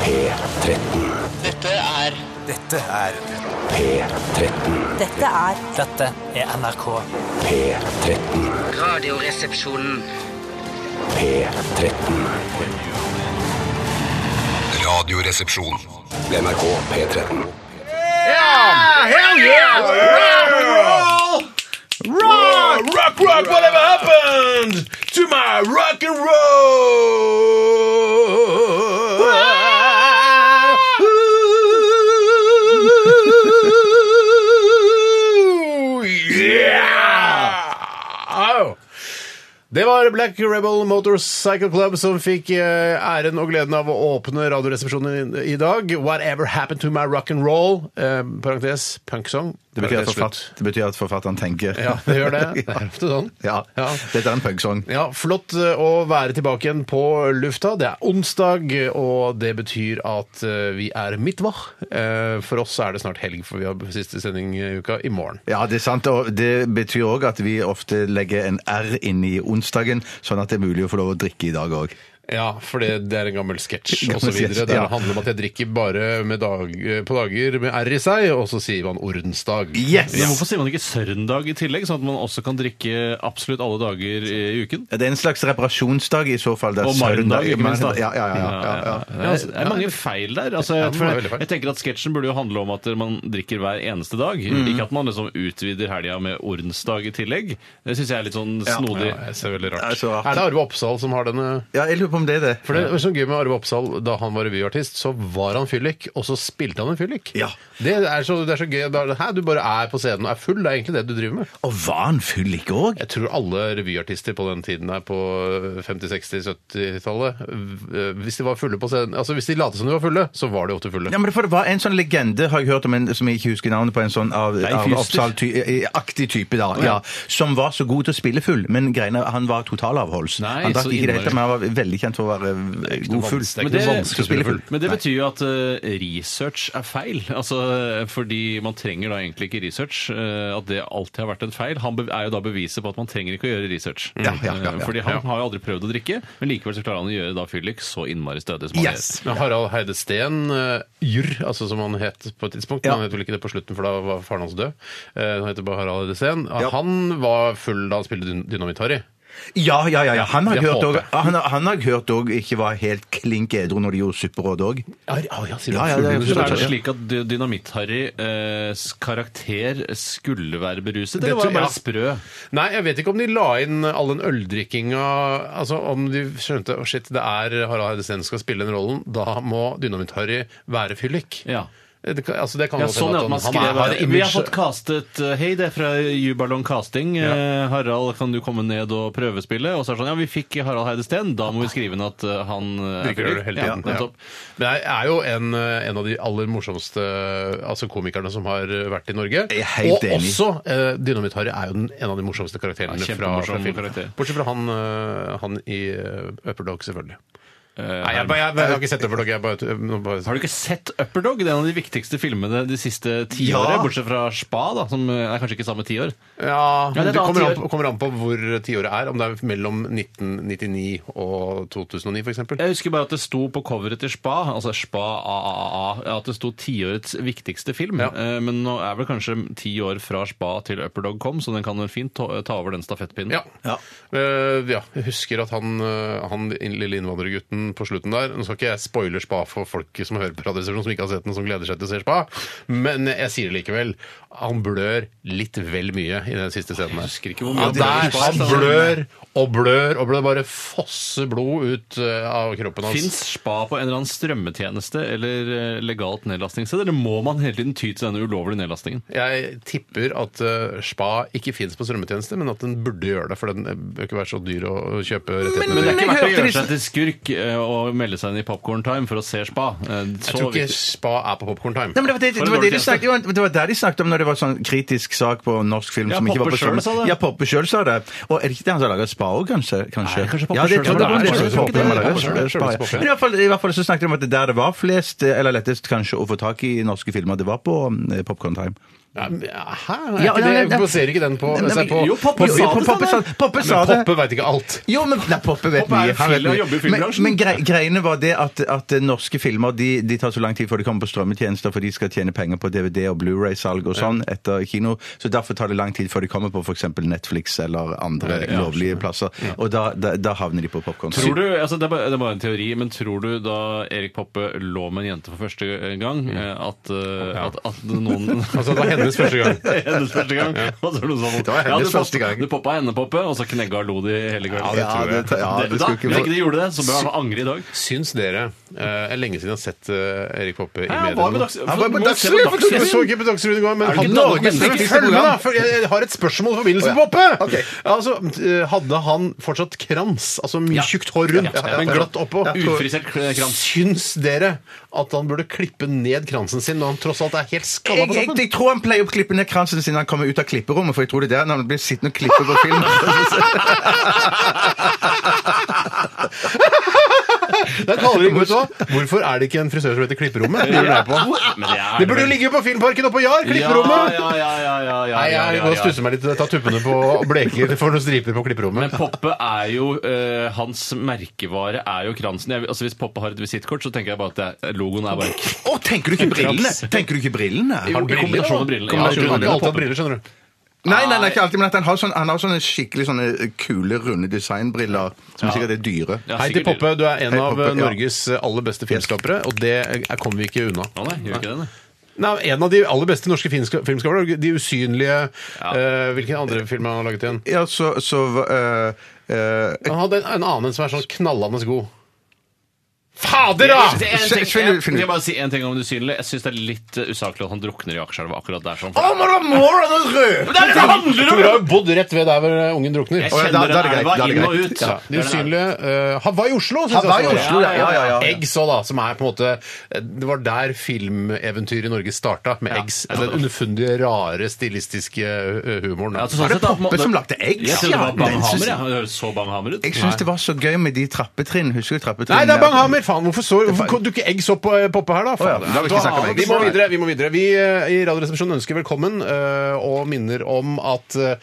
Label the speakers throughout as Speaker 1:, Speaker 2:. Speaker 1: P13.
Speaker 2: Dette er
Speaker 3: Dette er
Speaker 1: P13.
Speaker 4: Dette er
Speaker 5: Dette er NRK.
Speaker 1: P13.
Speaker 2: Radioresepsjonen.
Speaker 1: P13.
Speaker 6: Radioresepsjon.
Speaker 1: NRK P13.
Speaker 7: Rock, rock, rock, whatever happened to my rock and roll. Yeah! Det var Black Rebel Motorcycle Club som fikk eh, æren og gleden av å åpne Radioresepsjonen i, i dag. Whatever happened to my rock and roll? Eh, parentes punksong.
Speaker 3: Det betyr, at
Speaker 7: Parentes
Speaker 3: forfatt,
Speaker 7: slutt.
Speaker 3: det betyr at forfatteren tenker.
Speaker 7: Ja, det gjør det. Det er ofte sånn.
Speaker 3: Ja.
Speaker 7: Ja.
Speaker 3: Dette er en punksong.
Speaker 7: Ja, flott eh, å være tilbake igjen på lufta. Det er onsdag, og det betyr at eh, vi er midtvah. Eh, For oss er det snart helg, for vi har siste sending i uka i morgen.
Speaker 3: Ja, det er sant, og det betyr òg at vi ofte legger en R inn i onsdagen, sånn at det er mulig å få lov å drikke i dag òg.
Speaker 7: Ja, for det, det er en gammel sketsj
Speaker 3: Gammel
Speaker 7: osv.
Speaker 3: sketsj,
Speaker 7: Der det
Speaker 3: ja.
Speaker 7: handler om at jeg drikker bare med dag, eh, på dager med R i seg, og så sier man ordensdag.
Speaker 3: Yes!
Speaker 8: Men hvorfor sier man ikke sørendag i tillegg, sånn at man også kan drikke absolutt alle dager i uken?
Speaker 3: Ja, Det er en slags reparasjonsdag i så fall. det er
Speaker 8: Og Marendag,
Speaker 3: søndag.
Speaker 8: ikke minst. da.
Speaker 3: Ja, ja, ja, ja, ja.
Speaker 8: Det er- Det er mange feil der.
Speaker 7: Ja,
Speaker 8: Altså, jeg,
Speaker 7: det
Speaker 8: for
Speaker 7: er
Speaker 8: jeg,
Speaker 7: veldig feil.
Speaker 8: jeg tenker at Sketsjen burde jo handle om at man drikker hver eneste dag.
Speaker 7: Mm.
Speaker 8: Ikke at man liksom utvider helga med ordensdag i tillegg. Det syns jeg er litt sånn snodig.
Speaker 7: Ja, jeg ser veldig rart.
Speaker 3: Det er så rart.
Speaker 7: Er det Arve Oppsal som har denne?
Speaker 3: Ja, jeg lurer på om det er det.
Speaker 7: For det var så gøy med Arve Oppsal Da han var revyartist, så var han fyllik, og så spilte han en fyllik.
Speaker 3: Ja.
Speaker 7: Det, er så, det er så gøy. Da, er det, Hæ, du bare er på scenen og er full. Det er egentlig det du driver med.
Speaker 3: Og var han fyllik òg?
Speaker 7: Jeg tror alle revyartister på den tiden her på 50-, 60-, 70-tallet øh, Hvis de var fulle på scenen Altså hvis de lot som de var fulle, så var de ofte fulle.
Speaker 3: Ja, men for Det var en sånn legende har jeg hørt om en som jeg ikke husker navnet på, en sånn av, av
Speaker 8: Fuster.
Speaker 3: Oppsal-aktig eh, type, da, ja, som var så god til å spille full, men greiene, han var totalavholds.
Speaker 8: Nei,
Speaker 3: han
Speaker 8: så
Speaker 3: drakk ikke det,
Speaker 8: innmari.
Speaker 3: men han var veldig kjent for å være eh, god full.
Speaker 7: vanskelig-
Speaker 8: det er ikke noe
Speaker 7: vanskelig å spille full.
Speaker 8: Men det betyr jo at eh, research er feil. Altså, fordi man trenger da egentlig ikke research. eh, at det alltid har vært en feil. Han be- er jo da beviset på at man trenger ikke å gjøre research.
Speaker 3: Ja, ja, ja, ja.
Speaker 8: Eh, Fordi han har jo aldri prøvd å drikke, men likevel så klarer han å gjøre da fyllik så innmari stødig som han
Speaker 3: Yes!
Speaker 7: Men Harald Heide Steen, eh, Jurr, altså som han het på et tidspunkt,
Speaker 3: Ja.
Speaker 7: men han het vel ikke det på slutten, for da var faren hans død. Eh, Han heter bare Harald Heide Steen. Han var full da han spilte Dyn- Dynamitt-Harry.
Speaker 3: Ja, ja, ja, ja. Han
Speaker 7: Det
Speaker 3: har jeg hørt
Speaker 7: håper
Speaker 3: og,
Speaker 7: jeg.
Speaker 3: han, har- han har jeg hørt og ikke var helt klink edru når de gjorde supperåd òg.
Speaker 7: Ja, ja, sier du.
Speaker 3: Ja, ja, det er-
Speaker 7: Full
Speaker 8: Så er det
Speaker 7: Dynamitt-Harry.
Speaker 8: slik at Dy- Dynamitt-Harrys karakter skulle være beruset,
Speaker 7: Det
Speaker 8: eller var
Speaker 7: tror-
Speaker 8: det bare
Speaker 7: ja.
Speaker 8: sprø?
Speaker 7: Nei, jeg vet ikke om de la inn all den øldrikkinga Altså om de skjønte oh shit, det er Harald Heide Steen som skal spille den rollen, da må Dynamitt-Harry være fyllik.
Speaker 8: Ja.
Speaker 7: Det kan, altså det kan
Speaker 8: Ja,
Speaker 7: godt
Speaker 8: sånn
Speaker 7: hende
Speaker 8: er at man
Speaker 7: han- han
Speaker 8: skrev
Speaker 7: er- har
Speaker 8: Vi har
Speaker 7: image-
Speaker 8: fått castet eh, Hei, det er fra Jubalong Casting. Eh, Harald, kan du komme ned og prøvespille? Og så er det sånn Ja, vi fikk Harald Heide Steen. Da må vi skrive inn at eh, han eh,
Speaker 7: Drikker øl hele tiden.
Speaker 8: Ja,
Speaker 7: Ja.
Speaker 8: nettopp.
Speaker 7: Men jeg er jo en, en av de aller morsomste altså komikerne som har vært i Norge.
Speaker 3: Jeg er
Speaker 7: og
Speaker 3: helt enig.
Speaker 7: også eh, Dynamitt-Harry er jo den, en av de morsomste karakterene fra, fra
Speaker 8: Ja, kjempemorsom
Speaker 7: film.
Speaker 8: karakter.
Speaker 7: Bortsett fra han, eh, han i eh, Upper Dog, selvfølgelig. Nei, jeg,
Speaker 8: Har-
Speaker 7: bare- jeg, jeg har ikke sett Upper Dog. Jeg bare, nå bare
Speaker 8: Eh, har du ikke sett Upperdog? Det er en av de viktigste filmene de siste ti
Speaker 3: Ja.
Speaker 8: årene, bortsett fra Spa, da, som eh, er kanskje ikke samme tiår.
Speaker 7: ja,
Speaker 8: Ja, det er
Speaker 7: det,
Speaker 8: et annet
Speaker 7: kommer an,
Speaker 8: tiår.
Speaker 7: på, kommer an på hvor tiåret er. Om det er mellom 1999 og 2009, f.eks.
Speaker 8: Jeg husker bare at det sto på coveret til Spa, altså Spa AAA, at det sto tiårets viktigste film.
Speaker 7: Ja.
Speaker 8: Eh, Men nå er vel kanskje ti år fra Spa til Upperdog kom, så den kan vel fint ta ta over den stafettpinnen.
Speaker 7: Ja.
Speaker 3: Ja.
Speaker 7: Eh, ja. Jeg husker at han, eh, han lille innvandrergutten på slutten der Nå skal ikke jeg spoile spa for folk som hører på Radioresepsjonen som ikke har sett den, som gleder seg til å se spa, men jeg sier det likevel. Han blør litt vel mye i den siste scenen her.
Speaker 8: husker ikke hvor
Speaker 7: Ja,
Speaker 8: mye han
Speaker 7: der,
Speaker 8: blør i Spa,
Speaker 7: han
Speaker 8: altså.
Speaker 7: blør og blør og blør. Bare fosser blod ut eh, av kroppen hans.
Speaker 8: Fins spa på en eller annen strømmetjeneste eller eh, legalt nedlastningssted, eller må man hele tiden ty til denne ulovlige nedlastingen?
Speaker 7: Jeg tipper at eh, spa ikke fins på strømmetjeneste, men at den burde gjøre det, for den eh, bør ikke være så dyr å å kjøpe rettighetene.
Speaker 8: Men det er ikke
Speaker 3: Men jeg
Speaker 8: verdt å
Speaker 3: hørte
Speaker 8: gjøre
Speaker 3: disse-
Speaker 8: seg til skurk eh, og melde seg inn i Popcorn Time for å se spa. Eh,
Speaker 7: Jeg
Speaker 8: Så
Speaker 7: tror ikke
Speaker 8: viktig.
Speaker 7: spa er på Popcorn Time.
Speaker 3: Nei, men det, var det,
Speaker 8: Var
Speaker 3: det,
Speaker 8: det
Speaker 3: var det, de
Speaker 8: dårlig
Speaker 3: snakket, om- det var der de snakket om når det var sånn kritisk sak på norsk film
Speaker 8: Ja,
Speaker 3: som ikke var
Speaker 8: Poppe
Speaker 3: på
Speaker 8: selv
Speaker 3: strømmen.
Speaker 8: sa det.
Speaker 3: Ja, Poppe sjøl sa det. Og er det ikke det han som har laga Spa òg, kanskje? kanskje?
Speaker 8: Nei, kanskje Poppe
Speaker 3: ja, det,
Speaker 8: selv som
Speaker 3: tror jeg
Speaker 8: har laget
Speaker 3: det
Speaker 8: Spa.
Speaker 3: er Poppe som har laget
Speaker 7: Poppe selv,
Speaker 3: Spa, ja.
Speaker 7: Poppe selv.
Speaker 3: Men i hvert, fall, I hvert fall så snakket de om at der det var flest, eller lettest kanskje å få tak i norske filmer, det var på Popkorn eh, Time.
Speaker 7: Nei, men, Hæ? Er
Speaker 3: Ja,
Speaker 7: ikke
Speaker 3: nei,
Speaker 7: det-
Speaker 3: nei,
Speaker 7: Baserer ikke den på
Speaker 3: Nei,
Speaker 7: seg
Speaker 3: men-
Speaker 7: på
Speaker 8: jo, Poppe
Speaker 3: Jo,
Speaker 8: sa
Speaker 3: jo,
Speaker 8: det,
Speaker 3: Poppe
Speaker 8: sa
Speaker 3: sa
Speaker 8: det.
Speaker 3: Poppe sa
Speaker 7: Men
Speaker 3: det.
Speaker 7: Poppe veit ikke alt.
Speaker 3: Jo, men nei, Poppe vet
Speaker 8: Poppe er
Speaker 3: mye. Han vet mye.
Speaker 8: film- og jobber i filmbransjen.
Speaker 3: Men, men grei, greiene var det at, at norske filmer de, de tar så lang tid før de kommer på strømmetjenester, for de skal tjene penger på DVD- og Blu-ray-salg og sånn etter kino. Så derfor tar det lang tid før de kommer på f.eks. Netflix eller andre
Speaker 8: Ja,
Speaker 3: lovlige plasser. Og da, da, da havner de på popkorn.
Speaker 8: Tror du, altså det er bare det er bare en teori, men tror du da Erik Poppe lå med en jente for første gang,
Speaker 3: Mm.
Speaker 8: eh, at, eh, at, at noen Altså,
Speaker 7: Altså, det var hennes første gang.
Speaker 8: Hennes første gang? Og så er det noe sånn,
Speaker 3: Det var hennes
Speaker 8: ja, du pop-
Speaker 3: første gang.
Speaker 8: Du poppa henne, Poppe, og så knegga og lo de hele kvelden.
Speaker 3: Ja, det tror jeg. Ja, det
Speaker 8: da,
Speaker 3: skulle ikke
Speaker 8: hvis
Speaker 3: få-
Speaker 8: ikke de gjorde det, så bør han angre i dag.
Speaker 7: Syns dere eh, Det er lenge siden jeg har sett eh, Erik Poppe i
Speaker 8: Ja, han var
Speaker 7: mediene.
Speaker 8: med Dags-
Speaker 3: Han var
Speaker 8: for-
Speaker 3: med
Speaker 8: må jo se på
Speaker 3: Dagsrevyen for to
Speaker 7: Jeg
Speaker 8: Dagsrevyen.
Speaker 7: så ikke på Dagsrevyen i går, men
Speaker 8: Er det ikke
Speaker 7: han
Speaker 8: Norges
Speaker 7: Norges
Speaker 8: viktigste
Speaker 7: viktigste program?
Speaker 8: program?
Speaker 7: da, for Jeg jeg har et spørsmål i forbindelse med Poppe! Altså, eh, hadde han fortsatt krans? Altså mye tjukt hår rundt,
Speaker 8: Ja, ja, ja.
Speaker 7: men glatt oppå?
Speaker 8: Ufrisert krans.
Speaker 7: Syns dere at han burde klippe ned kransen sin når han tross alt er helt skalla
Speaker 3: Jeg,
Speaker 7: på
Speaker 3: jeg,
Speaker 7: toppen?
Speaker 3: jeg tror han pleier å klippe ned kransen sin når han kommer ut av klipperommet, for jeg tror det er der når han blir sittende og klippe på film.
Speaker 7: Der kaller de ikke ut også. Hvorfor er det ikke en frisør som heter Klipperommet? Lurer jeg på.
Speaker 8: Men det er
Speaker 7: Det burde jo ligge på Filmparken oppe på Jar! Klipperommet!
Speaker 8: Ja, ja, ja, ja, ja,
Speaker 7: Nei,
Speaker 8: ja,
Speaker 7: jeg
Speaker 8: ja,
Speaker 7: må
Speaker 8: ja.
Speaker 7: stusse meg litt. Jeg tar tuppene på og bleker for noen striper på klipperommet.
Speaker 8: Men Poppe er jo eh, Hans merkevare er jo kransen. Jeg, altså Hvis Poppe har et visittkort, så tenker jeg bare at det, er- logoen er bare
Speaker 3: Å, tenker du ikke brillene? Tenker du ikke brillene?
Speaker 8: Jo, i
Speaker 7: sånn
Speaker 8: kombinasjon med brillene.
Speaker 7: Ja,
Speaker 8: Ja,
Speaker 7: du har ikke alltid hatt briller, skjønner du.
Speaker 3: Nei, nei, nei, ikke alltid, men at han har sånn- han har sånne skikkelig sånne kule, runde designbriller som sikkert er dyre.
Speaker 8: Ja,
Speaker 7: Hei til
Speaker 8: sikkert-
Speaker 7: Poppe, du er en
Speaker 3: Hei,
Speaker 7: av eh,
Speaker 3: Poppe, ja.
Speaker 7: Norges aller beste filmskapere, og det er- kommer vi ikke unna.
Speaker 8: Å nei, gjør ikke det, nei.
Speaker 7: Nei, En av de aller beste norske filmska- filmskapere, De usynlige
Speaker 8: Ja.
Speaker 7: eh, Hvilke andre filmer har han laget igjen?
Speaker 3: Ja, så, så øh, øh,
Speaker 7: Han hadde en, en annen som er sånn knallende god. Fader,
Speaker 8: Det
Speaker 7: da!
Speaker 8: er en ting-
Speaker 3: Se- finn ut-
Speaker 8: jeg-
Speaker 3: finn ut.
Speaker 8: Jeg bare si en ting om det usynlige. Jeg syns det er litt eh, usaklig at han drukner i Akerselva akkurat der. Sånn.
Speaker 3: Å, men da må du ha noe rød!
Speaker 8: Det er det det handler
Speaker 7: Tore har
Speaker 8: om!
Speaker 7: jo bodd rett ved der hvor eh, ungen drukner.
Speaker 8: Jeg
Speaker 3: Å, ja, da-
Speaker 8: kjenner
Speaker 3: da er det
Speaker 8: den
Speaker 3: greit, da
Speaker 8: elva
Speaker 3: er det
Speaker 8: inn og
Speaker 3: greit.
Speaker 8: ut.
Speaker 7: Ja, de
Speaker 8: Det er den
Speaker 7: usynlige eh, Hawaii Oslo, synes
Speaker 3: Hawaii,
Speaker 7: jeg. også.
Speaker 3: Oslo, ja, ja, ja, ja.
Speaker 7: Eggs òg, da. Som er på en måte eh, Det var der filmeventyret i Norge starta, med
Speaker 8: Ja,
Speaker 7: Eggs. Altså, Den
Speaker 8: jeg skjønner.
Speaker 7: underfundige, rare, stilistiske eh, humoren. da.
Speaker 8: Ja, altså, sånn
Speaker 3: Er det
Speaker 8: sett at man-
Speaker 3: Poppe som lagde eggs?
Speaker 8: Jeg trodde det
Speaker 3: Ja,
Speaker 8: var
Speaker 3: den
Speaker 8: Banghammer.
Speaker 3: synes-
Speaker 8: jeg. Det høres så Banghammer ut.
Speaker 3: Jeg syns det var så gøy med de trappetrinn. Husker du trappetrinn?
Speaker 7: Nei, det er Banghammer! Faen, hvorfor, så, hvorfor dukker Eggs opp på eh, poppe her, da?
Speaker 3: ja,
Speaker 7: Faen.
Speaker 3: da har vi ikke snakket om Eggs.
Speaker 7: vi må videre. Vi må videre. Vi eh, i Radioresepsjonen ønsker velkommen eh, og minner om at eh,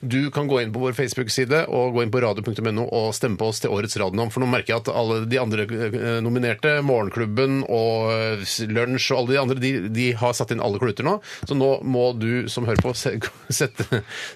Speaker 7: du kan gå inn på vår Facebook-side og gå inn på radio.no og stemme på oss til årets radionavn. For nå merker jeg at alle de andre eh, nominerte, Morgenklubben og eh, Lunsj og alle de andre, de, de har satt inn alle kluter nå. Så nå må du som hører på, se- sette,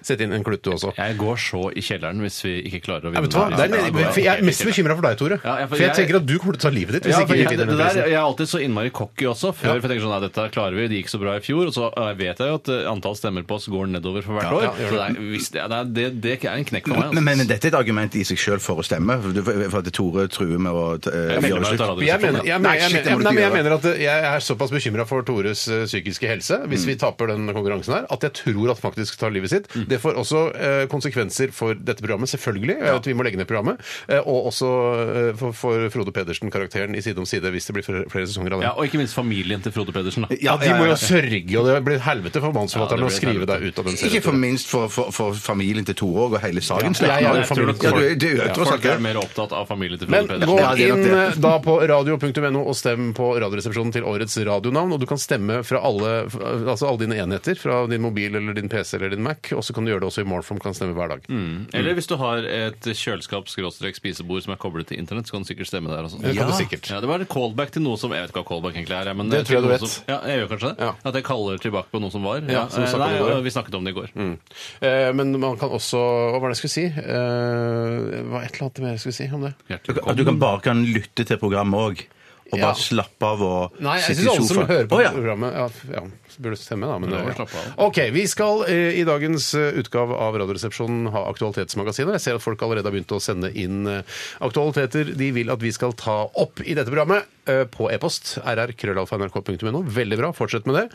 Speaker 7: sette inn en klut, du også.
Speaker 8: Jeg går så i kjelleren hvis vi ikke klarer å
Speaker 7: Ja,
Speaker 8: vinne.
Speaker 7: vet du hva?
Speaker 8: den
Speaker 7: Det
Speaker 8: her.
Speaker 7: er, for jeg er mest bekymra for deg, Tore.
Speaker 8: Ja, ja, for
Speaker 7: for jeg
Speaker 8: jeg-
Speaker 7: tenker at du kommer til å ta livet ditt hvis
Speaker 8: Ja, for
Speaker 7: ikke vi
Speaker 8: jeg, det
Speaker 7: vinner den
Speaker 8: der,
Speaker 7: prisen.
Speaker 8: jeg er alltid så innmari cocky også. Før for jeg tenker sånn, nei, dette klarer vi, det gikk så bra i fjor. Og så eh, vet jeg jo at eh, antall stemmer på oss går nedover for hvert år.
Speaker 7: ja, gjør
Speaker 8: så det er, hvis det, det, er- det, det er en knekk for meg. altså.
Speaker 3: Men, men, men dette er et argument i seg sjøl for å stemme. For, for at Tore truer med å øh,
Speaker 8: Jeg melder
Speaker 3: gjøre
Speaker 8: meg ut av
Speaker 3: slutt.
Speaker 7: Jeg mener, jeg,
Speaker 3: Nei,
Speaker 7: mener, jeg,
Speaker 3: shit,
Speaker 7: mener,
Speaker 3: det må
Speaker 7: nei,
Speaker 3: du ikke
Speaker 7: men jeg
Speaker 3: gjøre.
Speaker 7: mener at jeg er såpass bekymra for Tores eh, psykiske helse hvis vi taper den konkurransen her, at jeg tror at han faktisk tar livet sitt. Det får også eh, konsekvenser for dette programmet, selvfølgelig. Jeg vet vi må legge ned programmet. eh, og også eh, for, for Frode Pedersen, karakteren i Side om side, hvis det blir flere, flere sesonger av det.
Speaker 8: Ja, og ikke minst familien til Frode Pedersen. Da.
Speaker 7: Ja, de må
Speaker 3: ja, ja.
Speaker 7: jo sørge, og det blir helvete for
Speaker 8: Ja, det
Speaker 7: mannsforfatteren
Speaker 8: blir
Speaker 7: å skrive
Speaker 8: helvete.
Speaker 7: deg ut av den
Speaker 3: Ikke
Speaker 7: serien.
Speaker 3: for minst for, for, for familien til Tore og hele Sagens
Speaker 7: Ja, ja, ja,
Speaker 8: Jeg tror nok
Speaker 3: Ja,
Speaker 7: familien-
Speaker 3: du er- du er jo
Speaker 8: folk-
Speaker 3: tross alt
Speaker 8: Folk
Speaker 3: det.
Speaker 8: er mer opptatt av familien til
Speaker 7: Men
Speaker 8: Frode
Speaker 7: gå
Speaker 3: Ja,
Speaker 8: Pedersen.
Speaker 3: det er nok
Speaker 7: inn
Speaker 3: det.
Speaker 7: eh, da på radio.no og stem på Radioresepsjonen til årets radionavn. Og du kan stemme fra alle, f- altså alle dine enheter, fra din mobil eller din PC eller din Mac. Og så kan du gjøre det også i Morphem, kan stemme hver dag.
Speaker 8: Eller hvis du har et kjøleskap-spisebord som er koblet til internett, så kan du sikkert stemme der. Også.
Speaker 7: Det kan du sikkert.
Speaker 8: Ja, det var en callback til noe som Jeg vet ikke hva callback egentlig er. jeg, Men
Speaker 7: Det tror jeg du
Speaker 8: til noe
Speaker 7: vet.
Speaker 8: Som, ja, jeg gjør kanskje det.
Speaker 7: Ja.
Speaker 8: At jeg kaller tilbake på noe som var.
Speaker 7: Ja, som vi
Speaker 8: eh,
Speaker 7: snakket om
Speaker 8: nei,
Speaker 7: i går, ja.
Speaker 8: Vi snakket om det i går.
Speaker 7: Eh, Men man kan også Hva var det jeg skulle si? Eh, Det var et eller annet mer jeg skulle si om det.
Speaker 8: Hjertelig
Speaker 3: At du kan bare kan lytte til programmet òg. Og
Speaker 7: Ja.
Speaker 3: bare slappe av og
Speaker 7: Nei, jeg
Speaker 3: sitte
Speaker 7: syns
Speaker 3: i
Speaker 7: alle som
Speaker 3: sofaen.
Speaker 7: hører på
Speaker 3: Å, ja.
Speaker 7: programmet ja, f- ja, så burde stemme, da. Men
Speaker 8: Ja,
Speaker 7: det,
Speaker 8: slapp
Speaker 7: ja.
Speaker 8: av.
Speaker 7: OK. Vi skal eh, i dagens eh, utgave av Radioresepsjonen ha Aktualitetsmagasinet. Jeg ser at folk allerede har begynt å sende inn eh, aktualiteter de vil at vi skal ta opp i dette programmet. eh, På e-post rr.krøllalfa.nrk.no. Veldig bra, fortsett med det.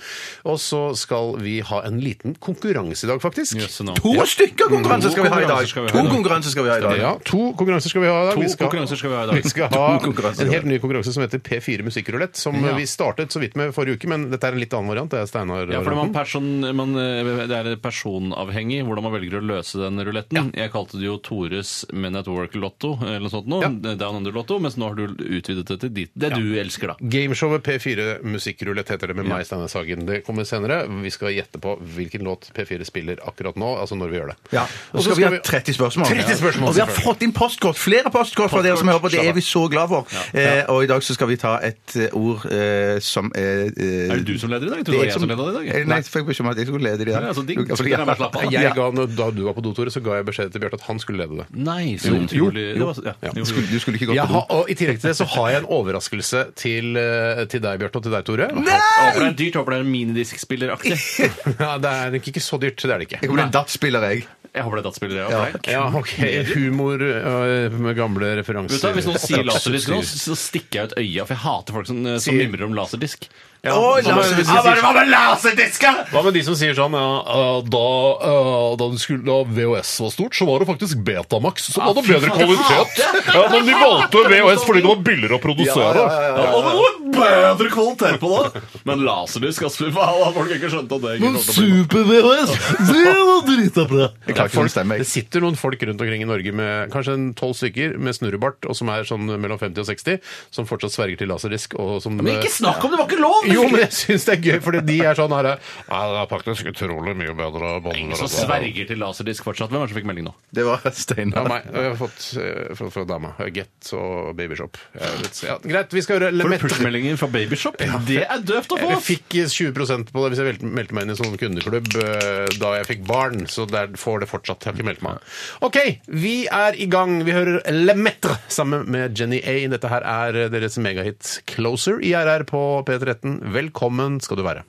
Speaker 7: Og så skal vi ha en liten konkurranse i dag, faktisk.
Speaker 8: Jøsse navn.
Speaker 3: To stykker konkurranser skal vi ha i
Speaker 8: konkurranser
Speaker 3: dag!
Speaker 8: skal vi ha i
Speaker 3: To
Speaker 8: dag.
Speaker 3: konkurranser skal vi ha i dag.
Speaker 7: Ja, to konkurranser skal vi ha i dag.
Speaker 8: To
Speaker 7: Vi skal-
Speaker 8: konkurranser skal vi ha i dag.
Speaker 7: Vi skal
Speaker 3: To
Speaker 7: ha
Speaker 3: konkurranser
Speaker 7: en
Speaker 3: skal vi
Speaker 7: helt ny konkurranse som heter P4 musikkrulett, som
Speaker 8: Ja.
Speaker 7: vi startet så vidt med forrige uke, men dette er en litt annen variant. Det er Steinar.
Speaker 8: Ja, for man person, man, eh, Det er personavhengig hvordan man velger å løse den ruletten. Jeg kalte det jo Tores Men at Work-lotto, eller noe sånt nå,
Speaker 7: Ja.
Speaker 8: Down Under-lotto, mens nå har du utvidet det til ditt, det du du elsker, da.
Speaker 7: Gameshowet P4 Musikkrulett heter det med meg, Steinar Sagen. Det kommer senere. Vi skal gjette på hvilken låt P4 spiller akkurat nå, altså når vi gjør det.
Speaker 3: Ja. Og så skal vi ha 30 spørsmål.
Speaker 7: 30 spørsmål,
Speaker 3: og vi har
Speaker 7: selvfølgelig.
Speaker 3: fått inn postkort, flere postkort fra dere som hører på. Det er vi så glad for. Eh, og i dag så skal vi ta et eh, ord eh, som eh, eh,
Speaker 8: Er det du som leder i dag?
Speaker 3: det er
Speaker 8: Tror du det var jeg som leder i
Speaker 3: Eh,
Speaker 8: dag?
Speaker 3: Nei, jeg fikk beskjed om at jeg skulle lede i dag.
Speaker 8: Ja, så digg.
Speaker 3: Ja, fordi-
Speaker 8: Så kan jeg bare slappe av.
Speaker 3: Ja.
Speaker 7: Jeg ga, når- da du var på do, Tore, så ga jeg beskjed til Bjarte at han skulle lede det.
Speaker 8: Nei, så utrolig det var- ja.
Speaker 3: Du skulle, du skulle ikke gått
Speaker 7: Jeg
Speaker 3: på do.
Speaker 7: har, og I tillegg til det så har jeg en overraskelse til, eh, til deg, Bjarte, og til deg, Tore.
Speaker 8: Jeg Håper det er dyrt, jeg håper det er en minidiskspilleraktig.
Speaker 7: Ja, det er nok ikke så dyrt. Det er det ikke.
Speaker 3: Jeg kommer til en dattspiller, jeg.
Speaker 8: Jeg håper det er dattspiller. Ja. for deg.
Speaker 7: Ja, ok. Humor øh, med gamle referanser.
Speaker 8: Vet du, hva, hvis noen sier laserdisk nå, så stikker jeg ut øya, for jeg hater folk som, eh, som
Speaker 7: Sier-
Speaker 8: mimrer om laserdisk.
Speaker 7: Ja,
Speaker 3: Å,
Speaker 8: altså,
Speaker 7: hva med-
Speaker 3: laserdisk.
Speaker 7: Ja, bare-
Speaker 8: med laserdisker?!
Speaker 7: Hva med de som sier sånn ja, øh, da, øh, da, du skulle, da VHS var stort, så var det faktisk Betamax som hadde
Speaker 8: Ah, fy
Speaker 7: bedre
Speaker 8: faen, det
Speaker 7: kvalitet. Ja, men de valgte VHS fordi det var billigere å produsere.
Speaker 8: sånn. Ja, og det var bedre kvalitet på det! Men laserdisk, altså, fy faen, har folk ikke skjønt at det ikke kom til å bli
Speaker 7: Super-VHS! Det var drita bra!
Speaker 3: Jeg klarer ikke å bestemme, jeg.
Speaker 7: Det sitter noen folk rundt omkring i Norge med kanskje en tolv stykker med snurrebart, og som er sånn mellom 50 og 60, som fortsatt sverger til laserdisk. Og som eh,
Speaker 8: Men ikke sånn! snakk om det! Det var ikke lov!
Speaker 7: Jo, men jeg syns det er gøy, fordi de er sånn her Ja, det er faktisk utrolig mye bedre
Speaker 8: Ingen
Speaker 7: bånd.
Speaker 8: som sverger til laserdisk fortsatt. Hvem er det som fikk melding nå?
Speaker 3: Det var
Speaker 7: Ja,
Speaker 3: Steinar.
Speaker 7: nei, jeg har fått eh, fra, fra dama. Get og Babyshop. Jeg er litt- Ja, greit, vi skal høre Le
Speaker 8: Får du
Speaker 7: Maître.
Speaker 8: push-meldinger fra Babyshop? Det er døvt å få!
Speaker 7: Jeg fikk 20 på det hvis jeg vel- meldte meg inn i sånn kundeklubb eh, da jeg fikk barn. Så der får det fortsatt. Jeg har ikke meldt meg. OK, vi er i gang. Vi hører Le Metre sammen med Jenny A. Dette her er eh, deres megahit Closer i RR på P13. Velkommen skal du være.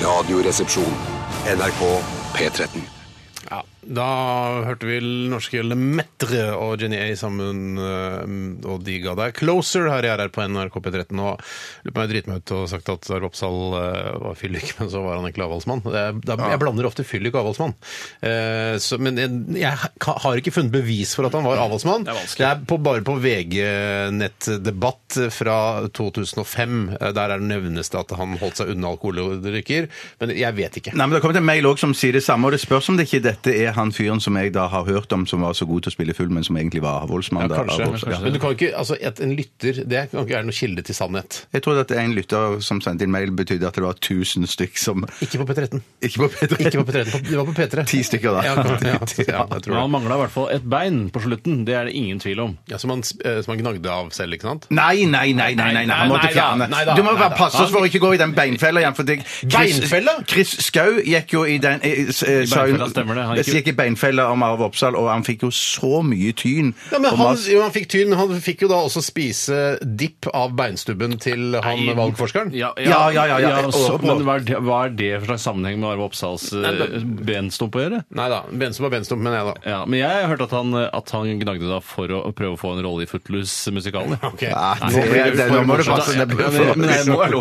Speaker 1: Radioresepsjon. NRK P13.
Speaker 7: Ja, Da hørte vi norske Le Metre og Jenny A sammen, eh, og de ga deg Closer her i RR på NRK P13. Og lurer på om jeg driter meg ut og har sagt at Arve Oppsal eh, var fyllik, men så var han egentlig avholdsmann. Det er- da- Jeg blander ofte fyllik og avholdsmann. Eh, så- Men jeg- jeg ha- har ikke funnet bevis for at han var avholdsmann.
Speaker 8: Det er vanskelig.
Speaker 7: Det er på, bare på VG-nettdebatt fra 2005. Eh, Der er det nevnes det at han holdt seg unna alkoholdrikker, men jeg vet ikke.
Speaker 3: Nei, men Det har kommet en mail også som sier det samme, og det spørs om det ikke dette er han fyren som jeg da har hørt om, som var så god til å spille full, men som egentlig var voldsmann. da,
Speaker 7: Ja, kanskje.
Speaker 3: av volds- ja.
Speaker 7: Men du kan ikke, altså, et, en lytter det kan ikke være noen kilde til sannhet.
Speaker 3: Jeg trodde at en lytter som sendte inn mail, betydde at det var 1000 stykk som
Speaker 7: Ikke på P13.
Speaker 3: Ikke på P3.
Speaker 7: Ikke på P13, på- det var på P3.
Speaker 3: Ti stykker, da.
Speaker 7: Ja, kan- ja, ja, jeg
Speaker 8: Men
Speaker 7: tror
Speaker 8: han
Speaker 7: det.
Speaker 8: mangla i hvert fall et bein på slutten. Det er det ingen tvil om.
Speaker 7: Ja, som, han, sp- eh, som han gnagde av selv, ikke sant?
Speaker 3: Nei, nei, nei, nei, nei, nei, han måtte
Speaker 7: Nei, nei,
Speaker 3: fjerne.
Speaker 7: nei, da,
Speaker 3: Du må
Speaker 7: nei,
Speaker 3: bare
Speaker 7: da.
Speaker 3: passe oss for å ikke gå i den beinfella igjen. For det, Chris,
Speaker 7: Beinfella?
Speaker 3: Chris Skau gikk jo i den eh, s- eh, sa jo-
Speaker 8: beinfella, stemmer det. Han gikk
Speaker 3: Jeg
Speaker 8: jo-
Speaker 3: gikk i beinfella om Arve Oppsal, og han fikk jo så mye tyn.
Speaker 7: Ja, men
Speaker 3: Og
Speaker 7: han,
Speaker 3: mas-
Speaker 7: jo, han fikk tyn, men han fikk jo da også spise dipp av beinstubben til han
Speaker 8: Nei.
Speaker 7: valgforskeren.
Speaker 8: Ja,
Speaker 3: Ja, ja, ja, ja,
Speaker 8: så,
Speaker 3: overpå.
Speaker 8: men hva er, det, hva er det for slags sammenheng med Arve Oppsals eh, benstump å gjøre?
Speaker 7: Nei da, benstub er benstub, men jeg
Speaker 3: Eh,
Speaker 7: da.
Speaker 8: Ja, men jeg har hørt at han, at han gnagde da for å prøve å få en rolle i Footloose-musikalen.
Speaker 7: Ok.
Speaker 3: Ja,
Speaker 7: Nei,
Speaker 3: det-
Speaker 7: blir
Speaker 3: det-
Speaker 7: for
Speaker 3: nå må du
Speaker 7: morsomt.
Speaker 3: passe deg.
Speaker 7: Ja, men- men jeg må-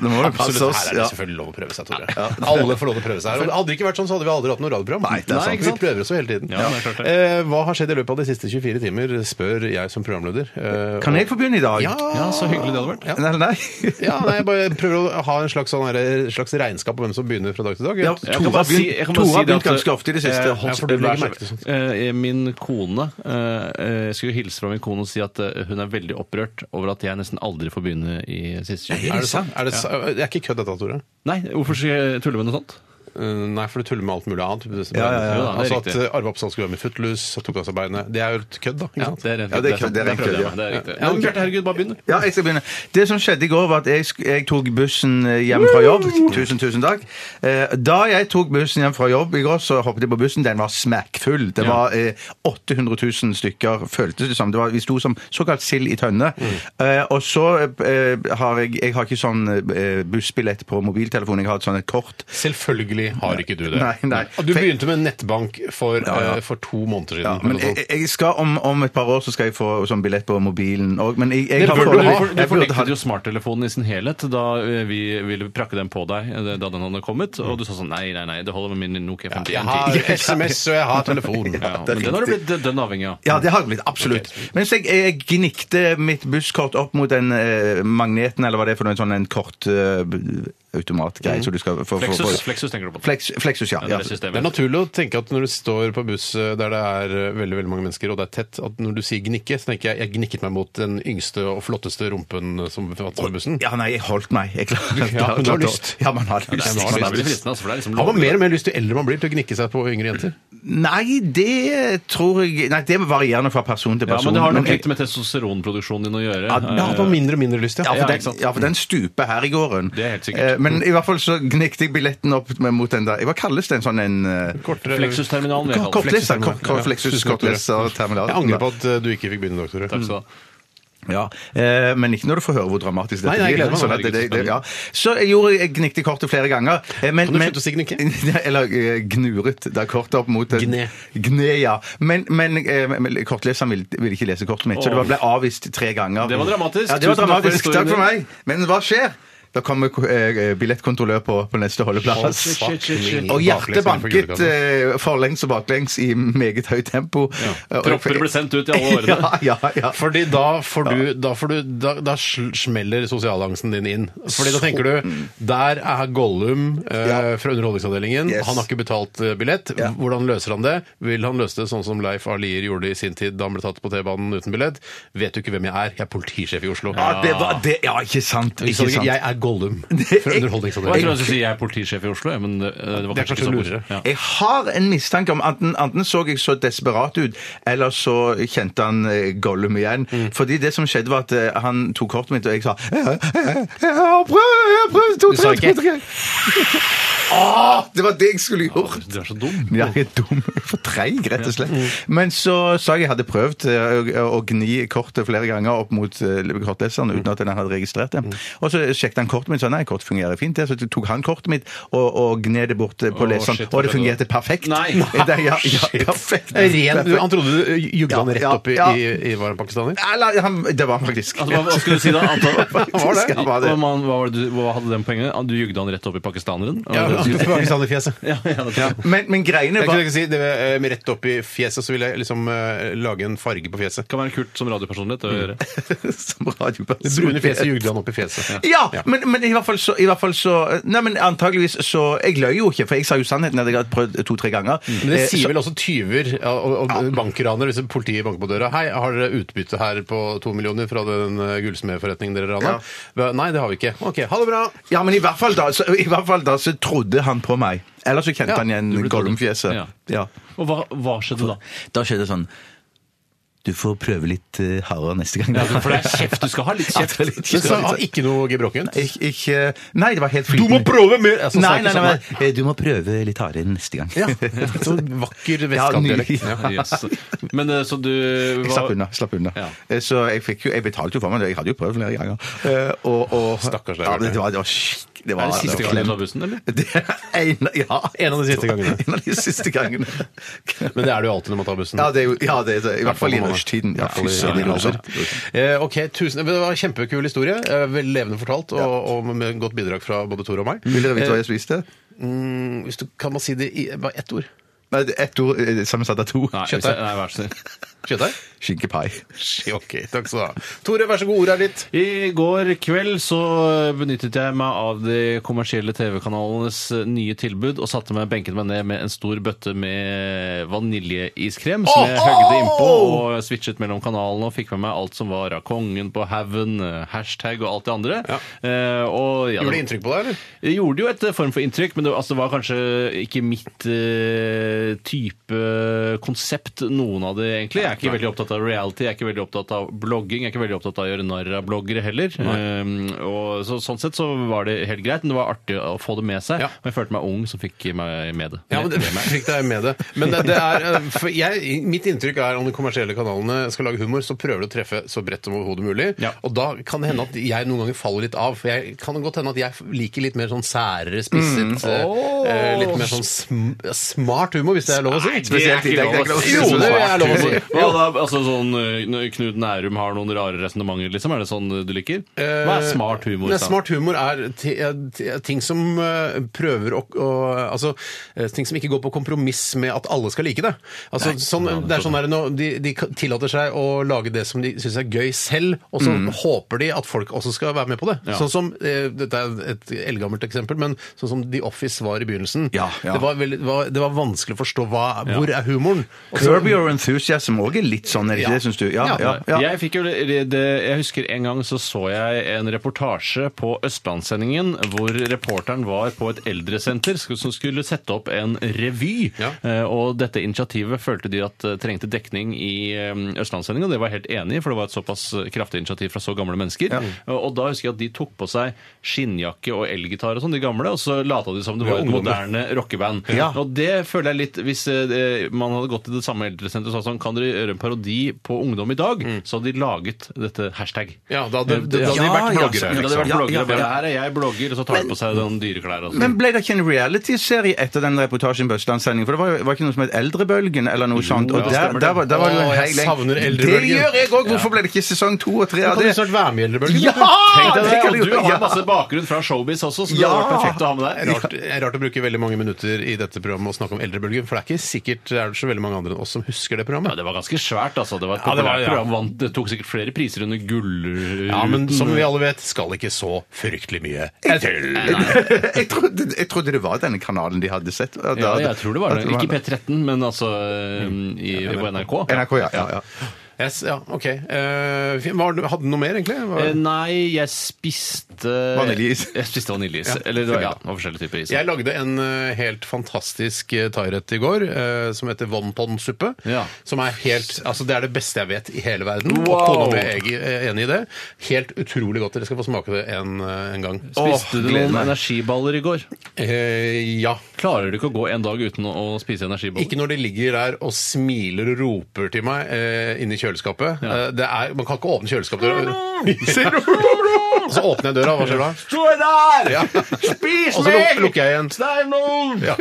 Speaker 3: Nå må du passe
Speaker 7: Absolutt.
Speaker 3: oss.
Speaker 7: Her er
Speaker 3: Ja.
Speaker 7: det selvfølgelig lov å prøve seg, Tore. Alle får lov til å prøve seg her. Og hadde det ikke vært sånn, så hadde vi aldri hatt noe radioprogram.
Speaker 3: Nei, det er sant.
Speaker 7: ikke sant? Vi prøver oss jo hele tiden.
Speaker 8: Ja, det er klart det.
Speaker 7: Eh, hva har skjedd i løpet av de siste 24 timer, spør jeg som programleder. Eh,
Speaker 3: Kan jeg få begynne i dag?
Speaker 7: Ja.
Speaker 8: Ja, så hyggelig det hadde vært.
Speaker 3: Nei, nei.
Speaker 7: Ja, nei, jeg bare prøver å ha en slags, sånn her, slags regnskap på hvem som begynner fra dag til dag.
Speaker 3: Ja,
Speaker 7: Ja,
Speaker 8: Jeg kan
Speaker 3: Tore har
Speaker 8: bare si- jeg
Speaker 3: begynt
Speaker 8: kan bare
Speaker 3: Tore har
Speaker 8: si det
Speaker 3: begynt
Speaker 8: at-
Speaker 3: ganske ofte i det siste.
Speaker 8: Eh,
Speaker 7: ja,
Speaker 3: Holdt-
Speaker 7: for du
Speaker 8: Vær
Speaker 7: legger
Speaker 8: så
Speaker 7: merke til sånt.
Speaker 8: Eh, Min kone eh, eh, Jeg skulle hilse fra min kone og si at eh, hun er veldig opprørt over at jeg nesten aldri får begynne i siste
Speaker 7: Er det
Speaker 8: 20
Speaker 7: sant? Er det, sa- det er ikke kødd dette, Tore?
Speaker 8: Nei, hvorfor skal jeg tulle med noe sånt?
Speaker 7: Eh, Nei, for du tuller med alt mulig annet. Det-
Speaker 3: Ja, ja, ja.
Speaker 8: Jo da, det er
Speaker 7: Altså at
Speaker 8: riktig.
Speaker 7: eh, Arve Oppsal skulle være med i Footloose og tok av seg beinet. Det er jo et kødd, da. Ikke sant?
Speaker 8: det er rent
Speaker 3: Ja, det er kødd, det er
Speaker 8: Der
Speaker 3: rent kødd,
Speaker 8: prøvde jeg
Speaker 3: ja.
Speaker 8: meg, det er
Speaker 7: Ja,
Speaker 8: riktig. Ja, men
Speaker 7: ok.
Speaker 8: Bjarte, herregud, bare begynn. du.
Speaker 3: Ja, jeg skal begynne. Det som skjedde i går, var at jeg, sk- jeg tok bussen eh, hjem fra jobb. Tusen, tusen takk. Eh, Da jeg tok bussen hjem fra jobb i går, så hoppet jeg på bussen. Den var smekkfull. Det var eh, 800 000 stykker, føltes det som. Det var, vi sto som såkalt sild i tønne.
Speaker 7: Mm.
Speaker 3: Eh, Og så eh, har jeg Jeg har ikke sånn eh, bussbillett på mobiltelefonen. Jeg har et sånt et kort.
Speaker 7: Selvfølgelig har ikke du det.
Speaker 3: Nei, nei.
Speaker 7: Og Du begynte med nettbank for,
Speaker 3: ja.
Speaker 7: eh, for to måneder siden.
Speaker 3: Ja, men e-
Speaker 7: eller noe sånt.
Speaker 3: jeg, jeg skal om, om et par år så skal jeg få sånn billett på mobilen òg. Men jeg, jeg
Speaker 7: Det
Speaker 3: har
Speaker 7: burde
Speaker 8: Du,
Speaker 3: foreløpig-
Speaker 7: ha.
Speaker 8: for, du
Speaker 3: jeg burde ha-
Speaker 8: fornektet jo smarttelefonen i sin helhet da eh, vi ville prakke den på deg eh, da den hadde kommet, og du sa sånn nei, nei, nei, det holder med min Nokia
Speaker 7: Jeg
Speaker 8: 5110.
Speaker 7: har SMS og jeg har telefon.
Speaker 8: Ja,
Speaker 3: det er
Speaker 8: men den har du
Speaker 3: riktig.
Speaker 8: blitt eh, dønn avhengig av.
Speaker 3: Ja, det har det blitt. Absolutt. Men så jeg, jeg gnikte mitt busskort opp mot den eh, magneten, eller hva det er for noe, en sånn en kort eh, automatgreier. Så du skal få- få-
Speaker 8: Mm. Flexus,
Speaker 3: få-
Speaker 8: Flexus tenker du på.
Speaker 3: Flex, Flexus, ja.
Speaker 8: Ja, det
Speaker 3: ja.
Speaker 8: er det systemet.
Speaker 7: Det er naturlig å tenke at når du står på buss eh, der det er eh, veldig veldig mange mennesker, og det er tett, at når du sier 'gnikke', så tenker jeg jeg gnikket meg mot den yngste og flotteste rumpen eh, som befatter seg i bussen.
Speaker 3: Ja, nei, jeg holdt meg. Jeg klar,
Speaker 7: Ja, men du har
Speaker 3: klarte å-
Speaker 7: lyst.
Speaker 3: Ja, man har
Speaker 8: Det
Speaker 3: lyst.
Speaker 8: er
Speaker 3: Man har
Speaker 8: veldig
Speaker 3: lyst.
Speaker 8: fristende, altså, for det er liksom
Speaker 7: Har man mer og mer lyst jo eldre man blir til å gnikke seg på yngre jenter?
Speaker 3: Nei, det tror jeg Nei, det er varierende fra person til
Speaker 8: Ja,
Speaker 3: person.
Speaker 8: men det har nok
Speaker 3: jeg-
Speaker 8: litt med testosteronproduksjonen din å gjøre.
Speaker 7: Ja, at man mindre og mindre lyst,
Speaker 3: Ja,
Speaker 7: ja.
Speaker 3: for,
Speaker 8: ikke
Speaker 3: den,
Speaker 8: sant?
Speaker 3: ja, for den stuper her i gården.
Speaker 8: Det er helt sikkert.
Speaker 3: Eh, Men i hvert fall så gnikket jeg billetten opp med- mot den der Hva kalles den sånn en eh,
Speaker 7: Kortere-
Speaker 8: Flexus-terminalen. vil jeg kalle det.
Speaker 3: Kortleser.
Speaker 7: Flexus-terminal. Ja,
Speaker 3: Flexus,
Speaker 7: tusen takk, Tore.
Speaker 3: kortleserterminal.
Speaker 7: Jeg angrer på at eh, du ikke fikk begynne, doktor.
Speaker 8: Takk skal du ha.
Speaker 3: Ja, eh, Men ikke når du får høre hvor dramatisk dette
Speaker 7: Nei, nei, jeg gleder meg.
Speaker 3: Sånn at det, det, det, ja. Så jeg gjorde jeg gnikte kortet flere ganger. eh, Men,
Speaker 7: Kan du
Speaker 3: men-
Speaker 7: slutte å si gnikke?
Speaker 3: Eller eh, gnuret da kortet opp mot en-
Speaker 7: Gne.
Speaker 3: Gne, ja. Men, men, eh, men kortleseren ville, ville ikke lese kortet mitt, så det var- ble avvist tre ganger.
Speaker 8: Det var dramatisk.
Speaker 3: Ja, det var
Speaker 8: Tusen takk for
Speaker 3: dramatisk. Takk for meg.
Speaker 8: historien.
Speaker 3: Men hva skjer? Da kommer eh, billettkontrollør på, på neste holdeplass.
Speaker 8: shit, shit, shit.
Speaker 3: Og hjertet banket
Speaker 7: eh,
Speaker 3: eh, forlengs og baklengs i meget høyt tempo. Eh, og-
Speaker 8: Propper ble sendt ut i alle årene.
Speaker 3: Ja, ja, ja.
Speaker 7: Fordi da får du Da, får du, da, da sl- smeller sosialangsten din inn. Fordi da tenker du Der er Gollum eh,
Speaker 3: Mm. Ja.
Speaker 7: fra Underholdningsavdelingen.
Speaker 3: Yes.
Speaker 7: Han har ikke betalt eh, billett.
Speaker 3: Ja.
Speaker 7: Hvordan løser han det? Vil han løse det sånn som Leif A. Lier gjorde i sin tid da han ble tatt på T-banen uten billett? Vet du ikke hvem jeg er? Jeg er politisjef i Oslo.
Speaker 3: Ja, det var, det, ja ikke sant.
Speaker 7: Ikke sant?
Speaker 3: Ikke sant.
Speaker 7: Jeg er Gollum fra
Speaker 8: Og jeg tror
Speaker 7: Underholdningsavdelingen.
Speaker 8: jeg skulle si jeg er politisjef i Oslo, ja, men det, det var
Speaker 7: Det er
Speaker 8: kanskje ikke så
Speaker 7: kanskje
Speaker 8: lurere.
Speaker 7: lurere.
Speaker 8: Ja.
Speaker 3: Jeg har en mistanke om enten, enten så jeg så desperat ut, eller så kjente han eh, Gollum igjen. Fordi det som skjedde, var at eh, han tok kortet mitt, og jeg sa "Eh, «Jeg- jeg- Jeg har prøvd! Jeg har prøvd! To,
Speaker 7: Du sa
Speaker 3: tre, to,
Speaker 7: ikke?
Speaker 3: tre! Åh, det var det jeg skulle gjort!
Speaker 8: Du er så dum.
Speaker 3: Jeg er dum. For treig, rett og slett. Men så sa jeg jeg hadde prøvd eh, å, å gni kortet flere ganger opp mot eh, kortleseren uten at den hadde registrert det. Og så sjekket han kortet mitt, så nei, kortet fungerer fint. det. Så tok han kortet mitt og, og gned det bort eh, på
Speaker 8: Å,
Speaker 3: leseren,
Speaker 8: shit,
Speaker 3: og det
Speaker 8: det var-
Speaker 3: fungerte perfekt.
Speaker 8: Nei.
Speaker 3: Det, ja, ja, perfekt.
Speaker 7: Ren, du, han trodde du eh, jugde han
Speaker 3: Ja,
Speaker 7: rett
Speaker 3: ja,
Speaker 7: opp i,
Speaker 3: ja.
Speaker 7: i, i Var han pakistaner?
Speaker 3: Eller, han, det var han faktisk.
Speaker 8: Altså, hva, hva skulle du si da? Anton?
Speaker 3: Hva var det?
Speaker 8: Hva, var det? Man, hva, var det du, hva hadde den poenget? Ah, Du jugde han rett opp i pakistaneren?
Speaker 7: Pakistanerfjeset.
Speaker 8: Ja, ja, det tror jeg.
Speaker 3: Men, men greiene
Speaker 7: Jeg
Speaker 3: var
Speaker 7: kunne ikke si det eh, med rett opp i fjeset, så vil jeg liksom eh, lage en farge på fjeset.
Speaker 8: Det kan være kult som radiopersonlighet å gjøre.
Speaker 3: Som
Speaker 7: Det
Speaker 3: radioperson.
Speaker 7: brune fjeset jugde han opp i fjeset.
Speaker 3: Ja, men, men i hvert fall så, i hvert fall så Nei, men antageligvis så Jeg løy jo ikke, for jeg sa jo sannheten. Hadde jeg hadde prøvd to-tre ganger.
Speaker 7: Mm. Men det
Speaker 3: Eh,
Speaker 7: sier vel også tyver ja, og, og bankraner hvis politiet banker på døra. 'Hei, har dere utbytte her på to millioner fra den eh, gullsmedforretningen dere rana?' Nei, det har vi ikke. OK, ha det bra!
Speaker 3: Ja, men i hvert fall da så, i hvert fall da så trodde han på meg. Eller så kjente
Speaker 7: Ja,
Speaker 3: han
Speaker 7: du
Speaker 3: igjen
Speaker 7: ble trodd.
Speaker 3: Gollum-fjeset.
Speaker 8: Ja.
Speaker 3: Ja.
Speaker 8: Og hva, hva skjedde da?
Speaker 3: Da skjedde det sånn Du får prøve litt eh, hardere neste gang.
Speaker 8: Ja, for det er kjeft. Du skal ha litt kjeft.
Speaker 3: Ja, det er litt sånn,
Speaker 7: Men så
Speaker 3: kjeft.
Speaker 7: har ikke noe gebrokkent.
Speaker 3: Ik, ikke Nei, det var helt
Speaker 7: Du må
Speaker 3: flytende.
Speaker 7: prøve mer! Altså,
Speaker 3: Nei,
Speaker 7: snakker
Speaker 3: nei, nei,
Speaker 7: sånn,
Speaker 3: men, eh, du må prøve litt hardere neste gang.
Speaker 7: Ja. Så vakker
Speaker 3: Ja,
Speaker 7: vestkantdialekt.
Speaker 3: ny-
Speaker 8: Yes. Men eh, så du
Speaker 3: Jeg slapp unna. slapp unna.
Speaker 8: Ja.
Speaker 3: Eh, Så jeg, fikk jo, jeg betalte jo for meg, det, jeg hadde jo prøvd flere ganger. Eh, Og, og,
Speaker 7: Stakkars deg,
Speaker 3: ja,
Speaker 7: Bjarte.
Speaker 3: det, det var, det var skikk... Det var,
Speaker 8: Er det siste
Speaker 3: det var
Speaker 8: gang du
Speaker 3: klem.
Speaker 8: tar bussen, eller?
Speaker 3: Det er en, ja,
Speaker 7: En av de siste gangene.
Speaker 3: En av de siste gangene.
Speaker 7: Men det er det jo alltid når man tar bussen.
Speaker 3: Ja, det er jo ja, det er, det. i hvert fall i rushtiden.
Speaker 7: Ja,
Speaker 3: Ja, fy søren, altså.
Speaker 7: Eh, ok, tusen, det var en Kjempekul historie. Eh, Veldig levende fortalt, og, og med godt bidrag fra både Tore og meg.
Speaker 3: Vil dere vite hva jeg spiste?
Speaker 7: Mm, hvis du, kan man si det i bare ett ord?
Speaker 3: Nei, det er ett ord eh, sammensatt av to.
Speaker 8: Nei, hvis
Speaker 7: Kjøttdeig.
Speaker 8: jeg- nei, vær så snill.
Speaker 7: Kjøttdeig?
Speaker 3: Skinkepai.
Speaker 7: Ok, takk skal du ha. Tore, vær så god, ordet er ditt.
Speaker 8: I går kveld så benyttet jeg meg av de kommersielle TV-kanalenes nye tilbud og satte meg, benket meg ned med en stor bøtte med vaniljeiskrem som jeg
Speaker 7: Åh!
Speaker 8: høgde innpå og switchet mellom kanalene og fikk med meg alt som var av Kongen på haugen, eh, hashtag og alt det andre. Eh, og, ja,
Speaker 7: Gjorde det inntrykk på deg, eller?
Speaker 8: det gjorde jo et eh, form for inntrykk, men det, altså, det var kanskje ikke mitt eh, type eh, konsept, noen av det egentlig. Jeg er ikke veldig opptatt av reality, jeg er ikke veldig opptatt av blogging, jeg er ikke veldig opptatt av å gjøre narr av bloggere heller. Ehm, og, så, sånn sett så var det helt greit, men det var artig å få det med seg.
Speaker 7: Ja.
Speaker 8: Og jeg følte meg ung som fikk meg med det.
Speaker 7: Ja, men det fikk deg med det. Men det, det er, eh, for jeg, mitt inntrykk er om de kommersielle kanalene skal lage humor, så prøver de å treffe så bredt som overhodet mulig.
Speaker 8: Ja.
Speaker 7: Og da kan det hende at jeg noen ganger faller litt av. For jeg kan det godt Mm. hende at jeg liker litt mer sånn særere spisset, eh, eh, litt mer sånn sm smart humor, hvis det er lov å si.
Speaker 3: Spesielt i dag, det er ikke lov å si.
Speaker 7: Jo, det er lov å si.
Speaker 8: Hva da, altså sånn eh, når Knut Nærum har noen rare resonnementer, liksom? Er det sånn eh, du liker? Hva er smart humor?
Speaker 7: Nei,
Speaker 8: sa han?
Speaker 7: smart humor er ti- ti- ting som eh, prøver å, å Altså eh, ting som ikke går på kompromiss med at alle skal like det. Altså, sånn, det er sånn der, nå, de, de k- tillater seg å lage det som de syns er gøy selv, og så håper de at folk også skal være med på det.
Speaker 8: Ja.
Speaker 7: Sånn som eh, Dette er et eldgammelt eksempel, men sånn som The Office var i begynnelsen.
Speaker 3: Ja, ja.
Speaker 7: Det, var veldig, det var, det var vanskelig å forstå hva, hvor er humoren. Og så-
Speaker 3: Curb Your Enthusiasm òg er litt sånn, er det ikke
Speaker 7: Ja.
Speaker 3: det, syns du? Ja, ja,
Speaker 7: Ja.
Speaker 3: ja.
Speaker 8: Jeg, fikk jo, det, det- jeg husker en gang så så jeg en reportasje på Østlandssendingen hvor reporteren var på et eldresenter sk- som skulle sette opp en revy.
Speaker 7: Ja.
Speaker 8: Eh, Og dette initiativet følte de at eh, trengte dekning i eh, Østlandssendingen, og det var jeg helt enig i, for det var et såpass eh, kraftig initiativ fra så gamle mennesker. Eh, Og da husker jeg at de tok på seg skinnjakke og elgitar og sånn, de gamle, og så lata de som det var et
Speaker 7: ungdommer.
Speaker 8: moderne rockeband.
Speaker 3: Ja.
Speaker 8: Og det føler jeg litt Hvis eh, man hadde gått til det samme eldresenteret og sagt sånn, kan dere gjøre en parodi på ungdom i dag, så hadde de laget dette hashtag.
Speaker 7: Ja, da hadde-
Speaker 8: Eh,
Speaker 7: da hadde de vært bloggere,
Speaker 8: Ja, da hadde de vært
Speaker 3: liksom.
Speaker 8: bloggere.
Speaker 3: Ja, ja,
Speaker 8: bare,
Speaker 3: ja.
Speaker 8: Her er jeg blogger, og så tar de på seg noen dyre klær. og sånn.
Speaker 3: Men ble det ikke en reality-serie etter den reportasjen på Østlandssendingen? For det var, jo- var ikke noe som het Eldrebølgen eller noe sånt. Og
Speaker 7: ja,
Speaker 3: der,
Speaker 7: stemmer
Speaker 3: der, var, der var det jo
Speaker 7: Å,
Speaker 3: en
Speaker 7: jeg
Speaker 3: hel gjeng.
Speaker 7: savner
Speaker 3: Det
Speaker 7: Eldrebølgen.
Speaker 3: gjør jeg òg! Hvorfor ble det ikke sesong to og tre
Speaker 7: Nå
Speaker 3: av
Speaker 7: kan
Speaker 3: det?
Speaker 7: du snart være med i Eldrebølgen.
Speaker 3: Ja!
Speaker 8: Tenk deg
Speaker 3: Tenk
Speaker 8: det,
Speaker 3: deg
Speaker 8: og
Speaker 3: det,
Speaker 8: du har
Speaker 3: ja.
Speaker 8: masse bakgrunn fra showbiz også, så det
Speaker 3: Ja.
Speaker 8: hadde vært perfekt å ha med
Speaker 7: Det
Speaker 8: deg.
Speaker 7: er rart, det er rart å bruke veldig mange minutter i dette programmet og snakke om eldrebølgen, for det er ikke sikkert det er så veldig mange andre enn oss som husker det
Speaker 8: Ja,
Speaker 7: programmet.
Speaker 8: det var ganske svært, altså. Det var et
Speaker 7: Ja, det var-
Speaker 8: populært
Speaker 7: ja.
Speaker 8: program. Vant, det tok sikkert flere priser under Gullruten.
Speaker 7: Ja, men som vi alle vet, skal ikke så fryktelig mye til.
Speaker 3: jeg, trodde, jeg trodde det var denne kanalen de hadde sett. At-
Speaker 8: Ja,
Speaker 3: at-
Speaker 8: jeg tror det var
Speaker 3: at
Speaker 8: det. Ikke P13, men altså eh, i, på NRK.
Speaker 3: NRK, ja. ja, ja.
Speaker 7: Yes, ja, ok. Eh, fin- var, hadde du noe mer, egentlig?
Speaker 8: Eh,
Speaker 7: Var,
Speaker 8: Nei, jeg spiste
Speaker 3: Vaniljeis.
Speaker 8: Jeg spiste vaniljeis. Eller det var, ja, det var forskjellige typer is.
Speaker 7: jeg lagde en eh, helt fantastisk eh, thairett i går eh, som heter wonton-suppe.
Speaker 8: Ja.
Speaker 7: Som er helt Altså, det er det beste jeg vet i hele verden. Og
Speaker 8: Wow.
Speaker 7: kona mi er eg- er enig i det. Helt utrolig godt. Dere skal få smake det en, eh, en gang.
Speaker 8: Spiste du
Speaker 3: gleder
Speaker 8: noen
Speaker 3: meg.
Speaker 8: energiballer i går?
Speaker 7: Eh, ja.
Speaker 8: Klarer du ikke å gå en dag uten å å spise energiballer?
Speaker 7: Ikke når de ligger der og smiler og roper til meg eh, inni kjøleskapet. Eh, det er, man kan ikke åpne kjøleskapsdøra.
Speaker 8: Mm.
Speaker 7: Ser du? Og så åpner jeg døra, hva skjer da?
Speaker 8: Stå der!
Speaker 7: Ja.
Speaker 8: Spis
Speaker 7: Og så luk- lukker jeg igjen.
Speaker 8: Steinvoll!
Speaker 7: Ja.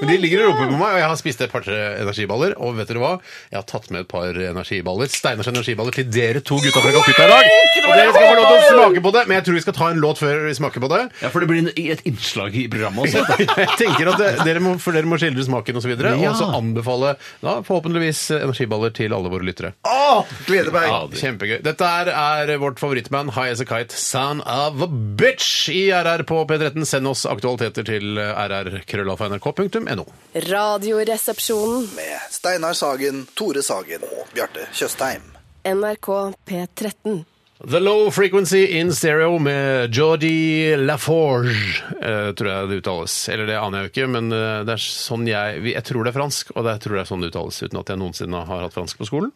Speaker 7: Men de ligger og roper på meg, og jeg har spist et par-tre energiballer. Og vet dere hva? Jeg har tatt med et par energiballer. Steinars energiballer til dere to gutta fra Kaffeita i dag. Og dere skal få lov til å smake på det, men jeg tror vi skal ta en låt før vi smaker på det.
Speaker 8: Ja, for det blir en, et innslag i programmet også.
Speaker 7: jeg tenker at det- dere må, For dere må skildre smaken osv. videre
Speaker 8: Ja.
Speaker 7: Og så anbefale da forhåpentligvis eh, energiballer til alle våre lyttere.
Speaker 3: Å, gleder meg!
Speaker 7: Ja, Kjempegøy. Dette her er vårt favorittband High As A Kite, Son of a Bitch, i RR på P13. Send oss aktualiteter til eh, rrkrøllalfa.nrk.no.
Speaker 4: Radioresepsjonen.
Speaker 5: med Steinar Sagen, Tore Sagen og Bjarte Tjøstheim.
Speaker 4: NRK P13.
Speaker 7: The Low Frequency in Stereo med Jordi Laforge, eh, tror jeg det uttales. Eller det aner jeg jo ikke, men eh, det er sånn jeg vi- Jeg tror det er fransk, og det tror jeg er sånn det uttales, uten at jeg noensinne har hatt fransk på skolen.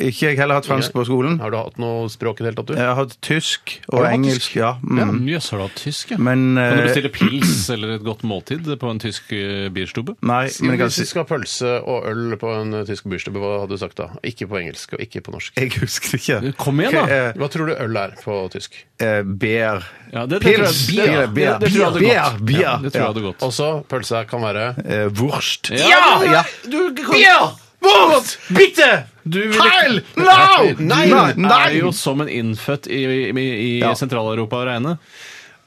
Speaker 3: Ikke jeg heller hatt fransk på skolen.
Speaker 7: Har du hatt noe språk i det hele tatt, du?
Speaker 3: Jeg har hatt tysk
Speaker 7: Har
Speaker 3: og
Speaker 7: du hatt
Speaker 3: engelsk.
Speaker 7: tysk?
Speaker 3: Ja. Mm.
Speaker 8: Jøss, har du hatt tysk, ja?
Speaker 3: Men,
Speaker 8: kan du
Speaker 3: eh,
Speaker 8: bestille pils eller et godt måltid på en tysk eh, bierstube?
Speaker 3: Nei, men jeg kan
Speaker 7: Hvis
Speaker 3: si
Speaker 7: du skal ha pølse og øl på en eh, tysk bursdag, hva hadde du sagt da? Ikke på engelsk og ikke på norsk.
Speaker 3: Jeg husker det ikke.
Speaker 8: Kom igjen, da.
Speaker 3: Ok, eh,
Speaker 7: Hva tror du øl er på tysk?
Speaker 3: eh, Beer.
Speaker 8: Ja, det- det tror jeg-
Speaker 3: Pils.
Speaker 8: det-
Speaker 3: Beer,
Speaker 8: det-
Speaker 3: beer,
Speaker 8: det tror jeg hadde
Speaker 3: beer,
Speaker 8: gått.
Speaker 3: beer.
Speaker 8: Ja, det tror jeg
Speaker 3: Ja.
Speaker 8: hadde gått.
Speaker 7: Også pølse kan være
Speaker 3: Eh, Wurst.
Speaker 8: Ja!
Speaker 3: ja.
Speaker 7: Bier! Wurst! Bitte!
Speaker 8: Du ville-
Speaker 7: Heil! No!
Speaker 8: Nei,
Speaker 3: Nei,
Speaker 8: er
Speaker 3: nei.
Speaker 8: jo som en innfødt i, i, i
Speaker 3: Ja.
Speaker 8: Sentral-Europa å regne.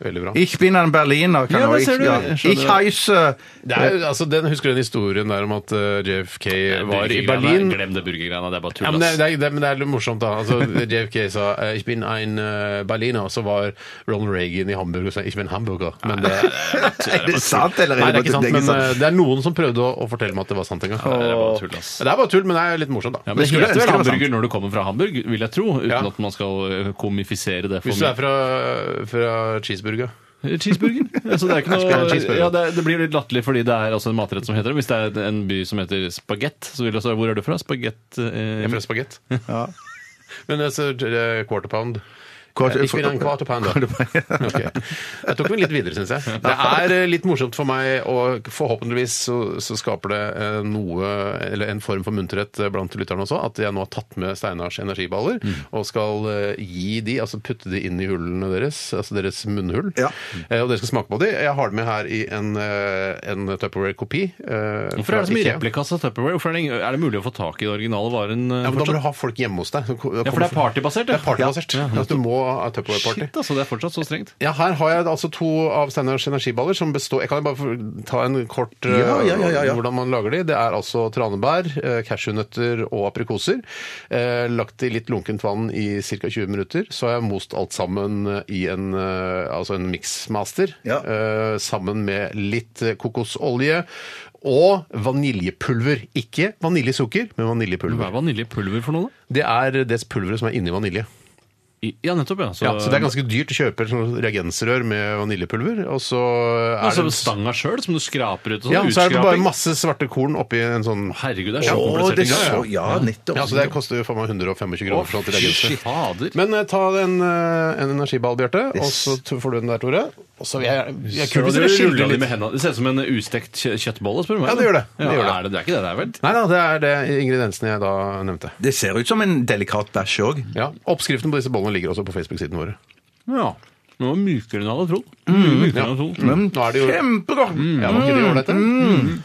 Speaker 7: Veldig bra.
Speaker 3: Ich bin ein Berliner, kan
Speaker 8: Ja,
Speaker 3: jeg
Speaker 8: det ser
Speaker 3: ikke-
Speaker 8: du.
Speaker 3: ja.
Speaker 8: Jeg skjønner.
Speaker 3: Ich heiße
Speaker 7: Det er, jo- altså, den, husker du den historien der om at eh, JFK var i Berlin?
Speaker 8: Glem det burgergreiene, det er bare tull.
Speaker 7: Ja, men det,
Speaker 8: ass.
Speaker 7: det, er- det, men det er litt morsomt, da. Altså, JFK sa eh, 'Ich bin ein eh, Berliner', og så var Ronald Reagan i Hamburg og sa 'Ich bin Hamburger'. Men det,
Speaker 3: Er det sant, eller
Speaker 7: nei, det er ikke sant,
Speaker 3: bare-
Speaker 7: men eh, det er noen som prøvde å, å fortelle meg at det var sant en gang.
Speaker 8: Nei, det er bare tull, ass.
Speaker 7: Det er bare tull, men det er litt morsomt, da.
Speaker 8: Ja, men
Speaker 7: Hvis
Speaker 8: det
Speaker 7: du-
Speaker 8: heter vel
Speaker 3: det var
Speaker 8: hamburger når du kommer fra Hamburg, vil jeg tro, uten
Speaker 7: Ja.
Speaker 8: at man skal eh, komifisere det for
Speaker 7: Hvis du
Speaker 8: mye.
Speaker 7: er fra, fra cheeseburger.
Speaker 8: Cheeseburger. Altså, det, er ikke
Speaker 7: Skal jeg ha en
Speaker 8: noe,
Speaker 7: cheeseburger?
Speaker 8: ja, det, er- det blir litt latterlig fordi det er altså en matrett som heter det. Hvis det er en by som heter spagett, så vil jeg si hvor er du fra? Spagett eh,
Speaker 7: Jeg er fra spagett. Men altså, eh, quarter pound
Speaker 3: Kort-
Speaker 7: Jeg spiller en kvart og panda. Ok. Jeg tok den litt videre, syns jeg. Det er eh, litt morsomt for meg, og forhåpentligvis så, så skaper det eh, noe, eller en form for munterhet eh, blant lytterne også, at jeg nå har tatt med Steinars energiballer
Speaker 8: Mm.
Speaker 7: og skal eh, gi de, altså putte de inn i hullene deres, altså deres munnhull.
Speaker 5: Ja.
Speaker 7: Eh, Og dere skal smake på de. Jeg har det med her i en, eh, en Tupperware-kopi. eh, Hvorfor
Speaker 8: Hvorfor er det så mye replikas av Tupperware? Hvorfor er, det, ingen- er det mulig å få tak i den originale varen? eh,
Speaker 7: Ja, men Da må
Speaker 8: fortsatt?
Speaker 7: du ha folk hjemme hos deg.
Speaker 8: ja, for det er partybasert,
Speaker 7: Det er partybasert.
Speaker 8: Ja.
Speaker 7: Altså, du må ha Tupperware-party.
Speaker 8: Shit, altså, det er fortsatt så strengt.
Speaker 7: Ja, her har jeg altså to av Steinars energiballer som består Jeg kan jo bare få ta en kort eh,
Speaker 3: Ja, ja, ja, ja, ja.
Speaker 7: hvordan man lager de. Det er altså tranebær, eh, cashewnøtter og aprikoser. Eh, Lagt i litt lunkent vann i ca. 20 minutter. Så har jeg most alt sammen i en, eh, altså en mixmaster
Speaker 3: Ja.
Speaker 7: eh, sammen med litt eh, kokosolje. Og vaniljepulver. Ikke vaniljesukker, men
Speaker 8: Hva er
Speaker 7: vaniljepulver.
Speaker 8: vaniljepulver for noe, da?
Speaker 7: Det er det pulveret som er inni vanilje.
Speaker 8: I- Ja, nettopp, ja. Så,
Speaker 7: Ja, så det er ganske dyrt å kjøpe sånn reagensrør med vaniljepulver, og så er
Speaker 8: altså,
Speaker 7: det
Speaker 8: stanga sjøl som du skraper ut og sånn.
Speaker 7: ja, så er det bare
Speaker 8: utskraping.
Speaker 7: masse svarte korn oppi en sånn
Speaker 8: Herregud, det
Speaker 3: Å,
Speaker 8: er så komplisert.
Speaker 3: det er
Speaker 8: ting,
Speaker 3: så,
Speaker 8: ja.
Speaker 3: ja, nettopp.
Speaker 7: Ja, så det koster jo for meg 125 kroner for sånt i reagenser.
Speaker 8: Fader.
Speaker 7: Men eh, ta en, eh, en energiball, Bjarte, og så t- får du den der, Tore. Og så vil jeg, jeg er kult hvis
Speaker 8: Så
Speaker 7: dere
Speaker 8: du
Speaker 7: skylder
Speaker 8: ruller de
Speaker 7: litt.
Speaker 8: med hendene. Det ser ut som en ustekt kjø- kjøttbolle, spør du meg.
Speaker 7: Ja, det gjør det. Det
Speaker 8: Ja,
Speaker 7: gjør det.
Speaker 8: Er det. Det er ikke det det er, vel?
Speaker 7: Nei da, det er det ingrediensene jeg da nevnte.
Speaker 3: Det ser ut som en delikat bæsj òg.
Speaker 7: Ja, Oppskriften på disse bollene ligger også på Facebook-siden vår.
Speaker 8: Ja. Den var mykere enn jeg hadde trodd.
Speaker 7: Mm,
Speaker 8: Mye mykere enn jeg hadde trodd.
Speaker 7: Nå er det jo Mm.
Speaker 3: Kjempebra!
Speaker 7: ja, var ikke det ålreite?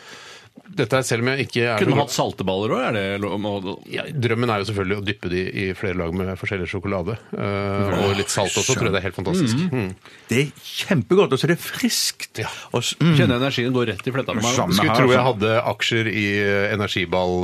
Speaker 7: Dette er selv om jeg ikke er
Speaker 8: Mm, Kunne
Speaker 7: noe-
Speaker 8: man hatt salteballer òg, er det lov å-
Speaker 7: Ja, drømmen er jo selvfølgelig å dyppe de i flere lag med forskjellig sjokolade. eh, og litt salt også, tror jeg det er helt fantastisk. Mm.
Speaker 3: Det er kjempegodt, og så er det friskt.
Speaker 7: Ja.
Speaker 3: Og s- mm.
Speaker 8: Kjenner energien går rett i fletta på meg.
Speaker 3: Samme
Speaker 7: Skulle
Speaker 3: her,
Speaker 7: tro jeg
Speaker 3: altså.
Speaker 7: hadde aksjer i eh,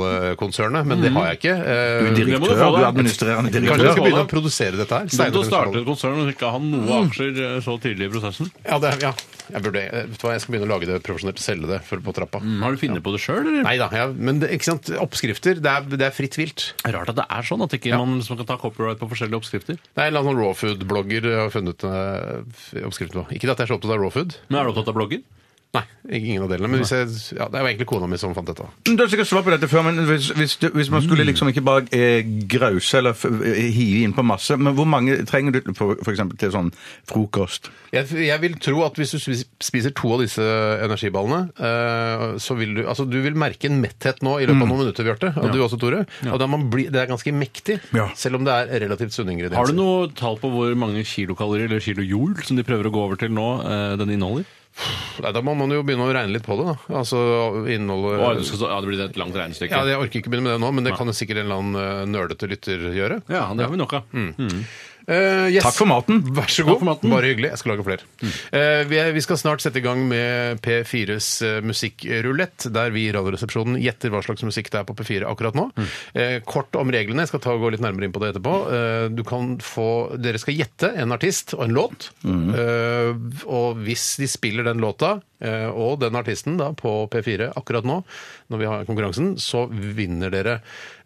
Speaker 7: Energiball-konsernet, men det har jeg ikke. Eh,
Speaker 3: Du er
Speaker 8: Det må du
Speaker 3: direktør,
Speaker 8: få
Speaker 3: du
Speaker 8: deg.
Speaker 3: er administrerende
Speaker 7: Kanskje jeg
Speaker 3: direktør.
Speaker 7: skal begynne å produsere dette her? Mm.
Speaker 8: Som
Speaker 7: Steinar
Speaker 8: til å starte
Speaker 7: Kunstvold.
Speaker 8: et konsern og ikke ha noe aksjer eh, så tidlig i prosessen.
Speaker 7: Ja, det, ja. Jeg, burde, eh, vet du hva, jeg skal begynne å lage det profesjonelt, selge det for, på trappa.
Speaker 8: Har du funnet på det sjøl, eller?
Speaker 7: Nei da, ja, men det, ikke sant? oppskrifter, det er, det er fritt vilt.
Speaker 8: Rart at det er sånn at ikke man liksom kan ta copyright på forskjellige oppskrifter.
Speaker 7: Det er en eller annen sånn raw food-blogger jeg har funnet eh, oppskriften på. Ikke at jeg er så opptatt av raw food.
Speaker 8: Men er du opptatt av blogger?
Speaker 7: Nei, ingen av delene. Men hvis jeg, ja, det var egentlig kona mi som fant dette.
Speaker 3: Du har sikkert svar på dette før, men hvis, hvis, du, hvis man skulle
Speaker 7: Mm.
Speaker 3: liksom ikke bare eh, grause eller f- eh, hive inn på masse, men hvor mange trenger du for, for eksempel til sånn frokost?
Speaker 7: Jeg, jeg vil tro at hvis du spis- spiser to av disse energiballene, eh, så vil du altså du vil merke en metthet nå i løpet
Speaker 8: Mm.
Speaker 7: av noen minutter, Bjarte. Og du også, Tore. Og da man blir- det er ganske mektig,
Speaker 3: Ja.
Speaker 7: selv om det er relativt sunne ingredienser.
Speaker 8: Har du noe tall på hvor mange kilokalorier eller kilo jul som de prøver å gå over til nå, eh, den inneholder?
Speaker 7: Nei, da må man jo begynne å regne litt på det, da. Altså
Speaker 8: Å, du
Speaker 7: innholdet
Speaker 8: skal så- Øh. Ja, det blir et langt regnestykke.
Speaker 7: ja, Jeg orker ikke begynne med det nå, men det kan jo sikkert en eller annen eh, nerdete lytter gjøre.
Speaker 8: Ja, det har vi nok av. Mm.
Speaker 7: Eh, yes.
Speaker 3: Takk for maten.
Speaker 7: Vær så
Speaker 8: Takk
Speaker 7: god.
Speaker 8: for maten. Mm.
Speaker 7: Bare hyggelig. Jeg skal lage flere. Eh, vi, er, vi skal snart sette i gang med P4s eh, musikkrulett, der vi i Radioresepsjonen gjetter hva slags musikk det er på P4 akkurat nå.
Speaker 8: Mm.
Speaker 7: Eh, kort om reglene. Jeg skal ta og gå litt nærmere inn på det etterpå. Eh, du kan få, dere skal gjette en artist og en låt.
Speaker 8: Mm.
Speaker 7: Eh, og hvis de spiller den låta eh, og den artisten da på P4 akkurat nå, når vi har konkurransen, så vinner dere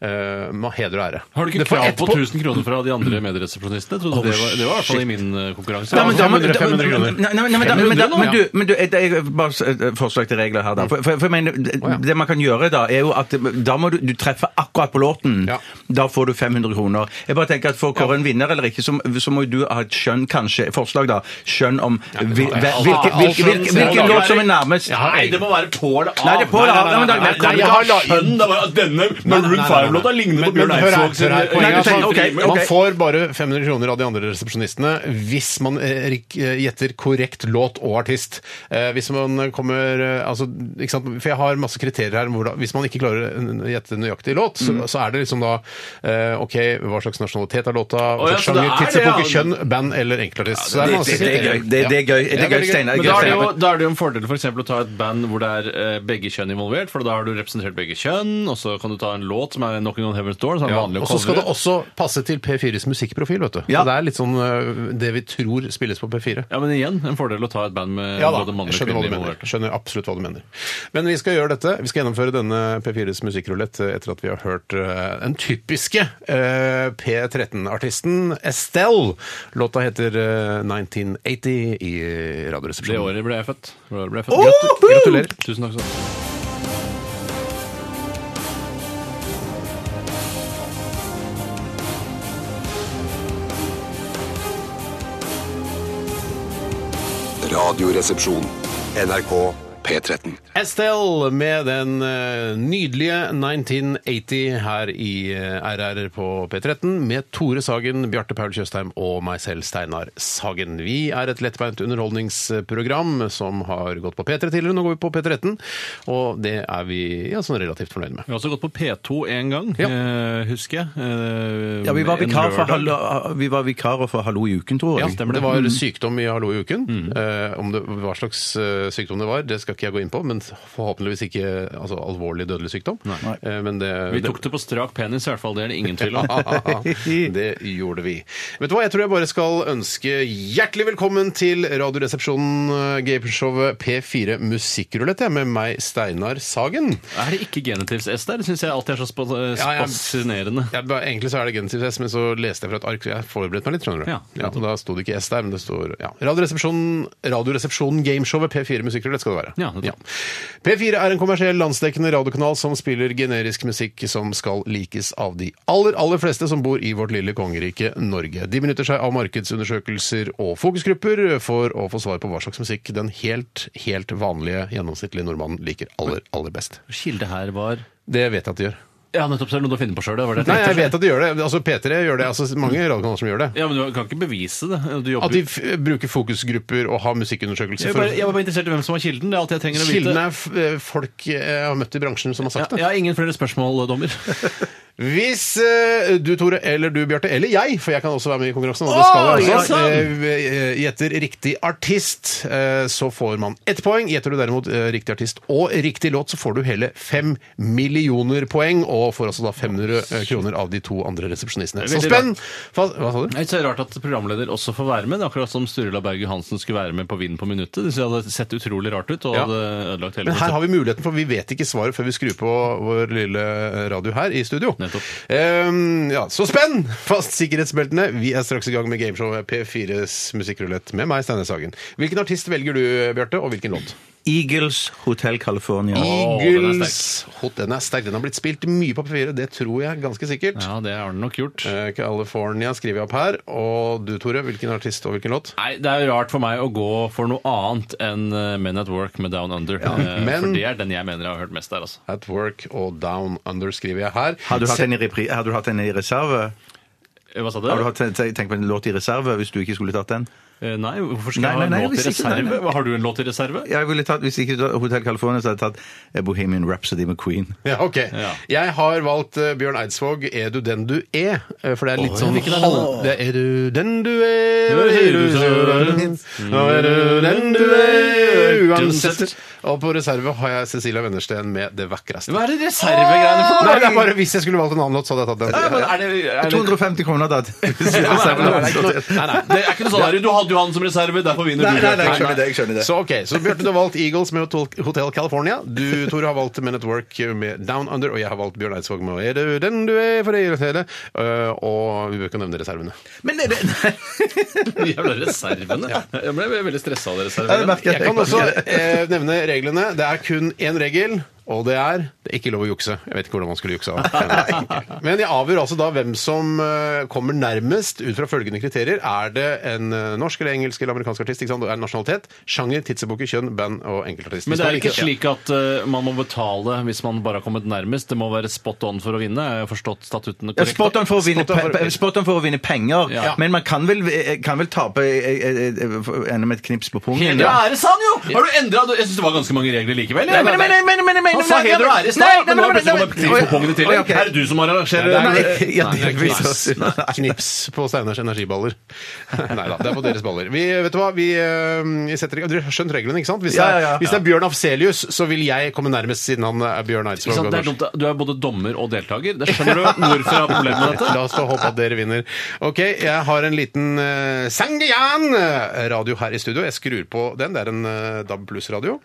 Speaker 7: eh, med heder og ære.
Speaker 8: Har du ikke
Speaker 7: Dere får
Speaker 8: krav
Speaker 7: ett
Speaker 8: på Mm. 1000 kroner fra de andre medresepsjonistene? Jeg trodde Det var det var i hvert fall i min eh, konkurranse.
Speaker 3: Nei, men da må-
Speaker 7: 500, 500 kroner.
Speaker 3: Nei, nei, nei, men da- men da-
Speaker 8: 500 nå,
Speaker 3: men du- men du, det er bare et forslag til regler her, da.
Speaker 7: Mm.
Speaker 3: For, for, for jeg mener, det- det man kan gjøre da, er jo at da må du, du treffe akkurat på låten.
Speaker 7: Ja.
Speaker 3: Da får du 500 kroner. Jeg bare tenker at For å kåre en vinner eller ikke, så, så må du ha et skjønn, kanskje, forslag da, skjønn om hvil-
Speaker 7: det er-
Speaker 3: hvilken hvilke, hvilke, hvilke, hvilken låt som er nærmest.
Speaker 8: Nei, det må være Pål A.
Speaker 3: Nei, det er Paul A. Nei, men da-
Speaker 8: Nei,
Speaker 3: kan vi
Speaker 8: jeg
Speaker 3: ha
Speaker 8: har la
Speaker 3: skjønn?
Speaker 8: inn da bare at denne Maroon 5-låta ligner på
Speaker 7: Men-
Speaker 8: Bjørn
Speaker 7: men hør her,
Speaker 8: Eidsvåg sin
Speaker 7: hør her,
Speaker 8: eh,
Speaker 7: poenget er
Speaker 3: Nei,
Speaker 7: sånn,
Speaker 3: ok, ok.
Speaker 7: Man får bare 500 kroner av de andre resepsjonistene hvis man eh, rik- eh, gjetter korrekt låt og artist. Eh, Hvis man kommer eh, altså, ikke sant? For jeg har masse kriterier her. om Hvordan, hvis man ikke klarer å gjette nøyaktig låt,
Speaker 3: Mm.
Speaker 7: så, så er det liksom da eh, OK, hva slags nasjonalitet er låta? Hva
Speaker 8: Å, ja,
Speaker 7: slags
Speaker 8: så det
Speaker 7: sjanger,
Speaker 8: er det,
Speaker 7: tidsepoke,
Speaker 8: ja.
Speaker 7: kjønn, band eller enkeltartist? Så det er
Speaker 3: Det,
Speaker 7: masse
Speaker 3: det, det er gøy.
Speaker 7: kriterier.
Speaker 3: Det, det er gøy, det er gøy, Steinar.
Speaker 8: Men
Speaker 3: det er gøy,
Speaker 8: da er, det jo,
Speaker 3: Steinar.
Speaker 8: da er det jo en fordel for eksempel, å ta et band hvor det er eh, begge kjønn involvert, for da har du representert begge kjønn, og så kan du ta en låt som er 'Knocking on Heaven's Door', som er
Speaker 7: Ja,
Speaker 8: vanlig å
Speaker 7: og så skal det
Speaker 8: covre.
Speaker 7: også passe til P4s musikkprofil, vet du.
Speaker 3: Ja.
Speaker 7: Så det er litt sånn eh, det vi tror spilles på P4.
Speaker 8: Ja, men igjen en fordel å ta et band med
Speaker 7: Ja da,
Speaker 8: både mann og
Speaker 7: jeg skjønner,
Speaker 8: kvinne
Speaker 7: hva du mener.
Speaker 8: involvert.
Speaker 7: skjønner absolutt hva du mener. Men vi skal gjøre dette. Vi skal gjennomføre denne P4s musikkrulett etter at vi har hørt eh, den typiske eh, P13-artisten Estelle. Låta heter eh, 1980 i
Speaker 8: Det
Speaker 7: Radioresepsjonen.
Speaker 8: året ble jeg født. Det året Ble jeg født.
Speaker 7: Gratu- Gratulerer.
Speaker 8: Tusen takk skal du ha.
Speaker 1: Radioresepsjon. NRK P13.
Speaker 7: Estelle med den eh, nydelige 1980 her i eh, RR på P13 med Tore Sagen, Bjarte Paul Tjøstheim og meg selv, Steinar Sagen. Vi er et lettbeint underholdningsprogram som har gått på P3 tidligere, nå går vi på P13, og det er vi ja, sånn relativt fornøyd med.
Speaker 8: Vi har også gått på P2 en gang,
Speaker 7: Ja.
Speaker 8: eh, husker jeg. Eh,
Speaker 3: Ja, vi var
Speaker 8: en
Speaker 3: vikarer for,
Speaker 8: lørdag.
Speaker 3: hallo- vi var vikarer for Hallo i uken, tror
Speaker 7: Ja,
Speaker 3: jeg.
Speaker 7: det var sykdom i Hallo i uken. Eh, om det, hva slags eh, sykdom det var, det skal ikke jeg gå inn på, men forhåpentligvis ikke altså, alvorlig dødelig sykdom. Eh, men det,
Speaker 8: Vi tok det på strak penis, i hvert fall. Det er det ingen tvil om.
Speaker 7: det gjorde vi. Vet du hva, jeg tror jeg bare skal ønske hjertelig velkommen til Radioresepsjonen, eh, gameshowet P4 Musikkrulett, jeg, med meg, Steinar Sagen.
Speaker 8: Er det ikke genitivs-S der? Det syns jeg alltid er så spa-
Speaker 7: Ja, ja.
Speaker 8: spasinerende.
Speaker 7: Jeg, ba- egentlig så er det genitiv S, men så leste jeg fra et ark, så jeg forberedte meg litt, skjønner du.
Speaker 8: Ja.
Speaker 7: og da sto det ikke S der, men det står ja. Radioresepsjonen, Radioresepsjonen Gameshowet P4 Musikkrulett skal det være.
Speaker 8: Ja, nettopp.
Speaker 7: P4 er en kommersiell landsdekkende radiokanal som spiller generisk musikk som skal likes av de aller, aller fleste som bor i vårt lille kongerike Norge. De benytter seg av markedsundersøkelser og fokusgrupper for å få svar på hva slags musikk den helt, helt vanlige gjennomsnittlige nordmannen liker aller, aller best.
Speaker 8: Kilde her var
Speaker 7: Det vet jeg at de gjør.
Speaker 8: Ja, nettopp. Så er det noe du har funnet på sjøl.
Speaker 7: Nei, jeg vet at de gjør det. Altså P3 gjør det. Altså mange radiokanaler som gjør det.
Speaker 8: Ja, men du kan ikke bevise det. Du jobber
Speaker 7: At de f eh, bruker fokusgrupper og har musikkundersøkelser.
Speaker 8: jeg,
Speaker 7: For
Speaker 8: bare, jeg var bare interessert i hvem som var kilden. Det er alt jeg trenger å vite.
Speaker 7: Kildene er f eh, folk eh, jeg har møtt i bransjen som har
Speaker 8: Ja,
Speaker 7: sagt det.
Speaker 8: jeg har ingen flere spørsmål, dommer.
Speaker 7: Hvis eh, du, Tore, eller du, Bjarte, eller jeg, for jeg kan også være med i konkurransen, og det skal jeg
Speaker 8: ja,
Speaker 7: også,
Speaker 8: sant.
Speaker 7: eh, gjetter riktig artist, eh, så får man ett poeng. Gjetter du derimot eh, riktig artist og riktig låt, så får du hele fem millioner poeng, og får altså da 500 kroner av de to andre resepsjonistene. Så
Speaker 8: Veldig
Speaker 7: spenn! Fa- Hva sa du?
Speaker 8: Jeg synes det er rart at programleder også får være med. Det er akkurat som Sturla Berg Johansen skulle være med på Vind på minuttet. Det synes jeg hadde sett utrolig rart ut og
Speaker 7: Ja.
Speaker 8: hadde ødelagt hele
Speaker 7: Men her har vi muligheten, for vi vet ikke svaret før vi skrur på vår lille eh, radio her i studio.
Speaker 8: Nettopp.
Speaker 7: Ehm, ja, så spenn fast sikkerhetsbeltene. Vi er straks i gang med gameshowet P4s musikkrulett med meg, Steinar Sagen. Hvilken artist velger du, Bjarte, og hvilken låt?
Speaker 3: Eagles Hotel California.
Speaker 8: den er
Speaker 7: Eagles. Hot, den er sterk. Den har blitt spilt mye på P4, det tror jeg ganske sikkert.
Speaker 8: Ja, det har den nok gjort.
Speaker 7: Eh, California skriver jeg opp her. Og du, Tore, hvilken artist og hvilken låt?
Speaker 8: Nei, Det er jo rart for meg å gå for noe annet enn eh, Men at Work med Down Under. Eh,
Speaker 7: men-
Speaker 8: For det er den jeg mener jeg har hørt mest der. altså.
Speaker 7: At Work og Down Under skriver jeg her.
Speaker 3: Har du hatt
Speaker 7: Se-
Speaker 3: en i, repri har du hatt en i reserve?
Speaker 8: Eh, Hva sa du?
Speaker 3: Har du hatt, tenk tenk på en låt i reserve hvis du ikke skulle tatt den?
Speaker 8: Eh, Nei, hvorfor skal
Speaker 3: Nei,
Speaker 8: jeg ha en
Speaker 3: nei, nei,
Speaker 8: låt i
Speaker 3: hvis ikke- nei,
Speaker 8: reserve?
Speaker 3: nei.
Speaker 8: Hva, Har du en låt i reserve?
Speaker 3: Jeg ville tatt, Hvis ikke Hotel California, så hadde jeg tatt eh, Bohemian Rhapsody med Queen.
Speaker 7: Ja, ok.
Speaker 8: Ja.
Speaker 7: Jeg har valgt eh, Bjørn Eidsvåg 'Er du den du er'? eh, For det er litt sånn
Speaker 8: hvilken er den da?
Speaker 7: halv- det er, er du den du er,
Speaker 8: Nå
Speaker 7: er
Speaker 8: sier
Speaker 7: du
Speaker 8: du så er du den. Mm.
Speaker 7: Nå er du den du er, uansett. Og på reserve har jeg Cecilia Wennersten med 'Det vakreste'.
Speaker 8: Hva er det reservegreiene for?
Speaker 7: Nei, det er bare Hvis jeg skulle valgt en annen låt, så hadde jeg tatt den.
Speaker 8: Nei, men er det, er det
Speaker 3: 250 kroner, da.
Speaker 8: Nei, nei, nei, det er ikke noe sånn der, Du hadde jo han som reserve, derfor vinner du. Nei, nei.
Speaker 3: jeg skjønner
Speaker 7: Så ok, så Bjarte, du har valgt Eagles med Hotel- Hotel California. Du, Tore, har valgt Men at Work med Down Under. Og jeg har valgt Bjørn Eidsvåg med Er du den du er, for det irriterer. Eh, Og vi bør ikke nevne reservene.
Speaker 3: Men det, det,
Speaker 8: Jævla reservene. Jeg ble veldig stressa av de
Speaker 3: jeg
Speaker 8: reservene.
Speaker 3: merker
Speaker 7: Jeg kan også
Speaker 3: at
Speaker 7: eh, nevne reglene. Det er kun én regel, og det er det er ikke lov å jukse. Jeg vet ikke hvordan man skulle juksa. Men jeg avgjør altså da hvem som eh, kommer nærmest ut fra følgende kriterier. Er det en eh, norsk eller engelsk eller amerikansk artist? Ikke sant? Og Er det nasjonalitet, sjanger, tidsepoke, kjønn, band og enkeltartist?
Speaker 8: Men det er ikke
Speaker 7: Ja.
Speaker 8: slik at eh, man må betale hvis man bare har kommet nærmest. Det må være spot on for å vinne. Jeg har forstått statuttene
Speaker 3: Ja,
Speaker 8: korrekt.
Speaker 3: Spot on for å vinne,
Speaker 7: Spot on for-
Speaker 3: pe- spot on for å vinne penger,
Speaker 8: Ja.
Speaker 3: men man kan vel, kan vel tape eh, eh, eh, enda med et knips på pungen.
Speaker 8: Heder og ære, sa han jo! Har du endra Jeg syns det var ganske mange regler likevel.
Speaker 3: Nei,
Speaker 8: jeg.
Speaker 3: men, men, men, men, men, men,
Speaker 8: han sa
Speaker 3: nei,
Speaker 8: heder og ære i
Speaker 3: nei,
Speaker 8: stad,
Speaker 3: nei,
Speaker 8: men nå har
Speaker 3: nei,
Speaker 8: plutselig
Speaker 3: nei,
Speaker 8: kommet knips på
Speaker 3: nei,
Speaker 8: pungene til.
Speaker 3: oi, ok.
Speaker 8: Er det du som arrangerer
Speaker 7: Nei,
Speaker 8: det?
Speaker 3: Nei, ja,
Speaker 8: Nei, det er ikke
Speaker 3: delvis.
Speaker 8: meg.
Speaker 3: altså. Nei.
Speaker 7: Knips på Steinars energiballer. Nei da, det er på deres baller. Vi, vet du hva, vi, eh, vi setter i gang. Dere har skjønt reglene, ikke sant? Hvis det,
Speaker 3: Ja,
Speaker 7: er,
Speaker 3: ja, ja.
Speaker 7: hvis det er Bjørn Afselius, så vil jeg komme nærmest, siden han er Bjørn
Speaker 8: Ikke sant?
Speaker 7: Eidsvåg. og
Speaker 8: Det er
Speaker 7: norsk.
Speaker 8: dumt. Du er både dommer og deltaker. Det skjønner du hvorfor jeg har problemer med dette.
Speaker 7: La oss da håpe at dere vinner. Ok, jeg har en liten uh, Sangeyan radio her i studio. Jeg skrur på den. Det er en eh, DAB pluss-radio.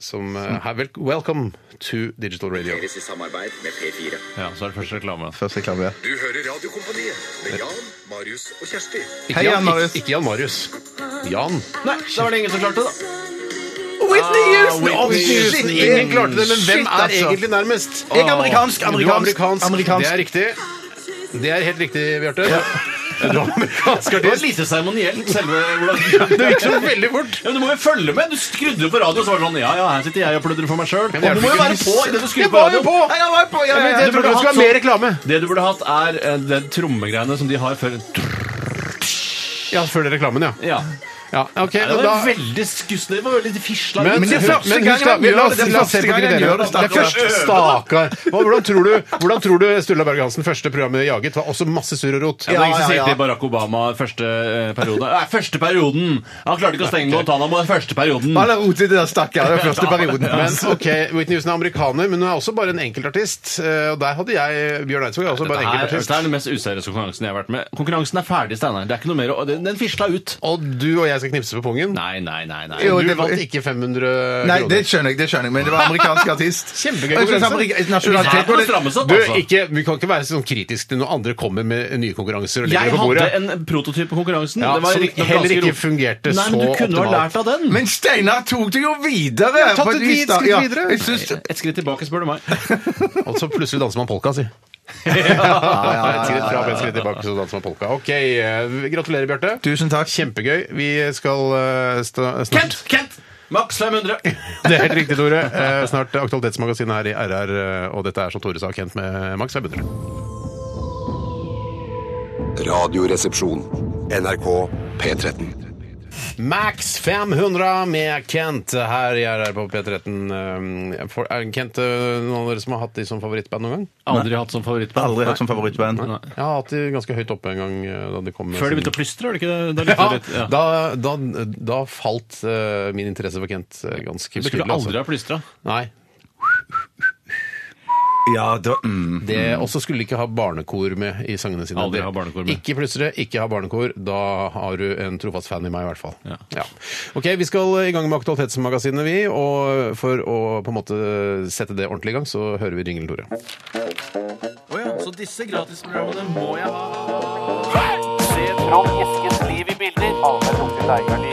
Speaker 7: Som eh, her, vel, Welcome to digital radio.
Speaker 6: Deres i samarbeid med P4.
Speaker 8: Ja, så er det første reklame.
Speaker 3: Første klaver.
Speaker 6: Du hører Radiokompaniet med Jan, Marius og Kjersti.
Speaker 7: Ikke
Speaker 3: Hei, Jan Marius.
Speaker 7: Ikke, ikke Jan Marius. Jan.
Speaker 8: Nei, da var det ingen som klarte det, da.
Speaker 3: Whitney Houston!
Speaker 7: Å, shit, ingen klarte det, men hvem
Speaker 3: Shit,
Speaker 7: er
Speaker 3: altså.
Speaker 7: egentlig nærmest? Ah,
Speaker 3: Jeg er amerikansk,
Speaker 7: Du er
Speaker 3: amerikansk,
Speaker 7: amerikansk.
Speaker 3: amerikansk.
Speaker 7: Det er riktig. Det er helt riktig, Bjarte. Du var amerikansk
Speaker 8: Det var
Speaker 7: artist.
Speaker 8: lite seremonielt, selve hvordan
Speaker 7: Det gikk så veldig fort.
Speaker 8: Ja, men Du må jo følge med! Du skrudde jo på radioen, så var det sånn Ja, ja, her sitter jeg og pludrer for meg sjøl.
Speaker 7: det
Speaker 8: Du
Speaker 7: hjelper
Speaker 8: må jo
Speaker 7: ikke
Speaker 8: være
Speaker 7: hvis-
Speaker 8: på i det du skrur
Speaker 7: Jeg
Speaker 8: på
Speaker 7: var jo
Speaker 8: radioen.
Speaker 7: på!
Speaker 3: Nei, jeg var på, ja, ja,
Speaker 7: Men
Speaker 3: ja.
Speaker 7: jeg trodde det skulle
Speaker 3: sånn-
Speaker 7: være mer reklame.
Speaker 8: sånn- Det du burde hatt, er eh, den trommegreiene som de har før
Speaker 7: Ja, før det reklamen, ja.
Speaker 8: Ja.
Speaker 7: ja ok,
Speaker 8: Nei, det
Speaker 7: men
Speaker 8: var
Speaker 7: da...
Speaker 8: veldig skussende. Det var veldig fisla.
Speaker 7: Men,
Speaker 8: Men,
Speaker 3: det er første
Speaker 7: men
Speaker 3: gangen
Speaker 7: husk da,
Speaker 3: han
Speaker 7: vi,
Speaker 3: gjør
Speaker 7: la,
Speaker 3: det.
Speaker 7: oss,
Speaker 3: Det er
Speaker 7: la oss se på
Speaker 3: første gangen han gjør
Speaker 7: kriteriene.
Speaker 3: det.
Speaker 7: Det er første stakkar. Hva- Hvordan tror du, hvordan tror du Sturla Berge Hansen første programmet Jaget var også masse surr og rot?
Speaker 8: ja, ja, ja. Barack Obama første eh, periode. Nei, første perioden! Han klarte ikke å stenge Guantánamo den første perioden.
Speaker 3: Han har rotet i det der stakkar i første perioden.
Speaker 7: Men ok, Whitney Houston er amerikaner, men hun er også bare en enkeltartist. Eh, Og der hadde jeg Bjørn Eidsvåg, jeg er også bare en
Speaker 8: Dette er,
Speaker 7: enkeltartist.
Speaker 8: dette er den mest useriøse konkurransen jeg har vært med. Konkurransen er ferdig, Steinar. Det er ikke noe mer å Den, den fisla ut.
Speaker 7: Og du og jeg skal knipse på pungen.
Speaker 8: Nei, nei, nei. nei.
Speaker 7: Du
Speaker 3: Jo, det-
Speaker 7: vant ikke 500
Speaker 3: Nei, det
Speaker 7: kroner.
Speaker 3: skjønner jeg, det skjønner jeg, men det var amerikansk artist.
Speaker 7: Kjempegøy
Speaker 3: Og jeg synes
Speaker 7: konkurranse.
Speaker 3: amerika-
Speaker 8: Nei,
Speaker 3: Nasjonalitet
Speaker 8: det var stramme satt,
Speaker 7: Du,
Speaker 8: altså.
Speaker 7: ikke, vi kan ikke være sånn kritisk til når andre kommer med nye konkurranser og legger
Speaker 8: Jeg
Speaker 7: det på
Speaker 8: hadde
Speaker 7: bordet.
Speaker 8: en prototyp på konkurransen.
Speaker 7: Ja,
Speaker 8: det var
Speaker 7: som
Speaker 8: riktignok
Speaker 7: heller
Speaker 8: ganske
Speaker 7: ikke
Speaker 8: rot-
Speaker 7: fungerte
Speaker 8: Nei,
Speaker 7: så
Speaker 8: men Du kunne ha
Speaker 7: optimalt.
Speaker 8: lært av den.
Speaker 3: Men Steinar tok det jo videre!
Speaker 7: har tatt
Speaker 3: på
Speaker 7: et
Speaker 3: vis, da.
Speaker 7: skritt
Speaker 3: Ja,
Speaker 7: videre.
Speaker 3: Jeg synes,
Speaker 8: Et skritt tilbake, spør du meg.
Speaker 7: Og så Altså, plutselig danser man polka, si. Et skritt fram,
Speaker 3: Ah.
Speaker 7: et skritt tilbake, så danser man polka. Ok, eh, gratulerer, Bjarte.
Speaker 3: tusen takk.
Speaker 7: Kjempegøy. Vi skal eh, sta- snart
Speaker 8: Kent! Kent! Maks 500!
Speaker 7: Det er helt riktig, Tore. Eh, Snart Aktualitetsmagasinet her i RR, eh, og dette er som Tore sa, Kent med Max 500.
Speaker 1: Radioresepsjon. NRK P13.
Speaker 7: Max 500 med Kent her i RR på P13. Eh, for- er Kent eh, noen av dere som har hatt de som favorittband noen gang?
Speaker 8: Aldri hatt som favorittband.
Speaker 3: Aldri hatt som favorittband.
Speaker 7: Jeg har hatt de ganske høyt oppe en gang eh, da de kom med
Speaker 8: Før de
Speaker 7: sin-
Speaker 8: begynte å plystre, var det ikke det? Da lyttet
Speaker 7: Ja,
Speaker 8: jeg litt, ja.
Speaker 7: da, da, da falt eh, min interesse for Kent eh, ganske
Speaker 8: Du skulle
Speaker 7: betydelig.
Speaker 8: aldri ha plystra.
Speaker 7: Nei.
Speaker 3: Ja, da, mm.
Speaker 7: Det også skulle de ikke ha barnekor med i sangene sine.
Speaker 8: Aldri ha barnekor med.
Speaker 7: Ikke plystre, ikke ha barnekor. Da har du en trofast fan i meg, i hvert fall.
Speaker 8: Ja.
Speaker 7: Ok, Vi skal i gang med Aktualitetsmagasinet, vi. Og for å på en måte sette det ordentlig i gang, så hører vi Ringel Tore.
Speaker 8: Så disse gratisprogrammene må jeg ha.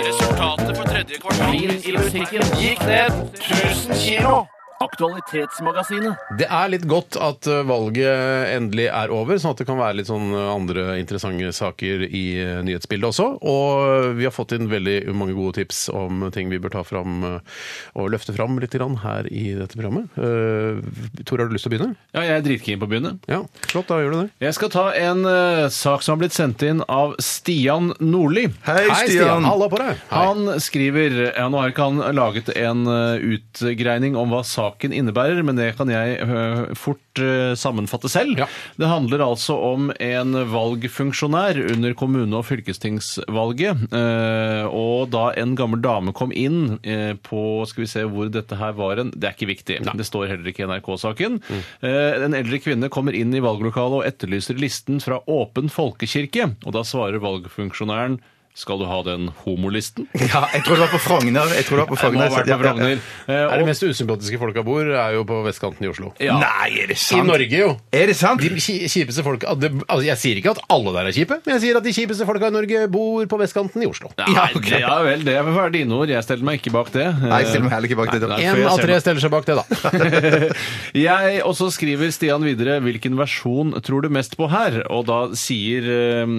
Speaker 8: Resultatet på tredje kvartal i musikken gikk ned 1000 kilo. Aktualitetsmagasinet.
Speaker 7: Det er litt godt at eh, valget endelig er over, sånn at det kan være litt sånn eh, andre interessante saker i eh, nyhetsbildet også. Og eh, vi har fått inn veldig mange gode tips om ting vi bør ta fram eh, og løfte fram litt grann her i dette programmet. Eh, Tor, har du lyst til å begynne?
Speaker 8: Ja, jeg er dritkeen på å begynne.
Speaker 7: Ja, flott, da gjør du det.
Speaker 8: Jeg skal ta en eh, sak som har blitt sendt inn av Stian Nordli.
Speaker 3: Hei, Stian.
Speaker 7: Halla på deg! Han
Speaker 8: Han skriver ja, Nå har ikke han laget en eh, utgreining om hva saken innebærer, men det kan jeg eh, fort eh, sammenfatte selv.
Speaker 7: Ja.
Speaker 8: Det handler altså om en valgfunksjonær under kommune- og fylkestingsvalget. eh, Og da en gammel dame kom inn eh, på Skal vi se hvor dette her var en Det er ikke viktig. Det står heller ikke i NRK-saken. Eh, En eldre kvinne kommer inn i valglokalet og etterlyser listen fra Åpen folkekirke, og da svarer valgfunksjonæren skal du ha den homolisten?
Speaker 3: Ja, jeg tror det var på Frogner. Jeg tror det var på
Speaker 8: Jeg må
Speaker 3: Frogner.
Speaker 8: ha vært på
Speaker 3: Ja, ja, ja.
Speaker 8: Frogner. Eh,
Speaker 7: er
Speaker 8: og-
Speaker 7: det mest usympatiske folka bor, er jo på vestkanten i Oslo.
Speaker 8: Ja.
Speaker 3: Nei, er det
Speaker 7: I
Speaker 3: sant?
Speaker 7: Norge, jo!
Speaker 3: Er det sant?
Speaker 7: De ki- kjipeste folka det- altså Jeg sier ikke at alle der er kjipe, men jeg sier at de kjipeste folka i Norge bor på vestkanten i Oslo.
Speaker 8: Nei,
Speaker 3: Ja, ok.
Speaker 8: det- ja vel, det var dine ord. Jeg steller meg ikke bak det.
Speaker 3: Nei, jeg stiller meg heller ikke bak det. da.
Speaker 8: Nei, nei.
Speaker 7: En av tre stiller seg bak det, da.
Speaker 8: Jeg og så skriver Stian videre hvilken versjon tror du mest på her? Og da sier eh,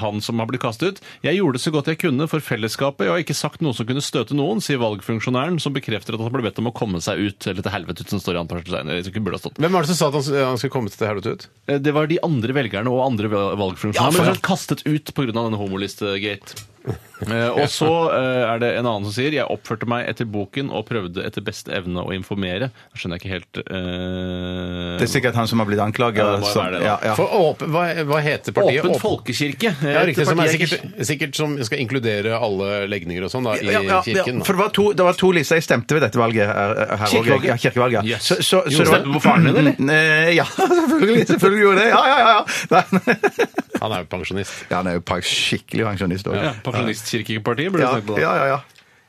Speaker 8: han som har blitt kastet ut Jeg gjorde så godt jeg kunne for fellesskapet. Jeg har ikke sagt noe som kunne støte noen, sier valgfunksjonæren, som bekrefter at han ble bedt om å komme seg ut. Eller til helvete ut, som står i anførselstegn. eller som ikke burde ha stått.
Speaker 7: Hvem var det som sa at han, han skulle komme til helvete ut?
Speaker 8: Eh, Det var de andre velgerne og andre val- valgfunksjonærer. men de ble kastet ut pga. denne homolist-gate. Eh, og så eh, er det en annen som sier Jeg oppførte meg etter boken og prøvde etter beste evne å informere. Da skjønner jeg ikke helt eh,
Speaker 3: Det er sikkert han som har blitt anklaget.
Speaker 8: Ja, det må jo
Speaker 3: som-
Speaker 8: være det, da.
Speaker 3: ja, ja.
Speaker 7: For åpen, hva, hva heter partiet?
Speaker 8: Åpent
Speaker 7: Åpen-
Speaker 8: folkekirke. Eh,
Speaker 7: Ja, riktig, som er
Speaker 8: Partiet-
Speaker 7: sikkert, sikkert som skal inkludere alle legninger og sånn da, i
Speaker 3: Ja, ja, ja,
Speaker 7: kirken.
Speaker 3: for
Speaker 7: Da.
Speaker 3: det var, to, det var to lister jeg stemte ved dette valget. her- her også.
Speaker 8: Kirkevalget?
Speaker 3: Ja, kirkevalget. ja.
Speaker 8: Yes.
Speaker 3: Så, så, så,
Speaker 8: Jo,
Speaker 3: det var-
Speaker 8: stemte du på faren din, eller?
Speaker 3: Mm, eh, Ja, selvfølgelig, selvfølgelig gjorde jeg det. Ja, ja, ja. ja. Nei, nei.
Speaker 7: Han er jo pensjonist.
Speaker 3: Ja, han er jo pa- skikkelig pensjonist òg.
Speaker 8: Ja, Pensjonistkirkepartiet burde
Speaker 3: Ja,
Speaker 8: jeg snakke på.
Speaker 3: ja, ja, ja.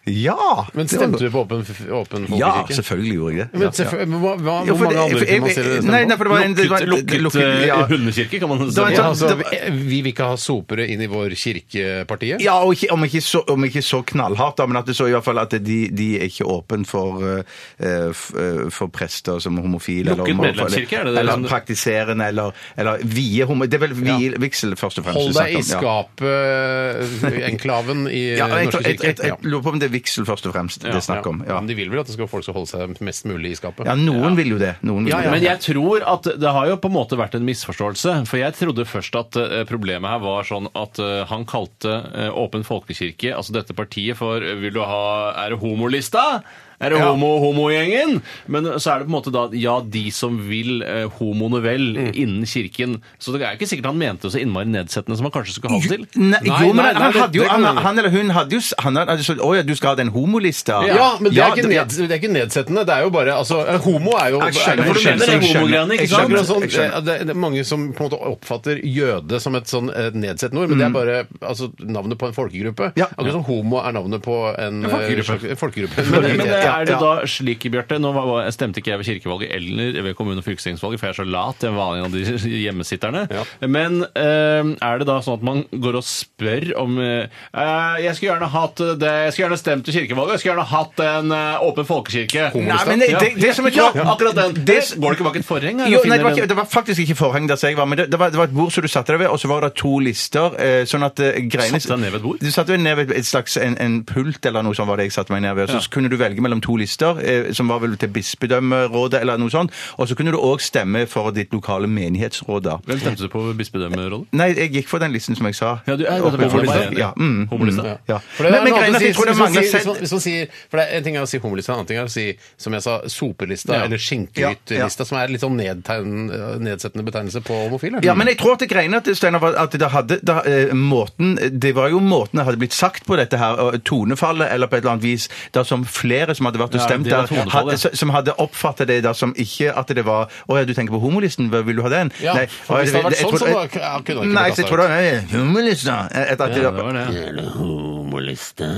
Speaker 3: Ja!
Speaker 7: Men
Speaker 3: det var-
Speaker 7: stemte du på Åpen, f- åpen
Speaker 3: Ja,
Speaker 7: folkekirke?
Speaker 3: selvfølgelig gjorde jeg det.
Speaker 7: Men selvfølgelig- men hva, hva,
Speaker 3: Ja,
Speaker 7: hvor
Speaker 3: for
Speaker 7: mange
Speaker 3: det-
Speaker 7: andre
Speaker 3: for- jeg-
Speaker 7: firmaer
Speaker 3: Nei, nei, for det var en det var-
Speaker 8: Lukket, lukket, eh,
Speaker 3: ja.
Speaker 8: hundekirke, kan man
Speaker 3: Det
Speaker 8: si.
Speaker 3: var en
Speaker 7: Ja,
Speaker 3: sånn-
Speaker 7: altså,
Speaker 3: det
Speaker 7: vi,
Speaker 3: var-
Speaker 7: vi vil ikke ha sopere inn i vår kirkepartiet?
Speaker 3: Ja, og ikke, om, ikke så, om ikke så knallhardt, da, men at det så i hvert fall at de, de er ikke åpne for, eh, f- eh, for prester som homofile.
Speaker 8: Lukket
Speaker 3: homofile,
Speaker 8: medlemskirke, er det det som-
Speaker 3: Eller praktiserende, eller, eller vie homo... Det er vel vie, vigsel først og fremst.
Speaker 7: Hold
Speaker 3: vi
Speaker 7: deg
Speaker 3: snakker
Speaker 7: i
Speaker 3: om, ja.
Speaker 7: skapet-enklaven i
Speaker 3: Ja,
Speaker 7: Den
Speaker 3: jeg,
Speaker 7: norske
Speaker 3: jeg, jeg,
Speaker 7: kirke.
Speaker 3: jeg lurer på om det er vigsel først og fremst det er snakk om. Ja,
Speaker 7: Men de vil vel at det skal folk skal holde seg mest mulig i skapet?
Speaker 3: ja noen vil jo det. Noen vil
Speaker 7: Ja, ja.
Speaker 3: jo det.
Speaker 8: Men jeg tror at det har jo på en måte vært en misforståelse. For jeg trodde først at eh, problemet her var sånn at eh, han kalte eh, Åpen folkekirke, altså dette partiet, for eh, Vil du ha Er det homolista? Er det
Speaker 7: Ja.
Speaker 8: homo homogjengen? Men så er det på en måte da ja, de som vil eh, homoene vel
Speaker 3: Mm.
Speaker 8: innen kirken. Så det er jo ikke sikkert han mente det så innmari nedsettende som han kanskje skulle ha det til.
Speaker 3: Nei,
Speaker 7: Nei,
Speaker 3: jo, men
Speaker 7: nei, nei,
Speaker 3: han,
Speaker 7: det-
Speaker 3: hadde jo,
Speaker 7: det kan
Speaker 3: han,
Speaker 7: hende.
Speaker 3: han eller hun hadde jo s- han hadde sagt Å ja, du skal ha den homolista?
Speaker 7: Ja, men det er, ikke
Speaker 3: det-
Speaker 7: ned, det er ikke nedsettende. Det er jo bare altså, Homo er jo
Speaker 3: Jeg skjønner,
Speaker 7: er jo
Speaker 8: For du
Speaker 3: jeg
Speaker 8: mener det er
Speaker 3: skjønner,
Speaker 8: homogreiene,
Speaker 3: jeg
Speaker 8: ikke
Speaker 7: Det er
Speaker 8: sant?
Speaker 7: akkurat sånn,
Speaker 3: Jeg skjønner.
Speaker 7: eh, det, det er mange som på en måte oppfatter jøde som et sånn eh, nedsettende ord, men det er bare altså, navnet på en folkegruppe.
Speaker 3: Mm. Ja.
Speaker 7: Akkurat som homo er navnet på en
Speaker 8: En folkegruppe.
Speaker 7: eh, en folkegruppe.
Speaker 8: Men, men eh, er det
Speaker 3: ja.
Speaker 8: da slik, Bjarte Nå var- var- stemte ikke jeg ved kirkevalget eller ved kommune- og fylkestingsvalget, for jeg er så lat. Jeg var en av de hjemmesitterne.
Speaker 7: Ja.
Speaker 8: Men eh, er det da sånn at man går og spør om eh, eh, Jeg skulle gjerne hatt det Jeg skulle gjerne stemt til kirkevalget, jeg skulle gjerne hatt en eh, åpen folkekirke.
Speaker 3: Nei, men det, det, det som er
Speaker 8: ja,
Speaker 3: klart-
Speaker 8: akkurat den. Det, går det ikke bak et forheng? eller
Speaker 3: Jo, nei, det,
Speaker 8: finner
Speaker 3: var ikke,
Speaker 8: den-
Speaker 3: det var faktisk ikke forheng der jeg var, men det, det, var, det var et bord som du satte deg ved, og så var det to lister. Eh, sånn at eh, greiene
Speaker 8: Satte deg ned ved et bord?
Speaker 3: Du satte deg ned ved et slags en, en pult eller noe sånt, var det jeg satte meg ned ved. Så kunne du velge mellom to lister, eh, som var vel til bispedømmerådet eller noe sånt. Og så kunne du òg stemme for ditt lokale menighetsråd. da.
Speaker 8: Hvem stemte du på bispedømmerådet?
Speaker 3: Nei, jeg gikk for den listen som jeg sa.
Speaker 8: Ja, du- ja, det er
Speaker 3: Oppe i
Speaker 8: homolista.
Speaker 3: Folleberg. Ja, mm,
Speaker 8: Homolista.
Speaker 3: mm,
Speaker 7: Ja.
Speaker 3: ja.
Speaker 7: For det er
Speaker 3: Men, men
Speaker 7: noe
Speaker 3: greien
Speaker 7: annet å
Speaker 3: er at jeg
Speaker 7: si-
Speaker 3: tror det er
Speaker 7: hvis man sier-
Speaker 3: mange har
Speaker 7: hvis
Speaker 3: sett
Speaker 7: man- Hvis man sier For det er en ting er å si homolista, en annen ting er å si, som jeg sa, sopelista
Speaker 3: Ja.
Speaker 7: eller skinkelhyttelista,
Speaker 3: Ja, ja.
Speaker 7: som er litt sånn nedtegn, nedsettende betegnelse på homofile.
Speaker 3: Ja, men jeg tror at det greiene at, det, Steinar, var at det hadde da, eh, måten, Det var jo måten det hadde blitt sagt på dette her, og tonefallet eller på et eller annet vis, da som flere som hadde vært og
Speaker 8: Ja,
Speaker 3: stemt
Speaker 8: det var
Speaker 3: der,
Speaker 8: tonefallet.
Speaker 3: hadde, s- som hadde oppfattet det da som ikke at det var Å ja, du tenker på homolisten, hva vil du ha den?
Speaker 7: Ja, for
Speaker 3: og
Speaker 7: hvis det hadde vært
Speaker 3: jeg- jeg
Speaker 7: sånn,
Speaker 3: tror-
Speaker 7: så da kunne han ikke blitt
Speaker 3: Nei, så jeg
Speaker 7: kastet
Speaker 3: tror det var homolista. Etter at
Speaker 8: Ja,
Speaker 3: det
Speaker 8: det var det.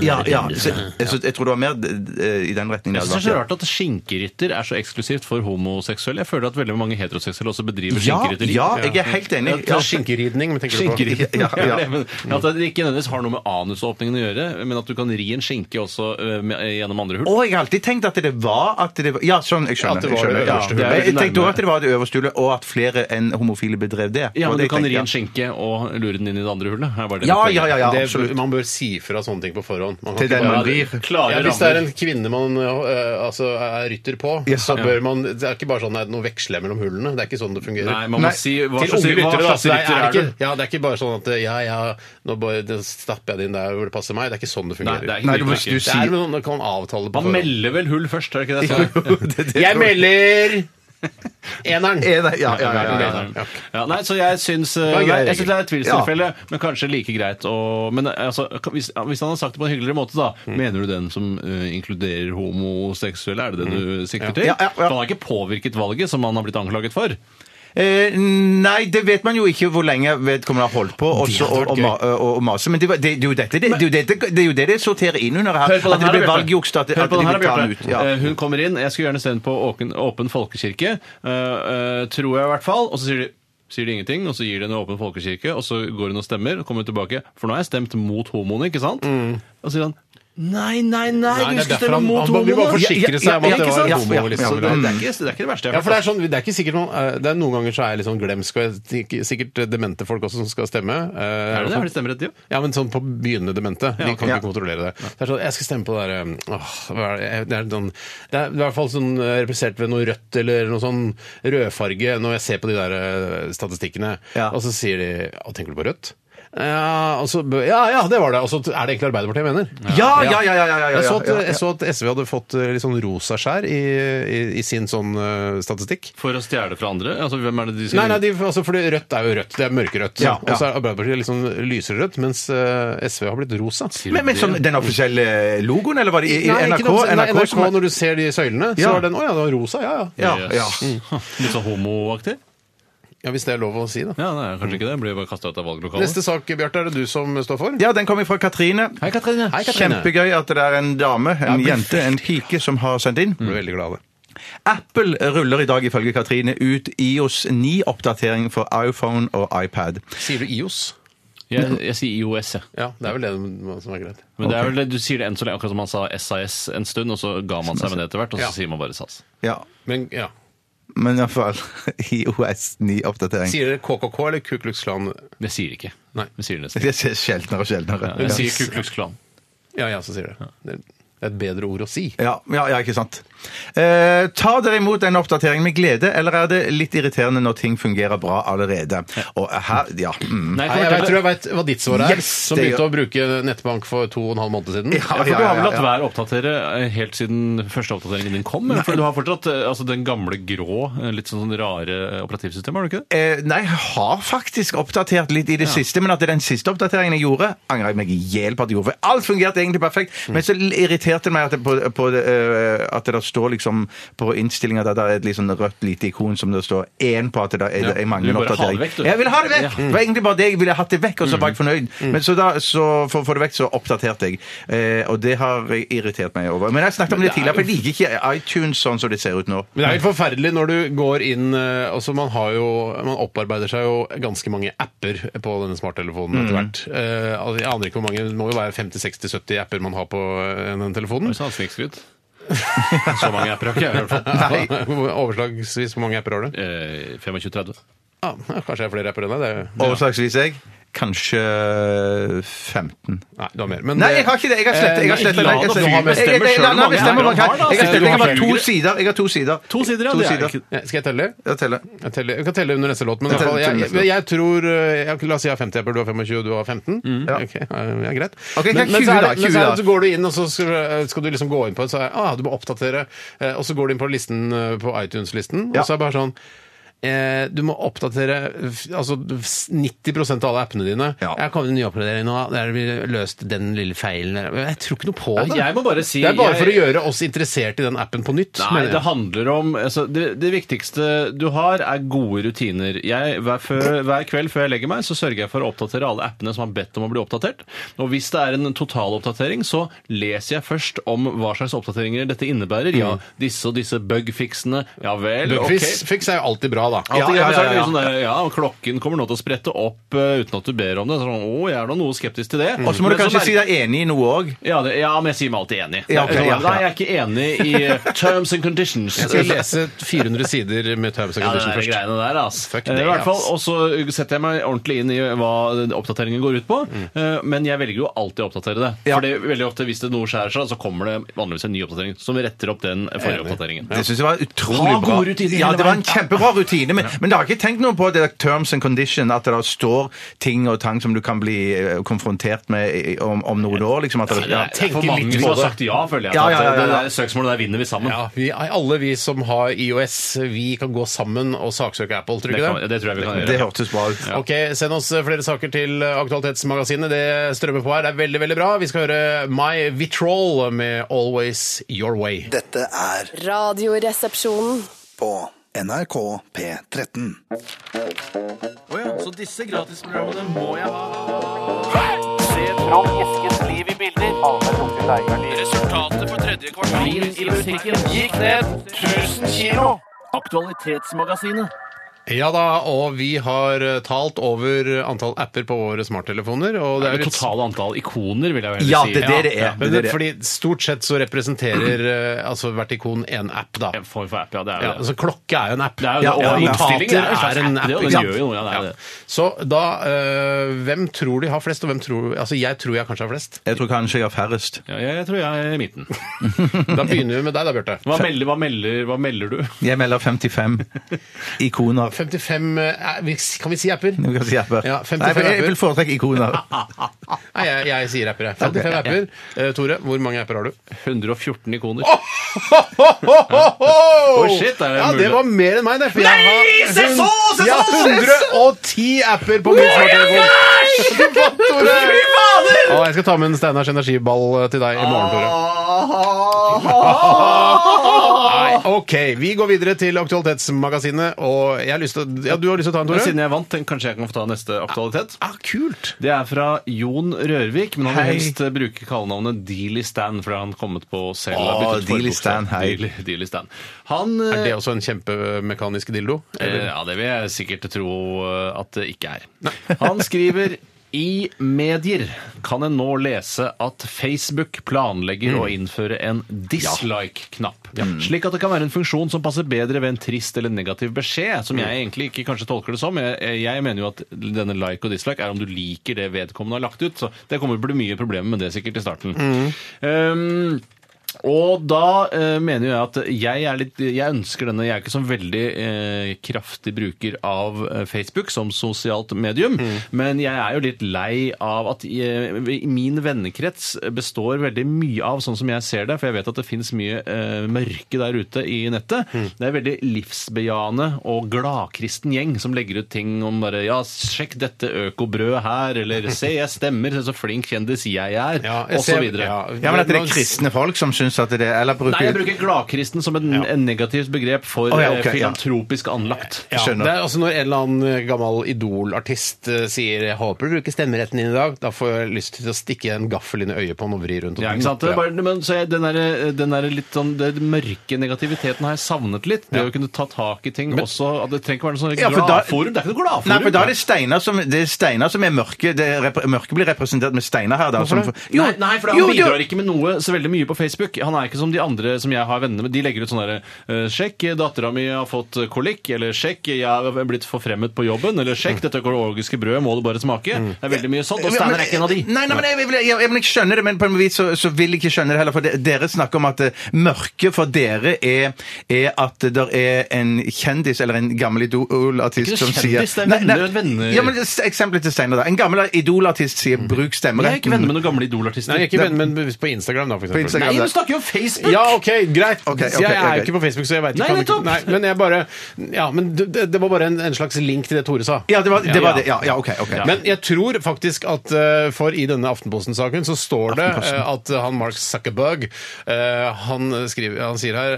Speaker 3: Ja, ja. Så, så jeg tror det var mer eh, i den retningen.
Speaker 8: Jeg
Speaker 3: det
Speaker 8: synes
Speaker 3: hadde
Speaker 8: det er så
Speaker 3: vært, ja.
Speaker 8: rart at skinkerytter er så eksklusivt for homoseksuelle. Jeg føler at veldig mange heteroseksuelle også bedriver
Speaker 3: Ja,
Speaker 8: skinkerytteri.
Speaker 3: ja, jeg er helt enig.
Speaker 7: Ja,
Speaker 3: Ja.
Speaker 7: Skinkeridning, men tenker du på?
Speaker 8: Skinkerytter.
Speaker 3: Ja, ja.
Speaker 8: Ja, det, men At det ikke nødvendigvis har noe med anusåpningen å gjøre, men at du kan ri en skinke også ø, med, eh, gjennom andre hull.
Speaker 3: Og jeg har alltid tenkt at det var at det var, Ja, sånn, jeg
Speaker 7: At
Speaker 3: skjønner.
Speaker 7: det var
Speaker 3: jeg, skjønner
Speaker 7: det
Speaker 3: ja.
Speaker 7: øverste
Speaker 8: hullet.
Speaker 3: Jeg- jeg tenkte også at det var det øverste hullet, og at flere enn homofile bedrev det.
Speaker 8: Ja,
Speaker 3: Og
Speaker 8: men
Speaker 3: det
Speaker 8: du kan
Speaker 3: tenkte
Speaker 8: ri
Speaker 3: jeg.
Speaker 8: en skinke og lure den inn i det andre hullet. Er bare det
Speaker 3: Ja,
Speaker 8: mitt
Speaker 3: ja,
Speaker 8: poeng.
Speaker 3: ja, ja
Speaker 7: Det-
Speaker 3: absolutt.
Speaker 7: Man bør si fra sånne ting på forhånd. Man kan
Speaker 3: Til
Speaker 7: ikke
Speaker 3: den
Speaker 7: bare-
Speaker 3: man
Speaker 8: Ja,
Speaker 3: blir.
Speaker 8: Klare
Speaker 7: Ja, hvis det er
Speaker 8: rammer.
Speaker 7: en kvinne man øh, altså, er rytter på,
Speaker 3: Ja.
Speaker 7: så bør man Det er ikke bare sånn at noe veksler mellom hullene. Det er ikke sånn det fungerer.
Speaker 8: Nei, man må
Speaker 3: Nei.
Speaker 8: si hva
Speaker 7: Til
Speaker 8: slags
Speaker 7: unge
Speaker 8: hva
Speaker 7: lyttere, da.
Speaker 8: slags
Speaker 7: Så det er,
Speaker 8: rytter er
Speaker 7: ikke,
Speaker 8: du?
Speaker 7: ja, det er ikke bare sånn at øh, ja, ja, nå bare det stapper jeg det inn der hvor det passer meg. Det er ikke sånn det
Speaker 8: Nei,
Speaker 7: fungerer.
Speaker 8: det er
Speaker 3: Nei,
Speaker 8: ikke
Speaker 3: du må-
Speaker 8: riktig.
Speaker 3: du
Speaker 7: Det er noe man kan avtale på
Speaker 8: Man
Speaker 7: forhånd.
Speaker 8: melder vel hull først, er det ikke det? jeg sa?
Speaker 7: Jeg melder eneren.
Speaker 3: Er det- Ja, ja, ja, ja, ja.
Speaker 8: sånn. Ja, nei, så jeg syns eh,
Speaker 3: var grei
Speaker 8: nei, jeg syns det er et
Speaker 3: regel.
Speaker 8: tvilstilfelle, men kanskje like greit å Men eh, altså, kan- hvis, ja, hvis han har sagt det på en hyggeligere måte, da
Speaker 3: Mm.
Speaker 8: Mener du den som eh, inkluderer homoseksuelle? Er det det du sikter til?
Speaker 3: Mm. Ja, ja, ja.
Speaker 8: For han har ikke påvirket valget, som han har blitt anklaget for.
Speaker 3: Eh, nei, det vet man jo ikke hvor lenge vedkommende har holdt på også,
Speaker 7: hadde vært
Speaker 3: og, og,
Speaker 7: gøy.
Speaker 3: ma- og, og mase. Men det, var- det, det, er jo dette, det, det, er jo dette, det er jo det det sorterer inn under her.
Speaker 8: Hør på
Speaker 3: At
Speaker 8: den
Speaker 3: det
Speaker 8: her,
Speaker 3: blir valgjuks.
Speaker 8: Bjarte.
Speaker 3: At,
Speaker 8: Hør
Speaker 3: at de
Speaker 8: på den her,
Speaker 3: vil ta den
Speaker 8: Bjarte.
Speaker 3: ut. Ja.
Speaker 8: Eh, Hun kommer inn. Jeg skulle gjerne sendt på åken, Åpen folkekirke, eh, eh, tror jeg i hvert fall. Og så sier de sier de ingenting, og så gir de henne Åpen folkekirke, og så går hun og stemmer, og kommer tilbake. For nå har jeg stemt mot homoene, ikke sant?
Speaker 3: Mm.
Speaker 8: Og så sier han Nei, nei, nei,
Speaker 7: Nei,
Speaker 8: du
Speaker 7: det er
Speaker 8: skal
Speaker 7: derfor
Speaker 8: stemme
Speaker 7: han-
Speaker 8: mot
Speaker 7: han må- vi må
Speaker 8: homoene!
Speaker 7: forsikre seg om at det
Speaker 8: ikke
Speaker 7: var
Speaker 8: sant?
Speaker 7: homo,
Speaker 8: Ja, ja,
Speaker 7: liksom.
Speaker 8: så det, er- det, er ikke, det er ikke det verste jeg
Speaker 7: Ja,
Speaker 8: har
Speaker 7: for det er,
Speaker 8: hørt.
Speaker 7: sånn, det er ikke sikkert man, eh, det er Noen ganger så er litt sånn glemsk, og jeg tenker sikkert demente folk også som skal stemme. eh,
Speaker 8: Er det det? Har de stemmerett, de òg?
Speaker 7: Ja, men sånn på begynnende demente. De kan
Speaker 3: Ja.
Speaker 7: ikke kontrollere det. Det er sånn, Jeg skal stemme på det der um, åh, hva er det, Jeg- det er, sånn, det er i hvert fall sånn eh, representert ved noe rødt eller noe sånn rødfarge når jeg ser på de der eh, statistikkene.
Speaker 3: Ja.
Speaker 7: Og så sier de Å, tenker du på rødt? Ja, og så, bø- ja, ja, det var det. Og så er det egentlig Arbeiderpartiet jeg mener.
Speaker 3: Ja, ja, ja, ja, ja, ja, ja,
Speaker 7: jeg, så at,
Speaker 3: ja, ja.
Speaker 7: jeg så at SV hadde fått eh, litt sånn rosa skjær i, i, i sin sånn eh, statistikk.
Speaker 8: For å stjele fra andre? Altså, hvem er det de skal
Speaker 7: Nei, nei, de, altså, fordi rødt er jo rødt. Det er mørkerødt.
Speaker 3: Ja, ja.
Speaker 7: Og så er Arbeiderpartiet litt sånn lysere rødt, mens eh, SV har blitt rosa.
Speaker 3: Men, men som den offisielle logoen, eller var det i, i
Speaker 7: eh, Nei,
Speaker 3: NRK?
Speaker 7: ikke noe- nei,
Speaker 3: NRK,
Speaker 7: NRK,
Speaker 3: som-
Speaker 7: når du ser de søylene,
Speaker 3: Ja.
Speaker 7: så er den Å ja, det var rosa, ja ja.
Speaker 3: ja, ja.
Speaker 8: Yes. Litt sånn homoaktig?
Speaker 7: Ja, Hvis det er lov å si, da.
Speaker 8: Ja, nei, kanskje ikke det. Blir bare kasta ut av valglokalet.
Speaker 7: Neste sak, Bjarte, er det du som står for?
Speaker 3: Ja, den kommer fra Katrine.
Speaker 8: Hei, Katrine. Hei, Katrine.
Speaker 3: Kjempegøy at det er en dame, en jente, en pike, som har sendt inn.
Speaker 7: Jeg Ble Mm. veldig glad av det.
Speaker 3: Apple ruller i dag ifølge Katrine ut IOS 9-oppdatering for iPhone og iPad.
Speaker 7: Sier du IOS?
Speaker 8: Jeg, jeg sier IOS, jeg.
Speaker 7: Ja, det er vel det som er greit.
Speaker 8: Men det er vel det, du sier det enn så lenge, akkurat som han sa SAS en stund, og så ga man seg med det etter hvert, og så
Speaker 7: Ja.
Speaker 8: sier man bare SAS.
Speaker 3: Ja,
Speaker 7: Men ja.
Speaker 3: men i hvert fall IOS 9-oppdatering.
Speaker 7: Sier dere KKK eller Ku Klux Klan?
Speaker 8: Det sier de ikke.
Speaker 7: Nei.
Speaker 8: Det sier de nesten ikke.
Speaker 3: Det ser sjeldnere og sjeldnere.
Speaker 8: De sier Ku Klux Klan.
Speaker 7: Ja, jeg også sier det. Det er et bedre ord å si.
Speaker 3: Ja, ja, ja, ikke sant. Eh, tar dere imot den oppdateringen med glede, eller er det litt irriterende når ting fungerer bra allerede? Og her, ja. Mm.
Speaker 8: Nei,
Speaker 7: Nei, jeg, vet- tror jeg veit hva ditt svar er,
Speaker 3: Yes,
Speaker 7: som
Speaker 3: det
Speaker 7: begynte å bruke nettbank for to og en halv måned siden.
Speaker 3: Ja,
Speaker 8: Ja, for
Speaker 3: ja,
Speaker 8: Du har
Speaker 3: ja,
Speaker 8: vel latt
Speaker 3: ja.
Speaker 8: være å oppdatere eh, helt siden første oppdateringen din kom? eller? For du har fortsatt eh, altså, den gamle grå, eh, litt sånn rare eh, operativsystemet, har du ikke det?
Speaker 3: Eh, nei, jeg har faktisk oppdatert litt i det siste, men at det er den siste oppdateringen jeg gjorde, angrer jeg meg i hjel på at jeg gjorde. For alt fungerte egentlig perfekt,
Speaker 8: Mm.
Speaker 3: men så irriterte det meg at det, på, på, det, eh, at det der står liksom på innstillinga der det er et litt sånn rødt lite ikon som det står én på at det der er, jeg mangler
Speaker 8: Du
Speaker 3: en
Speaker 8: vil bare ha det
Speaker 3: oppdatering.
Speaker 8: vekk, du. Mm.
Speaker 3: jeg vil ha det vekk! Det var egentlig bare det jeg ville hatt det vekk, og så var jeg fornøyd. Men så da, så for å få det vekk, så oppdaterte jeg. Eh, og det har irritert meg over. Men jeg snakket om det tidligere, for jeg liker ikke iTunes sånn som det ser ut nå.
Speaker 7: Men det er helt forferdelig når du går inn eh, altså Man, har jo, man opparbeider seg jo ganske mange apper på denne smarttelefonen
Speaker 3: Mm.
Speaker 7: etter hvert. Eh, altså, jeg aner ikke hvor mange, Det må jo være 50-60-70 apper man har på eh, den telefonen.
Speaker 8: Så snikskryt. Så mange apper har ikke jeg, i hvert fall.
Speaker 7: Nei. Overslagsvis hvor mange apper har du?
Speaker 8: Eh, 25-30.
Speaker 7: Ja, kanskje jeg har flere apper enn deg. det er jo-
Speaker 3: Overslagsvis jeg. Kanskje eh, 15.
Speaker 7: Nei, du har mer. Men
Speaker 3: Nei,
Speaker 7: det-
Speaker 3: jeg har ikke det. Jeg har slettet. Jeg har
Speaker 8: Eh,
Speaker 3: slettet.
Speaker 8: nei,
Speaker 3: Jeg har
Speaker 8: la det
Speaker 3: slettet. Jeg-
Speaker 8: bli.
Speaker 3: jeg- jeg- jeg- la- la meg bestemme hva Jeg har. Jeg har slettet. Jeg har bare to sider. Jeg har to sider.
Speaker 8: To sider, ja,
Speaker 3: To
Speaker 8: det er
Speaker 3: sider.
Speaker 8: ikke-
Speaker 7: Ja, Skal jeg telle?
Speaker 3: Jeg teller.
Speaker 7: Jeg, teller, jeg kan telle under neste låt, men i
Speaker 3: Jeg
Speaker 7: hvert fall,
Speaker 3: teller-
Speaker 7: jeg,
Speaker 3: teller
Speaker 7: jeg,
Speaker 3: neste låt.
Speaker 7: jeg tror eh, jeg, La oss si jeg har 50 apper, du har 25, og du har 15.
Speaker 3: Mm. Ja.
Speaker 7: Ok, ja, ja, greit.
Speaker 3: Ok, ikke
Speaker 7: men, men,
Speaker 3: 20
Speaker 7: så er
Speaker 3: da,
Speaker 7: det, men så
Speaker 3: 20
Speaker 7: er
Speaker 3: da.
Speaker 7: det, så går du inn, og så skal, skal du liksom gå inn på det, så er ah, du må oppdatere, eh, og så går du inn på listen eh, på iTunes-listen,
Speaker 3: Ja.
Speaker 7: og så er det bare sånn Eh, du må oppdatere f- altså, f- 90 av alle appene dine.
Speaker 3: Ja.
Speaker 7: Jeg kom med en ny oppdatering nå. Der blir løst den lille feilen der. Jeg tror ikke noe på
Speaker 8: Ja,
Speaker 7: det.
Speaker 8: Altså, jeg må bare si-
Speaker 7: det er bare for å
Speaker 8: jeg-
Speaker 7: gjøre oss interessert i den appen på nytt.
Speaker 8: Nei,
Speaker 7: mener jeg.
Speaker 8: det handler om altså, det, det viktigste du har, er gode rutiner. Jeg, hver, før, hver kveld før jeg legger meg, så sørger jeg for å oppdatere alle appene som har bedt om å bli oppdatert. Og hvis det er en totaloppdatering, så leser jeg først om hva slags oppdateringer dette innebærer. Ja, disse og disse bugfiksene. Ja vel, ok.
Speaker 7: Bugfix Fix er jo alltid bra, da.
Speaker 3: Ja,
Speaker 8: Ja,
Speaker 3: ja,
Speaker 8: ja,
Speaker 3: ja, ja.
Speaker 8: Sånn der, ja, og klokken kommer nå til å sprette opp eh, uten at du ber om det. Sånn, å, jeg er nå noe skeptisk til det.
Speaker 3: Mm. Og så må du
Speaker 8: Men
Speaker 3: kanskje
Speaker 8: merker-
Speaker 3: si deg enig i noe òg.
Speaker 8: ja, det, ja, men jeg sier meg alltid enig.
Speaker 3: Ja, ok, ja, ja.
Speaker 8: Nei, jeg er ikke enig i eh, terms and conditions.
Speaker 7: Jeg skal lese 400 sider med Terms and
Speaker 8: Ja, det
Speaker 7: Conditions
Speaker 8: er de
Speaker 7: først.
Speaker 8: greiene der, ass.
Speaker 7: Fuck
Speaker 8: Eh,
Speaker 7: det,
Speaker 8: I hvert fall,
Speaker 7: ass.
Speaker 8: Og så setter jeg meg ordentlig inn i eh, hva den oppdateringen går ut på, eh, men jeg velger jo alltid å oppdatere det.
Speaker 3: Mm. Ja.
Speaker 8: Fordi veldig ofte hvis det noe skjærer seg, så kommer det vanligvis en ny oppdatering som retter opp den forrige oppdateringen.
Speaker 3: Det syns jeg var utrolig bra.
Speaker 8: Ha gode rutiner
Speaker 3: Ja,
Speaker 8: hele
Speaker 3: det var en
Speaker 8: veien.
Speaker 3: kjempebra rutine, men, men det har jeg ikke tenkt noe på det der terms and condition, at det der står ting og tang som du kan bli eh, konfrontert med i- om, om noen år. Liksom, at det, ja.
Speaker 8: Det er for mange som har sagt ja, føler jeg.
Speaker 3: Ja, ja, ja,
Speaker 8: at
Speaker 3: ja, ja.
Speaker 8: Det der søksmålet der vinner vi sammen.
Speaker 7: Ja, vi, alle vi som har IOS, vi kan gå sammen og saksøke Apple, tror du
Speaker 8: Det,
Speaker 7: ikke
Speaker 8: kan,
Speaker 7: det?
Speaker 8: det tror jeg vi kan gjøre.
Speaker 3: Det hørtes bra ut.
Speaker 7: Ok, Send oss flere saker til Aktualitetsmagasinet. Det strømmer på her. Det er veldig veldig bra. Vi skal høre My Vitrol med Always Your Way.
Speaker 5: Dette er
Speaker 4: Radioresepsjonen.
Speaker 5: på NRK P13.
Speaker 7: Ja da, og vi har eh, talt over antall apper på våre smarttelefoner. Og det er
Speaker 8: Det
Speaker 7: jo et
Speaker 8: totale antall ikoner, vil jeg vel
Speaker 3: Ja,
Speaker 8: si.
Speaker 3: det er det det er.
Speaker 7: Men
Speaker 3: Det er det.
Speaker 7: fordi Stort sett så representerer eh, altså hvert ikon én app, da.
Speaker 8: En form for app, ja. Det er jo
Speaker 7: Ja,
Speaker 8: det.
Speaker 7: altså Klokke er jo en app.
Speaker 8: Det er jo-
Speaker 7: ja,
Speaker 8: og
Speaker 7: og notater
Speaker 8: innstillinger er jo en slags
Speaker 7: er en
Speaker 8: app,
Speaker 7: app.
Speaker 8: det, og den
Speaker 7: ikke sant?
Speaker 8: gjør jo noe, ja, det er det.
Speaker 7: Så da eh, Hvem tror de har flest, og hvem tror Altså, jeg tror jeg kanskje har flest.
Speaker 3: Jeg tror kanskje jeg har færrest.
Speaker 8: Ja, jeg tror jeg er i midten.
Speaker 7: Da begynner vi med deg, da, Bjarte.
Speaker 8: Hva melder, hva melder, hva melder du?
Speaker 3: Jeg melder 55 ikoner.
Speaker 7: 55 eh, vi- Kan vi si apper?
Speaker 3: Du kan si apper.
Speaker 7: Ja, 55
Speaker 3: Nei, for jeg
Speaker 7: apper.
Speaker 3: vil foretrekke ikoner.
Speaker 8: Ah,
Speaker 7: Nei, jeg, jeg sier apper, jeg. 55
Speaker 3: Ok, ja,
Speaker 7: apper. Eh, Tore, hvor mange apper har du?
Speaker 8: 114 ikoner.
Speaker 7: Oh,
Speaker 8: shit, er det
Speaker 7: ja,
Speaker 8: mulig?
Speaker 7: det var mer enn meg, det. For jeg har,
Speaker 8: se så, se Oh så,
Speaker 7: jeg har 110 apper på min smarttelefon. Du vant, Tore! Å, jeg skal ta med en eh,
Speaker 8: Ah.
Speaker 7: Steinars energiball til deg i morgen, Tore. Nei, OK, vi går videre til Aktualitetsmagasinet, og jeg har lyst til å Ja, du har lyst til å ta en,
Speaker 8: Men siden
Speaker 7: Tore?
Speaker 8: jeg vant, tenk, kanskje jeg kan få ta neste aktualitet.
Speaker 7: Ah, kult!
Speaker 8: Det er fra Jon Rørvik, men han vil
Speaker 7: Hei.
Speaker 8: helst eh, bruke kallenavnet Dealy Stan, for det har han kommet på selv.
Speaker 3: Åh,
Speaker 8: har byttet
Speaker 3: Dealey
Speaker 8: forbokstav.
Speaker 3: Stan, hei.
Speaker 8: Dealey- Dealey Stan. Han
Speaker 7: Er det også en kjempemekanisk dildo?
Speaker 8: Eh, Ja, det vil jeg sikkert tro eh, at det ikke er. Han skriver i medier kan en nå lese at Facebook planlegger å innføre en dislike-knapp. Mm. Slik at det kan være en funksjon som passer bedre ved en trist eller negativ beskjed, som jeg egentlig ikke kanskje tolker det som. Jeg, jeg mener jo at denne like og dislike er om du liker det vedkommende har lagt ut. Så det kommer til å bli mye problemer med det sikkert i starten. Um, og da eh, mener jo jeg at jeg er litt Jeg ønsker denne Jeg er ikke så veldig eh, kraftig bruker av eh, Facebook som sosialt medium,
Speaker 7: Mm.
Speaker 8: men jeg er jo litt lei av at eh, min vennekrets består veldig mye av sånn som jeg ser det, for jeg vet at det finnes mye eh, mørke der ute i nettet.
Speaker 7: Mm.
Speaker 8: Det er en veldig livsbejaende og gladkristen gjeng som legger ut ting om bare Ja, sjekk dette økobrødet her, eller se, jeg stemmer, se så flink kjendis jeg er,
Speaker 7: Ja, jeg
Speaker 8: og så
Speaker 7: ser-
Speaker 8: videre.
Speaker 7: ja.
Speaker 3: Ja, men at det er kristne folk som syns at det Eller bruker,
Speaker 8: Nei, jeg bruker gladkristen som et en negativt begrep for
Speaker 3: Å, ja, ok,
Speaker 8: eh,
Speaker 3: ja.
Speaker 8: filantropisk anlagt.
Speaker 7: Ja,
Speaker 3: Skjønner.
Speaker 7: det er altså Når en eller annen gammel Idol-artist eh, sier 'jeg håper du bruker stemmeretten din i dag', da får jeg lyst til å stikke en gaffel inn i øyet på han og vri rundt. og-
Speaker 8: Ja, ikke sant? Det er
Speaker 7: Ja.
Speaker 8: bare, men, så jeg, den, der, den der litt sånn den mørke negativiteten har jeg savnet litt. Det å kunne ta tak i ting også. At det trenger ikke være noe sånn
Speaker 3: Ja, for da-
Speaker 8: gladforum. Det er ikke noe gladforum.
Speaker 3: Nei, for da er det steiner som, det er, steiner som er mørke. Det er, rep- mørke blir representert med steiner her. Da, som,
Speaker 8: nei, nei, for han
Speaker 3: jo,
Speaker 8: bidrar
Speaker 3: du-
Speaker 8: ikke med noe så veldig mye på Facebook. Han er ikke som de andre som jeg har venner med. De legger ut sånn derre eh, 'Sjekk, dattera mi har fått eh, kolikk', eller 'Sjekk, eh, jeg er blitt forfremmet på jobben', eller 'Sjekk, dette økologiske brødet må du bare smake'. Det er veldig mye sånt. Og
Speaker 3: Ja, men-
Speaker 8: Steinar Mm. er ikke en av de.
Speaker 3: Nei, nei, men jeg, vil- jeg, jeg, men jeg skjønner det, men på en vis så, så vil jeg ikke skjønne det heller. For de, dere snakker om at eh, mørket for dere er, er at det er en kjendis eller en gammel
Speaker 8: Det er
Speaker 3: idolartist
Speaker 8: ikke
Speaker 3: som
Speaker 8: noe
Speaker 3: sier
Speaker 8: kjendis, det er
Speaker 3: Nei, nei.
Speaker 8: venner, venner. Mm.
Speaker 3: Ja, men det er eksempelet til Steinar, da. En gammel idolartist sier 'bruk
Speaker 8: Jeg er ikke
Speaker 3: stemmeretten'.
Speaker 8: venner med noen gamle
Speaker 7: Nei,
Speaker 8: Idol-artister.
Speaker 7: jeg er ikke venn, men hvis på Instagram, da, for eksempel.
Speaker 3: På Instagram.
Speaker 8: Nei, du snakker jo om Facebook!
Speaker 7: Ja, OK, greit.
Speaker 3: Ok, ok,
Speaker 7: Så jeg er
Speaker 3: ok.
Speaker 7: jo ikke på Facebook, så jeg veit
Speaker 8: Nei,
Speaker 7: ikke.
Speaker 8: nettopp!
Speaker 7: Nei, men jeg bare Ja, men det, det- det var bare en, en slags link til det Tore sa.
Speaker 3: Ja, det var det. Var det. Ja, ja, ok. ok.
Speaker 8: Ja.
Speaker 7: Men jeg tror faktisk at eh, for i denne Aftenposten-saken så står det
Speaker 3: Aftenposten.
Speaker 7: eh, at han Mark Zuckerberg eh, han, skriver, han sier her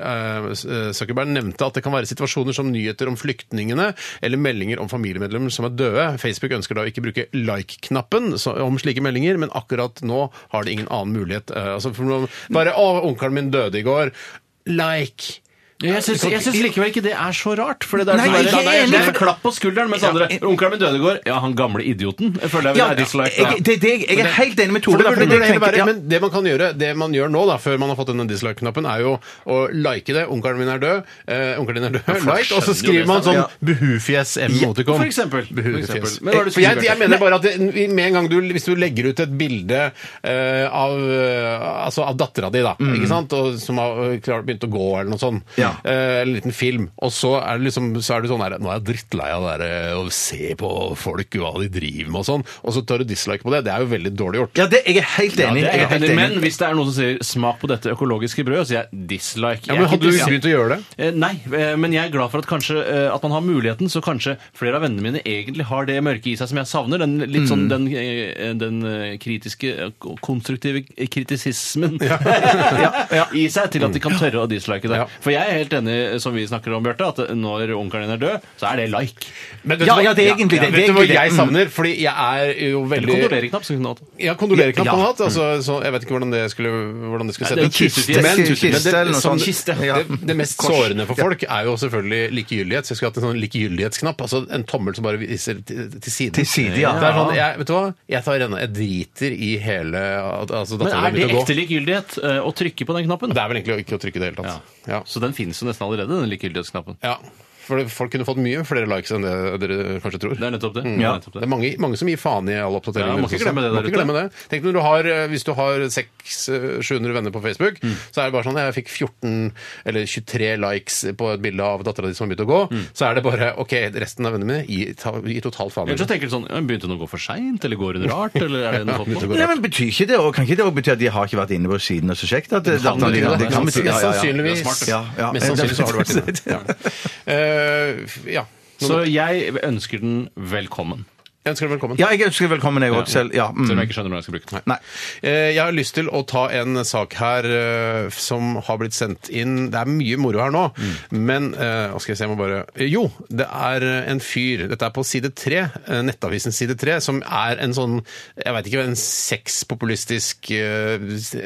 Speaker 7: eh, Zuckerberg nevnte at det kan være situasjoner som nyheter om flyktningene eller meldinger om familiemedlemmer som er døde. Facebook ønsker da ikke bruke like-knappen så- om slike meldinger, men akkurat nå har de ingen annen mulighet. Eh, altså for noe, bare 'Å, onkelen min døde i går'. Like.
Speaker 8: Jeg syns, jeg syns likevel ikke det er så rart. For det er
Speaker 3: Nei,
Speaker 8: sånn
Speaker 3: jeg er
Speaker 8: der-
Speaker 3: ikke
Speaker 8: det
Speaker 3: enig,
Speaker 8: er
Speaker 3: for-
Speaker 8: en klapp på skulderen, mens andre Onkelen min døde i går. Ja, han gamle idioten. Jeg føler jeg vil
Speaker 3: Ja,
Speaker 8: ha dislike. da.
Speaker 3: jeg, det, er det, jeg- jeg er helt enig med Tore.
Speaker 7: For det
Speaker 3: da, for
Speaker 7: burde
Speaker 3: det
Speaker 7: det
Speaker 3: tenker-
Speaker 7: være,
Speaker 3: ja.
Speaker 7: Men det man kan gjøre, det man gjør nå, da, før man har fått denne dislike-knappen, er jo å like det. Onkelen min er død. Eh, Onkelen din er død.
Speaker 8: folk
Speaker 7: Like. Og så
Speaker 8: skjønner jo
Speaker 7: skriver
Speaker 8: det,
Speaker 7: man sånn
Speaker 8: sant?
Speaker 7: buhufjes emoticon.
Speaker 8: for eksempel. For
Speaker 7: Buhufjes. Eh,
Speaker 8: eksempel. Men hva er det du
Speaker 7: For jeg,
Speaker 8: skriver?
Speaker 7: jeg mener bare at det, med en gang du, hvis du legger ut et bilde eh, av, eh, altså av dattera di, da,
Speaker 8: Mm.
Speaker 7: ikke sant? Og, som har eh, klart begynt å gå, eller noe sånt,
Speaker 3: Ja.
Speaker 7: eh, en liten film, og så er det liksom så er det sånn her, Nå er jeg drittlei av det der eh, å se på folk, hva de driver med og sånn, og så tar du dislike på det. Det er jo veldig dårlig gjort.
Speaker 3: Ja, det, jeg er helt
Speaker 8: Ja,
Speaker 3: enig.
Speaker 8: det er
Speaker 3: jeg
Speaker 8: jeg
Speaker 3: er helt
Speaker 8: enig i.
Speaker 3: enig.
Speaker 8: Men hvis det er noen som sier 'smak på dette økologiske brødet', sier jeg dislike.
Speaker 7: Ja, men
Speaker 8: Jeg er
Speaker 7: Hadde du
Speaker 8: ikke dis-
Speaker 7: begynt å gjøre det?
Speaker 8: Eh, Nei, eh, men jeg er glad for at kanskje eh, at man har muligheten, så kanskje flere av vennene mine egentlig har det mørke i seg som jeg savner. Den litt
Speaker 7: Mm.
Speaker 8: sånn den, eh, den eh, kritiske, eh, konstruktive kritisismen i seg til at de kan tørre å dislike det.
Speaker 7: Mm. Ja.
Speaker 8: For jeg er helt enig, eh, som vi snakker om, Bjarte, at eh, når onkelen din er død, så er det like.
Speaker 7: Men vet du
Speaker 3: Ja,
Speaker 7: hva-
Speaker 3: ja, det er egentlig
Speaker 7: Ja,
Speaker 3: det, det er
Speaker 7: Vet du hva
Speaker 3: egentlig det. Mm.
Speaker 7: jeg savner? Fordi jeg er jo
Speaker 8: Eller
Speaker 7: veldig
Speaker 8: kondolereknapp, som hun hatt.
Speaker 7: Ja, kondolereknapp
Speaker 3: Ja.
Speaker 7: han har hatt. Altså, så jeg vet ikke hvordan det skulle, hvordan det skulle
Speaker 8: Nei,
Speaker 7: sett
Speaker 8: det er
Speaker 7: ut.
Speaker 8: kiste,
Speaker 7: Men-
Speaker 8: kiste,
Speaker 7: men det-
Speaker 3: eller noe
Speaker 7: sånn-
Speaker 3: sånt. Kiste.
Speaker 7: Det, det mest
Speaker 3: Kors.
Speaker 7: sårende for folk er jo selvfølgelig likegyldighet. Så jeg skulle hatt en sånn likegyldighetsknapp. Altså en tommel som bare viser til, til siden.
Speaker 3: Til side, ja.
Speaker 7: Det er sånn, jeg, vet du hva? Jeg tar renne, jeg driter i hele at- altså,
Speaker 8: Men
Speaker 7: datteren
Speaker 8: er det
Speaker 7: min å gå.
Speaker 8: ekte likegyldighet eh, å trykke på den knappen?
Speaker 7: Det er vel egentlig ikke å trykke i det hele
Speaker 8: Ja.
Speaker 7: tatt. Ja.
Speaker 8: Så den finnes jo nesten allerede, den likegyldighetsknappen.
Speaker 7: ja. For det- folk kunne fått mye flere likes enn det dere kanskje tror.
Speaker 8: Det er nettopp det.
Speaker 7: Mm. Ja.
Speaker 8: Det er nettopp
Speaker 7: Det er mange, mange som gir faen i alle
Speaker 8: Ja,
Speaker 7: oppdateringer.
Speaker 8: må ikke glemme det der
Speaker 7: Må ikke
Speaker 8: ute.
Speaker 7: glemme det. Tenk når du har, eh, Hvis du har 600-700 venner på Facebook, så er det bare sånn Jeg fikk 14 eller 23 likes på et bilde av dattera di som har begynt å gå. Så er det bare OK, resten av vennene mine gir, ta, gir totalt faen. i
Speaker 8: Eller så
Speaker 7: det.
Speaker 8: tenker du sånn ja, Begynte hun å gå for seint, eller går hun rart, eller er det noe sånt?
Speaker 3: Nei, men betyr ikke det, og Kan ikke det også bety at de har ikke vært inne på siden og så sjekket? At det,
Speaker 8: kan
Speaker 3: datteren
Speaker 8: bety
Speaker 3: din-
Speaker 8: det.
Speaker 3: det kan
Speaker 7: Mest
Speaker 3: bety ja, ja, ja.
Speaker 7: sannsynligvis.
Speaker 8: Det er smart.
Speaker 3: Ja, ja.
Speaker 7: Mest sannsynlig så har du vært inne. Ja. Eh, ja.
Speaker 8: Så jeg ønsker den velkommen.
Speaker 7: Jeg ønsker deg velkommen.
Speaker 3: Ja, jeg ønsker velkommen, jeg òg selv. Ja, mm.
Speaker 8: Selv om jeg ikke skjønner hvordan jeg skal bruke den.
Speaker 3: Nei.
Speaker 7: Eh, Jeg har lyst til å ta en sak her eh, som har blitt sendt inn. Det er mye moro her nå,
Speaker 8: Mm.
Speaker 7: men eh, hva skal jeg si, jeg må bare Eh, Jo, det er eh, en fyr. Dette er på side 3, Nettavisens side 3, som er en sånn Jeg veit ikke, en sexpopulistisk eh,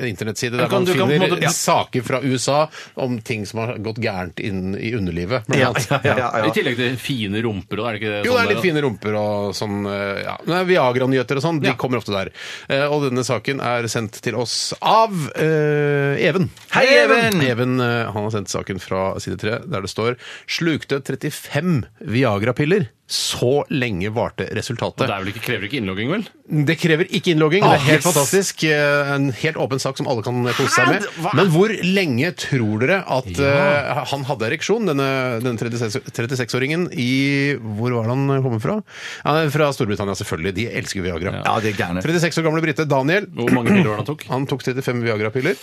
Speaker 7: internettside der
Speaker 8: kan-
Speaker 7: man
Speaker 8: du kan på en
Speaker 7: finner
Speaker 8: måte- ja.
Speaker 7: saker fra USA om ting som har gått gærent inn i underlivet. blant
Speaker 3: Ja,
Speaker 7: annet.
Speaker 3: ja, ja, ja,
Speaker 8: I tillegg til fine rumper, og er det ikke det?
Speaker 7: Jo, det
Speaker 8: sånn
Speaker 7: er litt
Speaker 8: der, da?
Speaker 7: fine rumper og sånn eh, ja. Nei, Viagra-nyheter og sånn. De
Speaker 8: Ja.
Speaker 7: kommer ofte der. Eh, Og denne saken er sendt til oss av eh, Even.
Speaker 3: Hei, Even!
Speaker 7: Even eh, han har sendt saken fra side 3, der det står 'Slukte 35 Viagra-piller'. Så lenge varte resultatet.
Speaker 8: Det er vel ikke, krever ikke innlogging, vel?
Speaker 7: Det krever ikke innlogging. det
Speaker 8: Ah,
Speaker 7: er helt
Speaker 8: yes.
Speaker 7: fantastisk. Eh, En helt åpen sak som alle kan kose seg med.
Speaker 8: Hæ? Hva?
Speaker 7: Men hvor lenge tror dere at eh, han hadde ereksjon, denne, denne 36 36-åringen, i Hvor var det han kommer fra? Ja, han er fra Storbritannia, selvfølgelig. De elsker Viagra.
Speaker 3: Ja, de er gærne.
Speaker 7: 36 år gamle brite Daniel.
Speaker 8: Hvor mange piller var det han tok?
Speaker 7: Han tok 35 Viagra-piller.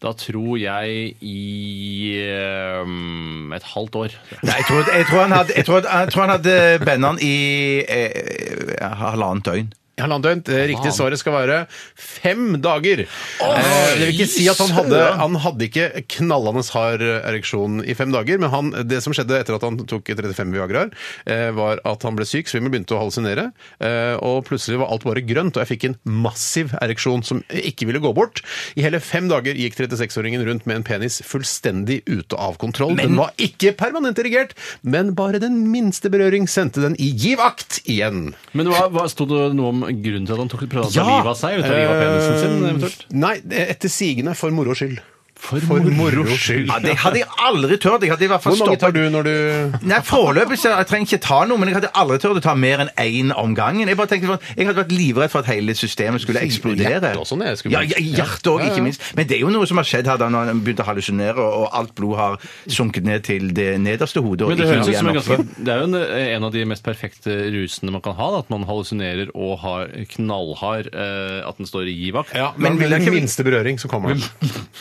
Speaker 8: Da tror jeg i ehm, et halvt år.
Speaker 3: Nei, jeg tror, jeg tror han hadde, jeg tror, jeg tror han hadde Bennan i eh, halvannet døgn.
Speaker 7: Halvannet døgn. Det riktige svaret skal være fem dager. Eh, det vil ikke si at han hadde, han hadde ikke knallende hard ereksjon i fem dager, men han, det som skjedde etter at han tok 35 Viagraer, eh, var at han ble syk, svimmel, begynte å hallusinere, eh, og plutselig var alt bare grønt, og jeg fikk en massiv ereksjon som ikke ville gå bort. I hele fem dager gikk 36-åringen rundt med en penis fullstendig ute av kontroll. Den var ikke permanent erigert, men bare den minste berøring sendte den i giv akt igjen.
Speaker 8: Men hva, hva sto det noe om grunnen til at han tok prøvde å ta livet av seg? Eller ta livet av penisen sin,
Speaker 7: Eh,
Speaker 8: eventuelt?
Speaker 7: Nei, etter sigende for moro skyld.
Speaker 8: For
Speaker 7: moro skyld.
Speaker 3: Ja, det hadde jeg aldri tørt. Jeg hadde i hvert fall
Speaker 7: Hvor mange tar
Speaker 3: stoppet-
Speaker 7: du når du
Speaker 3: Nei, foreløpig så jeg trenger ikke ta noe, men jeg hadde aldri tørt å ta mer enn én om gangen. Jeg bare tenkte sånn, jeg hadde vært livredd for at hele systemet skulle eksplodere.
Speaker 7: Hjertet også, det er skummelt.
Speaker 3: ja, ja, hjertet også,
Speaker 7: Ja, ja, ja.
Speaker 3: ikke minst. Men det er jo noe som har skjedd her da når han begynte å hallusinere, og alt blod har sunket ned til det nederste hodet. og
Speaker 8: Men det
Speaker 3: ikke
Speaker 8: høres
Speaker 3: noe
Speaker 8: ut som en
Speaker 3: igjen oppe.
Speaker 8: ganske Det er jo en, eh, en av de mest perfekte rusene man kan ha. Da, at man hallusinerer og har knallhard eh, At den står i givakt.
Speaker 7: Ja,
Speaker 3: men
Speaker 7: men
Speaker 3: vil jeg
Speaker 7: den
Speaker 3: ikke-
Speaker 7: minste berøring, så kommer han.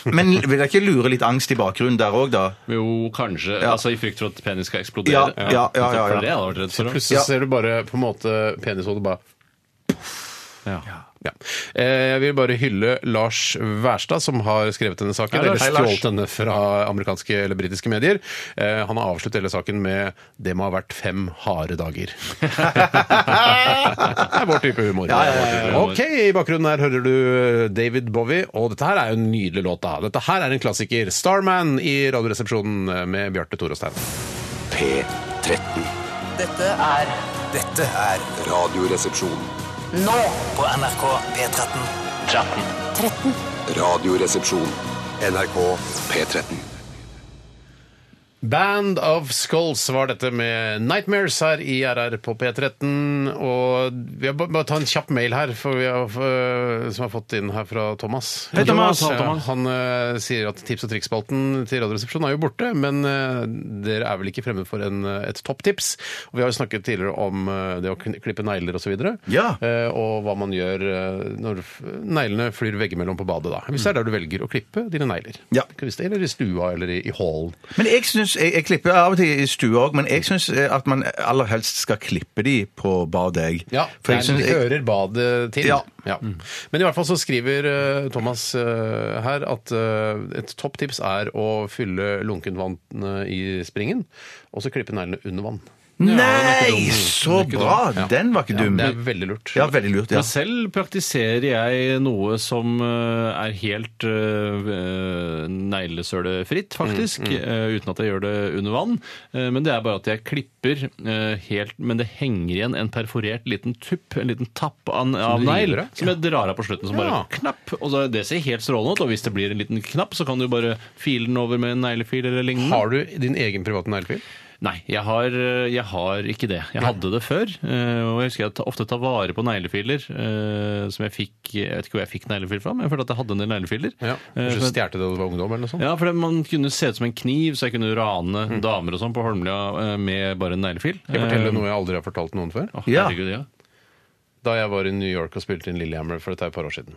Speaker 3: Men vil jeg ikke lure litt angst i bakgrunnen der òg, da?
Speaker 8: Jo, kanskje.
Speaker 3: Ja.
Speaker 8: Altså i frykt for at penis skal eksplodere.
Speaker 3: Ja, ja, ja, ja, ja.
Speaker 8: For det hadde jeg vært redd for.
Speaker 7: Plutselig
Speaker 3: Ja.
Speaker 7: ser du bare på en måte penishodet bare
Speaker 8: Ja.
Speaker 7: ja. Eh, Jeg vil bare hylle Lars Wærstad, som har skrevet denne saken.
Speaker 8: Hei,
Speaker 7: Eller
Speaker 8: Lars. Hei, Lars.
Speaker 7: stjålet denne fra amerikanske eller britiske medier. Eh, Han har avsluttet hele saken med 'Det må ha vært fem harde dager'. det er vår type humor.
Speaker 3: Ja, ja, ja,
Speaker 8: ja, ja.
Speaker 7: Ok, i bakgrunnen her hører du David Bowie, og dette her er jo en nydelig låt, da. Dette her er en klassiker. 'Starman' i Radioresepsjonen med Bjarte Tore Stein.
Speaker 1: P13.
Speaker 9: Dette er Dette er
Speaker 1: Radioresepsjon.
Speaker 9: Nå på NRK P13.
Speaker 4: 13.
Speaker 1: Radioresepsjon. NRK P13.
Speaker 7: Band of Skulls var dette med Nightmares her i RR på P13. Og vi har ba- bare ta en kjapp mail her, for vi har, øh, som har fått inn her fra Thomas.
Speaker 3: Hei, Thomas.
Speaker 7: Ja,
Speaker 3: Hei,
Speaker 7: Altså,
Speaker 3: Thomas.
Speaker 7: Han øh, sier at tips- og triksspalten til Radioresepsjonen er jo borte, men øh, dere er vel ikke fremme for en, øh, et topptips? Og vi har jo snakket tidligere om øh, det å kn- klippe negler osv.
Speaker 3: Ja.
Speaker 7: Eh, og hva man gjør eh, når f- neglene flyr veggimellom på badet. da. Hvis det er der du velger å klippe dine negler.
Speaker 3: Ja.
Speaker 7: Hvis det- Eller i stua eller i, i hallen.
Speaker 3: Men jeg synes, jeg, jeg klipper av og til i stua òg, men jeg syns at man aller helst skal klippe de på bar deg.
Speaker 7: Ja,
Speaker 3: For jeg
Speaker 7: der
Speaker 3: synes- jeg-
Speaker 7: hører badet til.
Speaker 3: Ja. Mm.
Speaker 7: Men i hvert fall så skriver eh, Thomas eh, her at eh, et topptips er å fylle lunkent vann eh, i springen, og så klippe neglene under vann.
Speaker 3: Nei, så bra! Den var ikke dum.
Speaker 7: Det er veldig lurt.
Speaker 3: Ja, veldig lurt. ja.
Speaker 8: Men selv praktiserer jeg noe som eh, er helt eh, neglesølefritt, faktisk.
Speaker 7: Mm,
Speaker 8: eh, uten at jeg gjør det under vann. Eh, men det er bare at jeg klipper eh, helt Men det henger igjen en perforert liten tupp, en liten tapp av, av
Speaker 7: du river
Speaker 8: negl,
Speaker 7: av?
Speaker 8: som jeg drar av på slutten. Som bare
Speaker 7: Ja.
Speaker 8: knapp. Og så, det ser helt strålende ut. Og hvis det blir en liten knapp, så kan du bare file den over med en neglefil eller lignende.
Speaker 7: Har du din egen private neglefil?
Speaker 8: Nei, jeg har, eh, jeg har ikke det. Jeg hadde det før. eh, Og jeg husker jeg ta- ofte tar vare på neglefiler. eh, Som jeg fikk Jeg vet ikke hvor jeg fikk neglefil fra, men jeg følte at jeg hadde en del neglefiler.
Speaker 7: Ja.
Speaker 8: Eh,
Speaker 7: Kanskje
Speaker 8: for-
Speaker 7: du stjal det da du var ungdom? eller noe sånt?
Speaker 8: ja, for det- man kunne se ut som en kniv, så jeg kunne rane damer og sånn på Holmlia eh, med bare en neglefil. Eh,
Speaker 7: Skal Mm. jeg
Speaker 3: eh,
Speaker 7: fortelle noe jeg aldri har fortalt noen før?
Speaker 8: Å,
Speaker 3: Ja.
Speaker 8: herregud, ja.
Speaker 7: Da jeg var i New York og spilte inn Lillehammer for dette er et par år siden.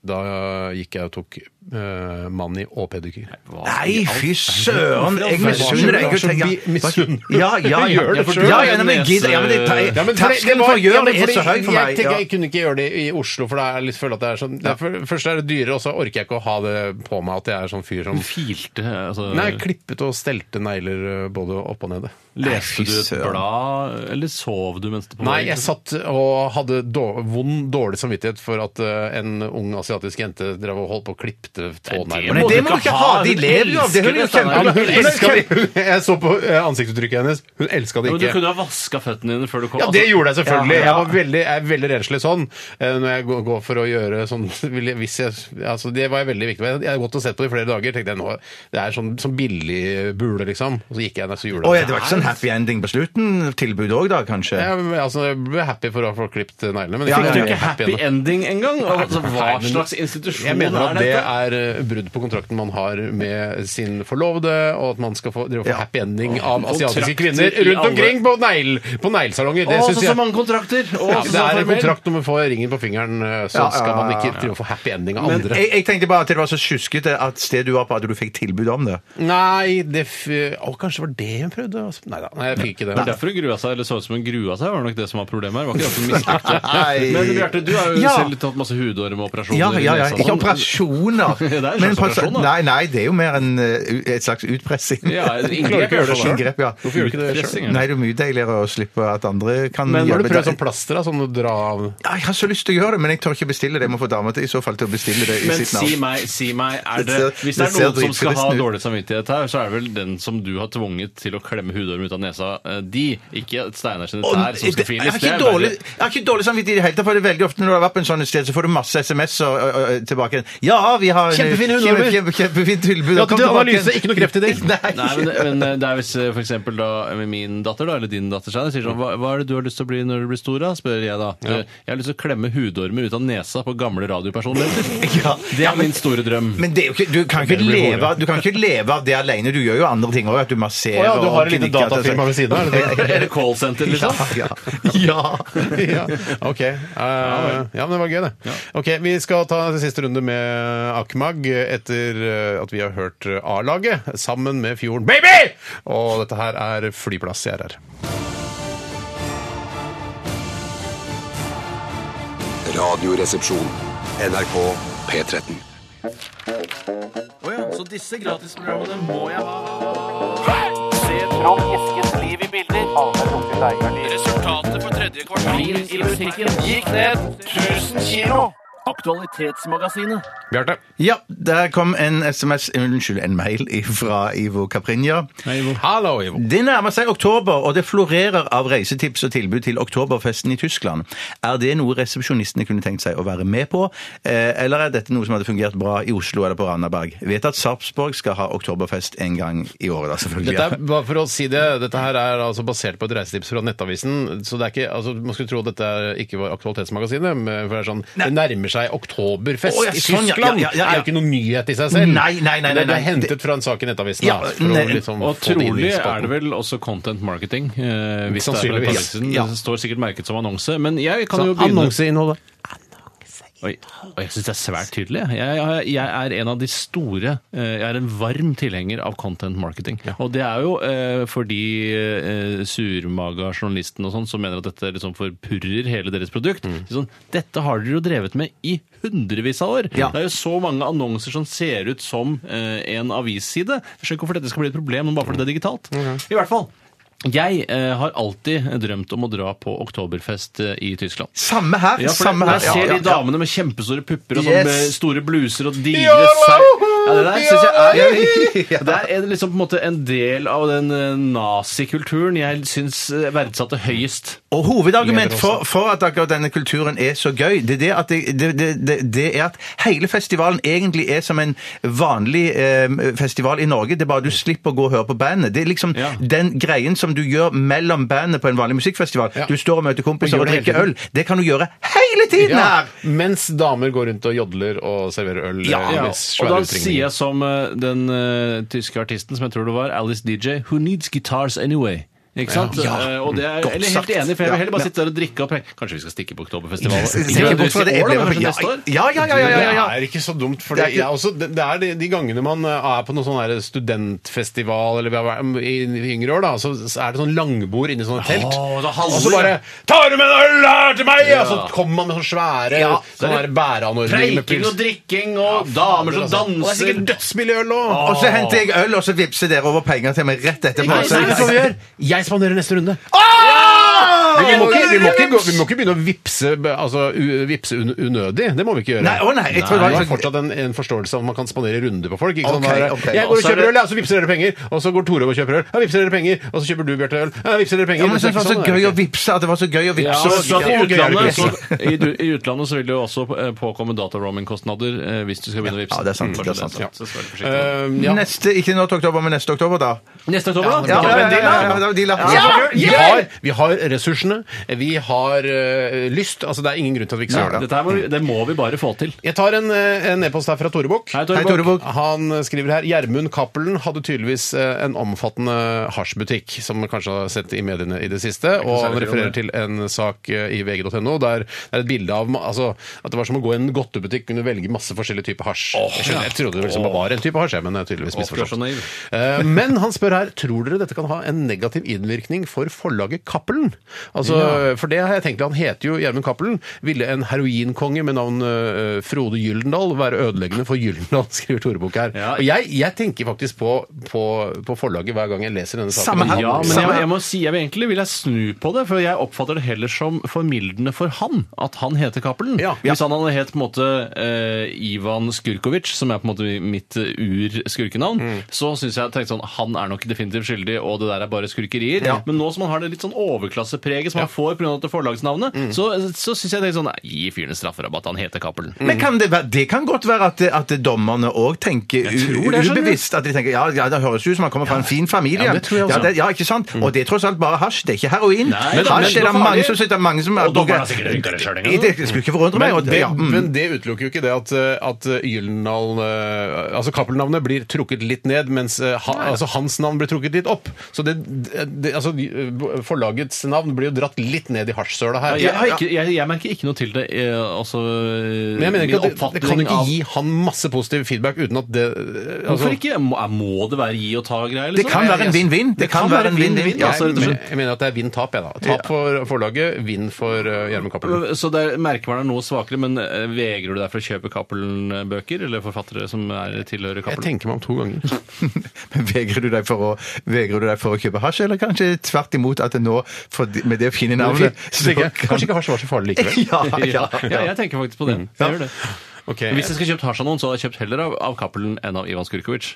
Speaker 7: Da gikk jeg og tok eh, manni og pedikyr.
Speaker 3: Nei, fy søren! Jeg misunner deg. Jeg tenker-
Speaker 7: Misunner du?
Speaker 3: Ja, ja,
Speaker 7: Du
Speaker 3: ja.
Speaker 7: gjør det for
Speaker 3: Ja,
Speaker 7: du
Speaker 3: ja,
Speaker 7: er
Speaker 3: nei, men jeg gidder- ja, men det-
Speaker 8: nese-
Speaker 7: Ja, men for-
Speaker 3: Terskelen
Speaker 7: det
Speaker 3: for
Speaker 7: var-
Speaker 3: å gjøre
Speaker 7: ja, men
Speaker 3: det er
Speaker 7: fordi
Speaker 3: så høy for
Speaker 7: Jeg
Speaker 3: meg.
Speaker 7: tenker jeg
Speaker 3: Ja.
Speaker 7: kunne ikke gjøre det i Oslo, for da er jeg litt føler at det er sånn det er for, Først er det dyrere, og så orker jeg ikke å ha det på meg at jeg er sånn fyr som
Speaker 8: Filte altså,
Speaker 7: Nei, klippet og stelte negler eh, både opp og nede.
Speaker 8: Leste
Speaker 3: Nei, fy
Speaker 8: du et
Speaker 3: søren.
Speaker 8: blad, eller sov du mens det pågikk?
Speaker 7: Nei, jeg satt og hadde dår, vond, dårlig samvittighet for at eh, en ung asiatisk jente drev og holdt på å klippe
Speaker 8: det
Speaker 7: tånegler.
Speaker 3: Men
Speaker 8: må
Speaker 3: det
Speaker 8: du
Speaker 3: må du
Speaker 8: ikke
Speaker 3: ikke
Speaker 8: ha.
Speaker 3: ha! De
Speaker 8: Hun
Speaker 3: lever jo av det! Hun er jo
Speaker 8: elsker det,
Speaker 7: Ja, men hun
Speaker 3: kjempe-
Speaker 7: elska det! Jeg så på eh, ansiktsuttrykket hennes. Hun elska det
Speaker 8: Men Du
Speaker 7: ikke.
Speaker 8: kunne ha vaska føttene dine før du kom.
Speaker 7: Ja, det
Speaker 8: Altså,
Speaker 7: gjorde jeg selvfølgelig.
Speaker 8: Ja, ja.
Speaker 7: Jeg, var veldig, jeg er veldig renslig sånn. eh, Når jeg går- går for å gjøre sånn vil jeg- hvis jeg, altså, Det var jeg veldig viktig med. Jeg har gått og sett på det i flere dager. tenkte jeg nå, Det er sånn, sånn billig bule, liksom. Og så gikk jeg ned og gjorde
Speaker 3: Å ja, det var ikke sånn happy ending på slutten? Tilbud òg, da, kanskje?
Speaker 7: Jeg, altså, jeg ble happy for å få klippet neglene, men jeg
Speaker 3: Ja,
Speaker 7: fikk
Speaker 3: ja,
Speaker 7: jo
Speaker 3: ja.
Speaker 7: ikke happy
Speaker 8: Happy
Speaker 7: ennå.
Speaker 8: ending engang? Altså, hva
Speaker 7: Nei, men-
Speaker 8: slags institusjon
Speaker 7: Jeg mener at
Speaker 8: er
Speaker 7: det
Speaker 8: dette?
Speaker 7: er eh, brudd på kontrakten man har med sin forlovede, og at man skal få, drive og få
Speaker 3: Ja.
Speaker 7: happy ending av asiatiske
Speaker 8: kontrakter
Speaker 7: kvinner
Speaker 8: i
Speaker 7: rundt
Speaker 8: alle-
Speaker 7: omkring på, negl, på neglesalonger.
Speaker 8: Å,
Speaker 7: Det
Speaker 8: så,
Speaker 7: synes
Speaker 8: så
Speaker 7: jeg
Speaker 8: mange kontrakter! Å,
Speaker 7: ja,
Speaker 8: så-
Speaker 7: det
Speaker 8: så
Speaker 7: er en
Speaker 8: formell.
Speaker 7: kontrakt når man får ringen på fingeren, eh, så
Speaker 3: Ja, ja,
Speaker 7: skal man
Speaker 3: ja,
Speaker 7: ikke
Speaker 3: ja.
Speaker 7: drive og få happy ending av
Speaker 3: Men
Speaker 7: andre.
Speaker 3: jeg, jeg tenkte bare at det var så sjuskete at stedet du var på, at du fikk tilbud om det.
Speaker 7: Nei, det f Å, kanskje det var det hun prøvde? å- Nei da, nei, jeg fikk ikke det.
Speaker 8: Det var derfor hun grua seg, eller så ut som hun grua seg, var nok det som var problemet her. Det Var ikke at hun mislikte.
Speaker 3: Nei.
Speaker 8: Men Bjarte, du har jo
Speaker 3: Ja.
Speaker 8: selv tatt masse hudorm og operasjoner.
Speaker 3: Ja,
Speaker 8: i
Speaker 3: ja, ja.
Speaker 8: nesa og
Speaker 3: Ikke
Speaker 8: sånn.
Speaker 3: operasjoner.
Speaker 8: Det er en slags
Speaker 3: Men på-
Speaker 8: operasjon, da.
Speaker 3: Nei, nei, det er jo mer en, eh, et slags utpressing.
Speaker 8: Ja, et
Speaker 7: Klarer du ikke
Speaker 8: inngrep,
Speaker 7: å gjøre det
Speaker 8: i hvert fall.
Speaker 7: selv?
Speaker 3: Inngrep, ja.
Speaker 7: Hvorfor gjør du ikke det selv?
Speaker 8: Utpressing, ja.
Speaker 3: Nei, det er jo mye deiligere å slippe at andre kan
Speaker 7: Men har du
Speaker 3: jobbe
Speaker 7: prøvd
Speaker 3: der.
Speaker 7: sånn plaster? da, Sånn å dra av
Speaker 3: Ja, jeg har så lyst til å gjøre det, men jeg tør ikke bestille det. Jeg må få dama til i så fall til å bestille det i
Speaker 8: Men
Speaker 3: sitt
Speaker 8: si
Speaker 3: navn.
Speaker 8: meg, si meg er det,
Speaker 3: Det ser-
Speaker 8: Hvis det er
Speaker 3: det ser
Speaker 8: noen som skal ha
Speaker 3: dritfristende ut.
Speaker 8: dårlig samvittighet her, så er det vel den som du har tvunget til å klemme hudorm ut av nesa, eh, de. Ikke Steinar sine
Speaker 3: Og
Speaker 8: tær sånn som
Speaker 3: det-
Speaker 8: skal
Speaker 3: jeg, har
Speaker 8: files.
Speaker 3: ikke
Speaker 8: Det er
Speaker 3: dårlig,
Speaker 8: verre.
Speaker 3: jeg har ikke dårlig samvittighet i det hele tatt. for det er veldig ofte Når du har vært på en sånn et sted, så får du masse SMS-er tilbake. igjen. Ja, vi har en-
Speaker 7: Kjempefine
Speaker 3: kjempe-
Speaker 7: hundormer.
Speaker 3: kjempe- Kjempefint tilbud.
Speaker 7: Ja,
Speaker 3: Kom
Speaker 7: det er
Speaker 3: tilbake
Speaker 7: Sånn analyse,
Speaker 3: igjen.
Speaker 7: ikke noe kreft i det.
Speaker 3: Nei.
Speaker 8: Nei, men, men eh, det er hvis eh, for eksempel da eh, min datter da, eller din datter Steinar, sier sånn hva, hva er det du har lyst til å bli når du blir stor? da, spør jeg da. Eh, Jeg har lyst til å klemme hudormer ut av nesa på gamle radiopersonligheter.
Speaker 3: Ja.
Speaker 8: Det er min store drøm.
Speaker 3: Men det er jo ikke, du, kan ikke
Speaker 7: Det blir
Speaker 3: leve,
Speaker 7: hore.
Speaker 3: du kan ikke leve av det alene. Du gjør jo andre ting òg. At du masserer
Speaker 7: Å ja, du har
Speaker 3: og
Speaker 7: et lite
Speaker 3: knikker til seg.
Speaker 7: datafirma ved siden av? er det det?
Speaker 8: Eller callsenter,
Speaker 3: Ja,
Speaker 8: liksom.
Speaker 3: ja.
Speaker 7: ja, ok. Eh, ja, men det var gøy, det. Ok, Vi skal ta siste runde med Akmag etter eh, at vi har hørt A-laget sammen med Fjorden Baby! Og dette her er Flyplass jeg er her.
Speaker 1: Radioresepsjon. NRK P13.
Speaker 7: Bjarte.
Speaker 3: ja, der kom en SMS, unnskyld, en mail fra Ivo Caprinja.
Speaker 7: Hallo, Ivo.
Speaker 3: Det nærmer seg oktober, og det florerer av reisetips og tilbud til oktoberfesten i Tyskland. Er det noe resepsjonistene kunne tenkt seg å være med på, eh, eller er dette noe som hadde fungert bra i Oslo eller på Randaberg? Vet at Sarpsborg skal ha oktoberfest en gang i året, da, selvfølgelig.
Speaker 7: Dette er, bare for å si det, dette her er altså basert på et reisetips fra Nettavisen. så det er ikke, altså, Man skulle tro at dette ikke var Aktualitetsmagasinet, men for det, er sånn, det nærmer seg Oktoberfest
Speaker 3: Å, ja,
Speaker 7: i
Speaker 3: sånn, ja,
Speaker 7: Tyskland!
Speaker 3: ja, ja, ja,
Speaker 7: Det er
Speaker 3: ja.
Speaker 7: jo ikke noe nyhet i seg selv.
Speaker 3: Nei, nei, nei, nei,
Speaker 7: Det er
Speaker 3: nei.
Speaker 7: hentet fra en sak i Nettavisen.
Speaker 3: Ja,
Speaker 7: da, for å
Speaker 3: nei.
Speaker 7: liksom
Speaker 8: Og
Speaker 7: få det inn i
Speaker 8: trolig
Speaker 7: spalten.
Speaker 8: er det vel også content marketing. Eh, hvis
Speaker 7: Sannsynligvis.
Speaker 8: Det, er på nettavisen.
Speaker 3: Ja.
Speaker 8: det står sikkert merket som annonse, men jeg kan
Speaker 7: Så
Speaker 8: jo begynne
Speaker 7: Annonseinnholdet.
Speaker 8: Oi, og jeg syns det er svært tydelig. Jeg, jeg, jeg er en av de store eh, Jeg er en varm tilhenger av content marketing. Og det er jo eh, for de eh, surmaga journalistene og sånn som mener at dette liksom forpurrer hele deres produkt. De er Sånn, dette har dere jo drevet med i hundrevis av år.
Speaker 3: Ja.
Speaker 8: Det er jo så mange annonser som ser ut som eh, en avisside. Jeg skjønner ikke hvorfor dette skal bli et problem bare fordi det er digitalt. I hvert fall. Jeg eh, har alltid drømt om å dra på oktoberfest eh, i Tyskland.
Speaker 3: Samme her!
Speaker 8: Ja, for
Speaker 3: samme her.
Speaker 8: når jeg ser
Speaker 3: Ja, ja,
Speaker 8: de damene med kjempestore pupper og sånn
Speaker 3: Yes.
Speaker 8: med store bluser og digre
Speaker 7: Yolo!
Speaker 8: sau ja, Det der synes jeg
Speaker 3: Ja.
Speaker 8: er, det er liksom på en måte en del av den eh, nazikulturen jeg syns eh, verdsatte høyest.
Speaker 3: Og hovedargument for, for at akkurat denne kulturen er så gøy, det er det at, det, det, det, det er at hele festivalen egentlig er som en vanlig eh, festival i Norge. Det er bare du slipper å gå og høre på bandet. Det er liksom
Speaker 8: Ja.
Speaker 3: den greien som du gjør mellom bandet på en vanlig musikkfestival.
Speaker 7: Ja.
Speaker 3: Du står og møter kompiser
Speaker 7: Og gjør
Speaker 3: og
Speaker 7: det hele
Speaker 3: drikker
Speaker 7: tiden.
Speaker 3: øl. Det kan du gjøre hele tiden
Speaker 7: Ja,
Speaker 3: her!
Speaker 7: mens damer går rundt og jodler og serverer øl. eh,
Speaker 8: Ja,
Speaker 7: med
Speaker 8: og
Speaker 7: svære
Speaker 8: da
Speaker 7: utringninger.
Speaker 8: sier jeg som eh, den eh, tyske artisten som jeg tror det var, Alice DJ, Who needs guitars anyway? Ikke sant?
Speaker 3: Ja.
Speaker 8: Eh, og det er,
Speaker 3: Godt
Speaker 8: eller helt
Speaker 3: sagt.
Speaker 8: enig, for jeg vil
Speaker 3: Ja,
Speaker 8: heller bare
Speaker 3: ja.
Speaker 8: sitte der og drikke og preke. Kanskje vi skal stikke på Oktoberfestivalen?
Speaker 3: Sikkert bort fra det
Speaker 8: I år, da,
Speaker 3: eplet-
Speaker 8: kanskje
Speaker 3: Ja,
Speaker 8: neste år?
Speaker 3: ja, ja, ja, ja, ja, ja.
Speaker 7: Det er ikke så dumt. For
Speaker 3: Det
Speaker 7: det er,
Speaker 3: er ikke-
Speaker 7: også, det det er de, de gangene man eh, er på noen sånn her studentfestival eller vi har vært- i i yngre år, da, så så er det sånn langbord inni sånne telt.
Speaker 8: Åh, det er
Speaker 7: og
Speaker 8: halvor.
Speaker 7: så bare 'Tar du med en øl her til meg?' Og så kommer man med sånne svære
Speaker 8: Ja.
Speaker 7: sånne her bæreanordninger med
Speaker 8: Preiking og
Speaker 7: pils. altså.
Speaker 8: drikking og damer
Speaker 7: Og det
Speaker 8: som
Speaker 7: er
Speaker 8: danser.
Speaker 7: sikkert dødsbillig øl òg.
Speaker 3: Og så henter jeg øl, og så vippser dere over penger til meg rett etterpå.
Speaker 7: Nei,
Speaker 3: Så-
Speaker 7: nei, vet du hva sånn vi gjør? Jeg spanderer neste runde.
Speaker 3: Ah!
Speaker 7: Men Vi må, ikke, vi, må ikke, gå- vi må ikke begynne å vippse, altså, u- vippse un unødig. Det må vi ikke gjøre.
Speaker 3: Nei, å nei, jeg tror det
Speaker 7: det
Speaker 3: var-
Speaker 7: var fortsatt en, en forståelse av at man kan spandere runder på folk. Ikke
Speaker 3: Ok,
Speaker 7: sånn bare,
Speaker 3: ok.
Speaker 7: Jeg går og
Speaker 8: Så er
Speaker 7: kjøper
Speaker 8: det-
Speaker 7: øl, ja, så vippser dere penger. Og så går Tore og kjøper øl, ja, vippser dere penger. Og så kjøper du, Bjarte, øl, ja, vippser dere penger.
Speaker 3: Ja, men jeg
Speaker 7: Det er ikke
Speaker 3: synes det var så
Speaker 7: sånn det
Speaker 3: gøy
Speaker 7: er.
Speaker 3: å vippse at det var så gøy å vippse.
Speaker 8: Ja, men så at
Speaker 7: gøy
Speaker 8: i,
Speaker 7: er det ikke.
Speaker 8: utlandet, så, i, du- I utlandet så vil det jo også eh, påkomme dataroaming-kostnader eh, hvis du skal begynne å vippse.
Speaker 3: Ja, det er sant,
Speaker 8: Mm,
Speaker 3: det er sant.
Speaker 8: så- så skal du være forsiktig.
Speaker 7: Ehm, ja.
Speaker 3: Neste, ikke nå til oktober, men neste oktober, da.
Speaker 8: Eh, Neste oktober, da?
Speaker 3: Ja,
Speaker 8: Ja,
Speaker 3: ja, ja,
Speaker 8: men-
Speaker 3: ja, ja, ja, deal, ja.
Speaker 7: Vi har, vi har ressursene, vi har eh, lyst. Altså, det er ingen grunn til at vi ikke skal gjøre det.
Speaker 8: Dette her må, vi- det må vi bare få til.
Speaker 7: Jeg tar en, eh, en e-post her fra Tore Bukk.
Speaker 8: Hei,
Speaker 3: Hei, Tore Bukk.
Speaker 7: Han skriver her Gjermund Cappelen hadde tydeligvis eh, en omfattende hasjbutikk, som man kanskje har sett i mediene i det siste. Og han refererer til en sak eh, i vg.no der det er et bilde av ma- altså, at det var som å gå i en godtebutikk, kunne velge masse forskjellige typer hasj. jeg, skjønner, jeg trodde det liksom var en type hasj, jeg, men jeg er tydeligvis
Speaker 8: Åh, du er så
Speaker 7: misforstått.
Speaker 8: naiv.
Speaker 7: Eh, Men han spør her tror dere dette kan ha en negativ innvirkning for forlaget Cappelen. Altså, For det har jeg tenkt, han heter jo Gjermund Cappelen. Ville en heroinkonge med navn eh, Frode Gyldendal være ødeleggende for Gyldendal, skriver Tore Bukk her.
Speaker 8: Ja.
Speaker 7: Og jeg, jeg tenker faktisk på, på, på forlaget hver gang jeg leser denne saken.
Speaker 3: Samme her.
Speaker 8: Ja, men jeg,
Speaker 3: Samme-
Speaker 8: jeg må si, jeg vil egentlig vil jeg snu på det, for jeg oppfatter det heller som formildende for han at han heter Cappelen.
Speaker 7: Ja.
Speaker 8: Hvis han hadde het på en måte eh, Ivan Skurkovic, som er på en måte mitt eh, ur-skurkenavn,
Speaker 7: Mm.
Speaker 8: så syns jeg tenkte sånn, han er nok definitivt skyldig, og det der er bare skurkerier. Men nå som han har det litt sånn overklassepreget som han får pga. forlagsnavnet,
Speaker 7: Mm.
Speaker 8: så, så syns jeg det er sånn nei, Gi fyren en strafferabatt, han heter Cappelen.
Speaker 7: Mm.
Speaker 3: Men kan det, være, det kan godt være at, at dommerne òg tenker u-
Speaker 8: tror det, skjønner du.
Speaker 3: ubevisst. At de tenker ja, ja, det høres ut som han kommer fra en fin familie.
Speaker 7: Ja, det tror jeg også.
Speaker 3: Ja, det- ja, ikke sant? Og det er tross alt bare hasj, det er ikke heroin.
Speaker 8: Nei, men-
Speaker 3: hasj
Speaker 8: men-
Speaker 3: er det
Speaker 8: men-
Speaker 3: mange som sitter mange som
Speaker 8: Og dommerne har sikkert røyka det selv en gang.
Speaker 3: I- Det skulle ikke forundre meg.
Speaker 7: Men
Speaker 3: og-
Speaker 7: det,
Speaker 3: ja, mm.
Speaker 7: men det utelukker jo ikke det at, eh, at eh, Gyldendal eh, Altså Cappelen-navnet blir trukket litt ned, mens eh, ha, altså, hans navn blir trukket litt opp. Så det, det, altså, eh, forlagets navn blir jo dratt litt ned i hasjsøla her.
Speaker 8: Jeg, har ikke, jeg, jeg merker ikke noe til det. Eh, altså,
Speaker 7: Men jeg mener
Speaker 8: min
Speaker 7: ikke at det, det kan
Speaker 8: oppfatning
Speaker 7: ikke
Speaker 8: av-
Speaker 7: gi han masse positiv feedback uten at det eh, altså-
Speaker 8: Hvorfor ikke? Må, må det være gi og liksom? ta-greier?
Speaker 3: Det kan være en vinn-vinn. Det kan være en vinn-vinn.
Speaker 8: altså,
Speaker 7: jeg,
Speaker 8: rett og
Speaker 7: men,
Speaker 8: slett.
Speaker 7: jeg mener at det er vinn-tap, jeg, da. Tap for forlaget, vinn for eh, Gjermund Cappelen.
Speaker 8: Så det er, merkevaren er noe svakere, men eh, vegrer du deg for å kjøpe Cappelen-bøker? Eller forfattere som er, tilhører
Speaker 7: Jeg
Speaker 8: Cappelen?
Speaker 7: tenker meg om to ganger.
Speaker 3: Men Vegrer du deg for å, vegrer du deg for å kjøpe hasj, eller kanskje tvert imot at det nå, for, med det fine navnet
Speaker 7: Så tenker jeg, Kanskje ikke hasj var så farlig likevel.
Speaker 3: Ja, ja,
Speaker 8: ja, jeg tenker faktisk på det.
Speaker 7: Mm.
Speaker 8: Jeg gjør det.
Speaker 7: Ok,
Speaker 8: Men Hvis jeg skulle kjøpt hasj av noen, så hadde jeg kjøpt heller av, av Cappelen enn av Ivan Skurkovic.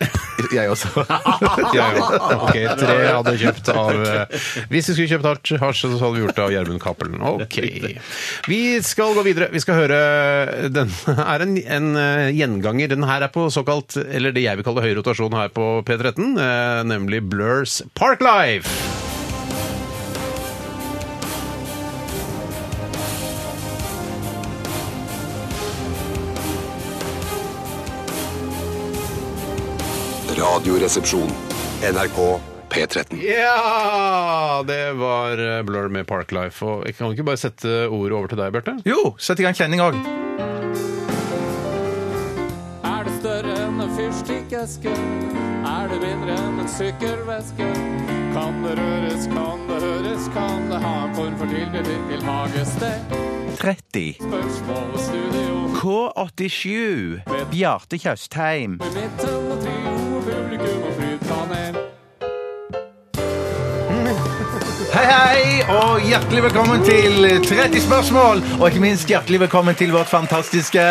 Speaker 3: Jeg også.
Speaker 7: Ja, ja. Ok, tre hadde kjøpt av eh, Hvis vi skulle kjøpt hasj- hasj, så hadde vi gjort det av Gjermund Cappelen. Ok. Vi skal gå videre. Vi skal høre eh, Den er en, en eh, gjenganger. Den her er på såkalt, eller det jeg vil kalle høy rotasjon her på P13, eh, nemlig Blurs Park Life.
Speaker 1: Radioresepsjon. NRK P13.
Speaker 7: Ja! Det var eh, Blur med Park Life. Og jeg kan ikke bare sette ordet over til deg, Bjarte?
Speaker 3: Jo, sett i gang kjenning òg.
Speaker 10: Er det større enn en fyrstikkeske? Er det mindre enn en sykkelveske? Kan det røres, kan det høres, kan det ha en form for tilknytning til hagested?
Speaker 3: 30.
Speaker 10: Spørsmål og studio
Speaker 3: K87. Bjarte Tjøstheim.
Speaker 10: i midten og trio og publikum og flytpanel.
Speaker 3: Hei, hei, og hjertelig velkommen til 30 spørsmål. Og ikke minst hjertelig velkommen til vårt fantastiske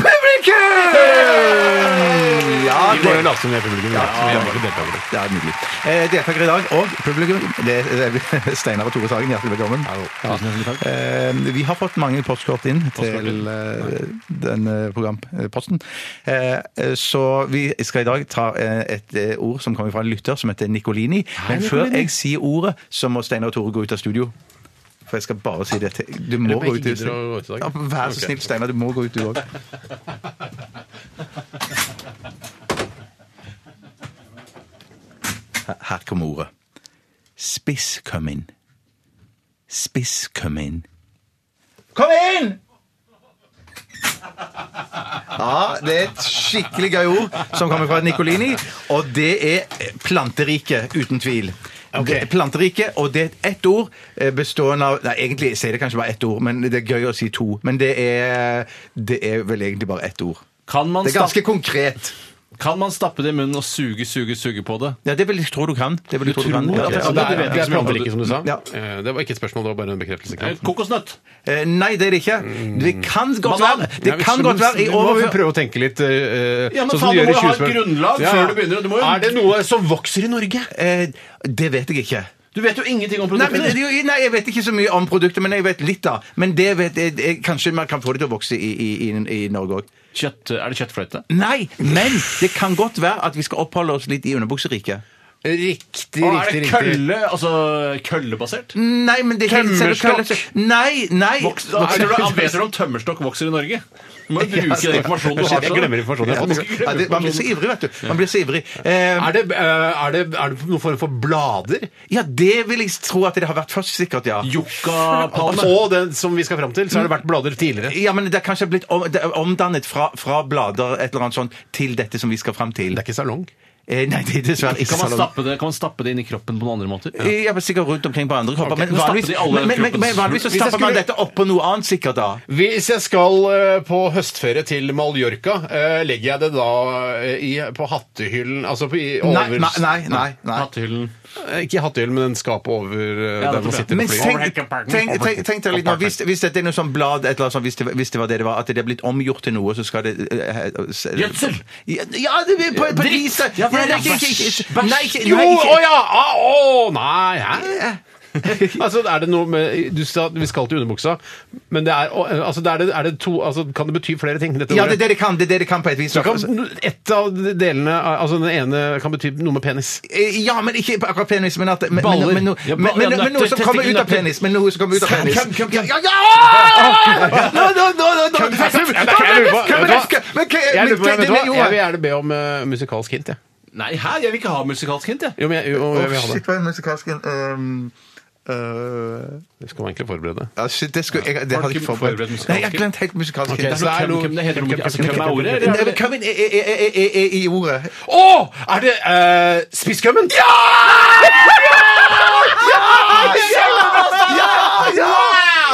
Speaker 3: publikum! Ja, det,
Speaker 7: late som vi er publikum. Ja, vi er bare deltakere.
Speaker 3: det er nydelig. Eh, deltakere i dag og publikum, det er det er Steinar og Tore Sagen, hjertelig velkommen. Ja. Eh, vi har fått mange postkort inn til eh, den eh, programposten. Eh, eh, så vi skal i dag ta eh, et eh, ord som kommer fra en lytter som heter Nicolini. Men før jeg sier ordet, så må Steinar og Tore gå ut av studio. For jeg skal bare si det til Du må
Speaker 7: lurer på om
Speaker 3: gå
Speaker 7: jeg
Speaker 3: ut. i
Speaker 7: gidder å gå ut i
Speaker 3: studio.
Speaker 7: dag.
Speaker 3: Ja, vær så
Speaker 7: Ok.
Speaker 3: snill, Steinar. Du må gå ut, du òg. Her kommer ordet. Spiss, kom inn. Spiss, kom inn. Kom inn! Ja, det er et skikkelig gøy ord som kommer fra Nicolini, og det er planterike, uten tvil. Det er Planterike, og det er ett ord eh, bestående av Nei, egentlig sier det kanskje bare ett ord, men det er gøy å si to. Men det er, det er vel egentlig bare ett ord.
Speaker 8: Kan man,
Speaker 3: Det er ganske
Speaker 8: stappe,
Speaker 3: konkret.
Speaker 8: kan man stappe det i munnen og suge, suge, suge på det?
Speaker 3: Ja, det vil jeg tro du kan. Det vil jeg tro du kan.
Speaker 8: tror
Speaker 3: Ja,
Speaker 8: at jeg-
Speaker 3: ja,
Speaker 8: det
Speaker 7: er,
Speaker 8: vet jeg
Speaker 7: det
Speaker 8: ikke
Speaker 7: er
Speaker 8: så mye om.
Speaker 7: planterike, som du sa.
Speaker 3: Ja.
Speaker 7: Eh, Det var ikke et spørl, det var bare en bekreftelse.
Speaker 8: Eh,
Speaker 7: Knut.
Speaker 8: Kokosnøtt.
Speaker 3: Eh, Nei, det er det ikke. Det kan godt
Speaker 8: Banan.
Speaker 3: være.
Speaker 7: Nei,
Speaker 3: Det
Speaker 7: men
Speaker 3: kan
Speaker 7: så-
Speaker 3: godt være i
Speaker 7: Du må jo
Speaker 3: overfør...
Speaker 7: prøve å tenke litt eh,
Speaker 8: Ja,
Speaker 7: sånn
Speaker 8: men
Speaker 7: som
Speaker 8: faen,
Speaker 7: du gjør i
Speaker 8: du må jo ha et
Speaker 7: skuespill.
Speaker 8: grunnlag før du begynner, og du må jo-
Speaker 7: Er det noe som vokser i Norge?
Speaker 3: Eh, Det vet jeg ikke.
Speaker 8: Du vet jo ingenting om
Speaker 3: Nei, men,
Speaker 8: produkter.
Speaker 3: jo, nei, jeg vet ikke så mye om produktet, men jeg vet litt, da. Men det vet jeg, jeg, kanskje man kan få det til å vokse i, i, i, i Norge òg.
Speaker 8: Kjøtt, er det kjøttfløyte?
Speaker 3: Nei, men det kan godt være at vi skal oppholde oss litt i underbukseriket.
Speaker 7: Riktig,
Speaker 8: Og er
Speaker 7: riktig, Mm. riktig.
Speaker 8: det kølle, altså køllebasert?
Speaker 3: Nei, men det er ikke
Speaker 8: Tømmerstokk.
Speaker 3: Nei, nei.
Speaker 8: Voks, da, er det, han vet jo om tømmerstokk vokser i Norge. Du må jo bruke den informasjonen du har.
Speaker 7: altså, Jeg glemmer informasjonen.
Speaker 3: Ja,
Speaker 7: Jeg har fått.
Speaker 3: det, man blir så ivrig, vet du. Man blir så ivrig. Eh,
Speaker 7: Er det, eh, er, det, er det noen form for blader?
Speaker 3: ja, det vil jeg tro at det har vært først, sikkert, ja.
Speaker 8: Yuccapalme.
Speaker 7: Og den som vi skal fram til, så har det vært blader tidligere.
Speaker 3: Ja, men det er kanskje blitt om, det er omdannet fra, fra blader et eller annet sånt, til dette som vi skal fram til.
Speaker 7: Det er ikke salong.
Speaker 3: Eh, nei, det er dessverre ikke
Speaker 8: Kan man,
Speaker 3: salong.
Speaker 8: stappe det, kan man stappe det inn i kroppen på noen andre måter?
Speaker 3: Eh, Ja, men Sikkert rundt omkring på andre kropper. Men
Speaker 8: Men stapper
Speaker 3: vanligvis,
Speaker 8: de alle
Speaker 3: men, men, men, men
Speaker 8: kroppens-
Speaker 3: vanligvis så
Speaker 7: Hvis jeg
Speaker 3: stapper man
Speaker 7: skulle-
Speaker 3: dette oppå noe annet, sikkert da.
Speaker 7: Hvis jeg skal eh, på høstferie til Mallorca, eh, legger jeg det da eh, i, på hattehyllen Altså på, i
Speaker 3: Nei,
Speaker 7: over
Speaker 3: nei, nei. nei, nei.
Speaker 8: Hattehyllen.
Speaker 7: Eh, Ikke hattehyllen, men den skapet over eh,
Speaker 8: Ja,
Speaker 7: der man
Speaker 8: det tror jeg.
Speaker 7: sitter
Speaker 3: Men
Speaker 7: på flyet.
Speaker 3: tenk, tenk, tenk, tenk deg litt nå, hvis, hvis dette er noe sånn blad, et eller annet sånt, hvis, det, hvis det var det det var, at det er blitt omgjort til noe, så skal det eh, eh, s-
Speaker 8: Gjødsel!
Speaker 3: Ja, ja, det blir på, på et vis da.
Speaker 8: Ja, for
Speaker 3: Nei,
Speaker 8: det er
Speaker 3: ikke- ikke- ikke-
Speaker 8: bæsj, bæsj.
Speaker 3: Nei, ikke-
Speaker 7: Jo,
Speaker 3: nei, ikke-
Speaker 7: å ja! Å, å, nei, hæ? altså, er det noe med Du sa at vi skal til underbuksa, men det er, å, altså, det er, det, er det to altså, Kan det bety flere ting, dette
Speaker 3: Ja,
Speaker 7: ordet?
Speaker 3: det er det det kan, det er det det kan på et vis.
Speaker 7: Så kan ett av delene Altså den ene kan bety noe med penis.
Speaker 3: Eh, Ja, men ikke akkurat penis, men at men,
Speaker 8: Baller.
Speaker 3: men, men, no-
Speaker 8: Ja,
Speaker 3: men, men,
Speaker 8: ja,
Speaker 3: men noe som
Speaker 8: nøtter,
Speaker 3: kommer ut av
Speaker 8: testikkelnøtter.
Speaker 3: penis. Men noe som kommer ut av penis.
Speaker 8: Kom, kom,
Speaker 3: Ja, ja, ja! Nå, nå, nå, nå, nå.
Speaker 7: Kom, kom, kom, kom, jeg lurer på-
Speaker 3: Kom,
Speaker 7: vet du hva?
Speaker 3: men- men-
Speaker 7: Jeg, lurer på,
Speaker 3: men-
Speaker 7: vet du hva?
Speaker 3: men- jo,
Speaker 7: jeg vil gjerne be om eh, musikalsk hint, jeg.
Speaker 8: Nei, hæ? Jeg vil ikke ha musikalsk hint, jeg.
Speaker 7: Jo, men jeg, jo, jeg vil ha det.
Speaker 3: Shit, hva er musikalsken? Ehm, øh,
Speaker 7: Det skal man egentlig forberede.
Speaker 3: ja, Shit, det skulle jeg Det
Speaker 8: Har
Speaker 3: hadde
Speaker 8: du
Speaker 3: jeg ikke
Speaker 8: ikke forberedt
Speaker 3: forberedt.
Speaker 8: musikalsken?
Speaker 3: Nei, jeg har glemt helt musikalsken.
Speaker 7: Ok, så
Speaker 3: Det er
Speaker 7: det er noe-
Speaker 8: Hvem, hvem, det heter,
Speaker 7: hvem-
Speaker 8: altså,
Speaker 7: hvem-
Speaker 8: hvem er ordet?
Speaker 3: noe-
Speaker 8: eller
Speaker 3: Nei,
Speaker 8: er
Speaker 3: men
Speaker 8: det-
Speaker 3: Kom inn, er- er- er- er- er- er- i ordet.
Speaker 7: Å! Er det
Speaker 8: eh,
Speaker 7: uh, spisskummen? Ja!
Speaker 3: Ja!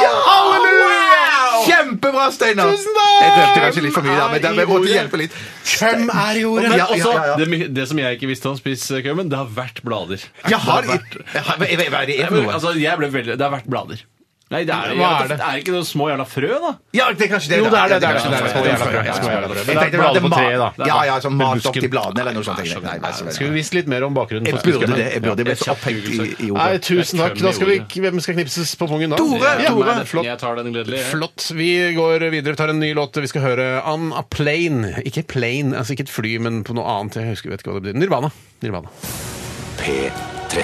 Speaker 3: ja! Halleluja! Kjempebra, Steinar!
Speaker 7: Tusen takk!
Speaker 3: Jeg røpte kanskje litt for mye, da, men det- jeg måtte
Speaker 7: Nei, i
Speaker 3: hjelpe litt.
Speaker 7: Hvem er i ordet?
Speaker 8: Men
Speaker 3: Ja, ja,
Speaker 8: også,
Speaker 3: ja, ja.
Speaker 8: Det, my- det som jeg ikke visste om spisskømmen, det har vært blader.
Speaker 3: Jeg har
Speaker 8: det har vært,
Speaker 3: Jeg har- Hva hva er det
Speaker 8: Nei,
Speaker 3: for
Speaker 8: men,
Speaker 3: noe?
Speaker 8: altså, jeg ble veldig, det har vært blader. Nei, det er,
Speaker 7: Hva er det?
Speaker 8: er ikke noen små jævla frø, da?
Speaker 3: Ja, det er kanskje det.
Speaker 7: Jo, det er det, det er
Speaker 3: Ja,
Speaker 7: det.
Speaker 3: kanskje
Speaker 7: Små jævla frø,
Speaker 3: Ja,
Speaker 7: små jævla frø.
Speaker 3: Jeg
Speaker 7: Men det er
Speaker 3: tenkte bare
Speaker 7: blader på
Speaker 3: ma-
Speaker 7: treet, da.
Speaker 3: Ja, ja, sånn
Speaker 7: Med
Speaker 3: malt opp
Speaker 7: busken.
Speaker 3: til bladene eller noe sånt. tenker jeg. Nei, nei, nei.
Speaker 7: Skulle vi visst litt mer om bakgrunnen
Speaker 3: Jeg
Speaker 7: for
Speaker 3: burde
Speaker 7: spisskummen?
Speaker 3: det. Jeg burde bli så
Speaker 8: Ja,
Speaker 3: opphengt i, i
Speaker 7: Nei,
Speaker 3: ordet.
Speaker 7: tusen takk. Da skal vi, hvem skal knipses på pungen da?
Speaker 3: Tore!
Speaker 7: Ja,
Speaker 8: Nei,
Speaker 7: Tore.
Speaker 8: det-
Speaker 7: Flott.
Speaker 8: Jeg tar den gledelig. jeg.
Speaker 7: Flott. Vi går videre, tar en ny låt. Vi skal høre On a Plane. Ikke plane, altså ikke et fly, men på noe annet. Jeg husker vet ikke hva det blir. Nirvana. Nirvana.
Speaker 1: P13.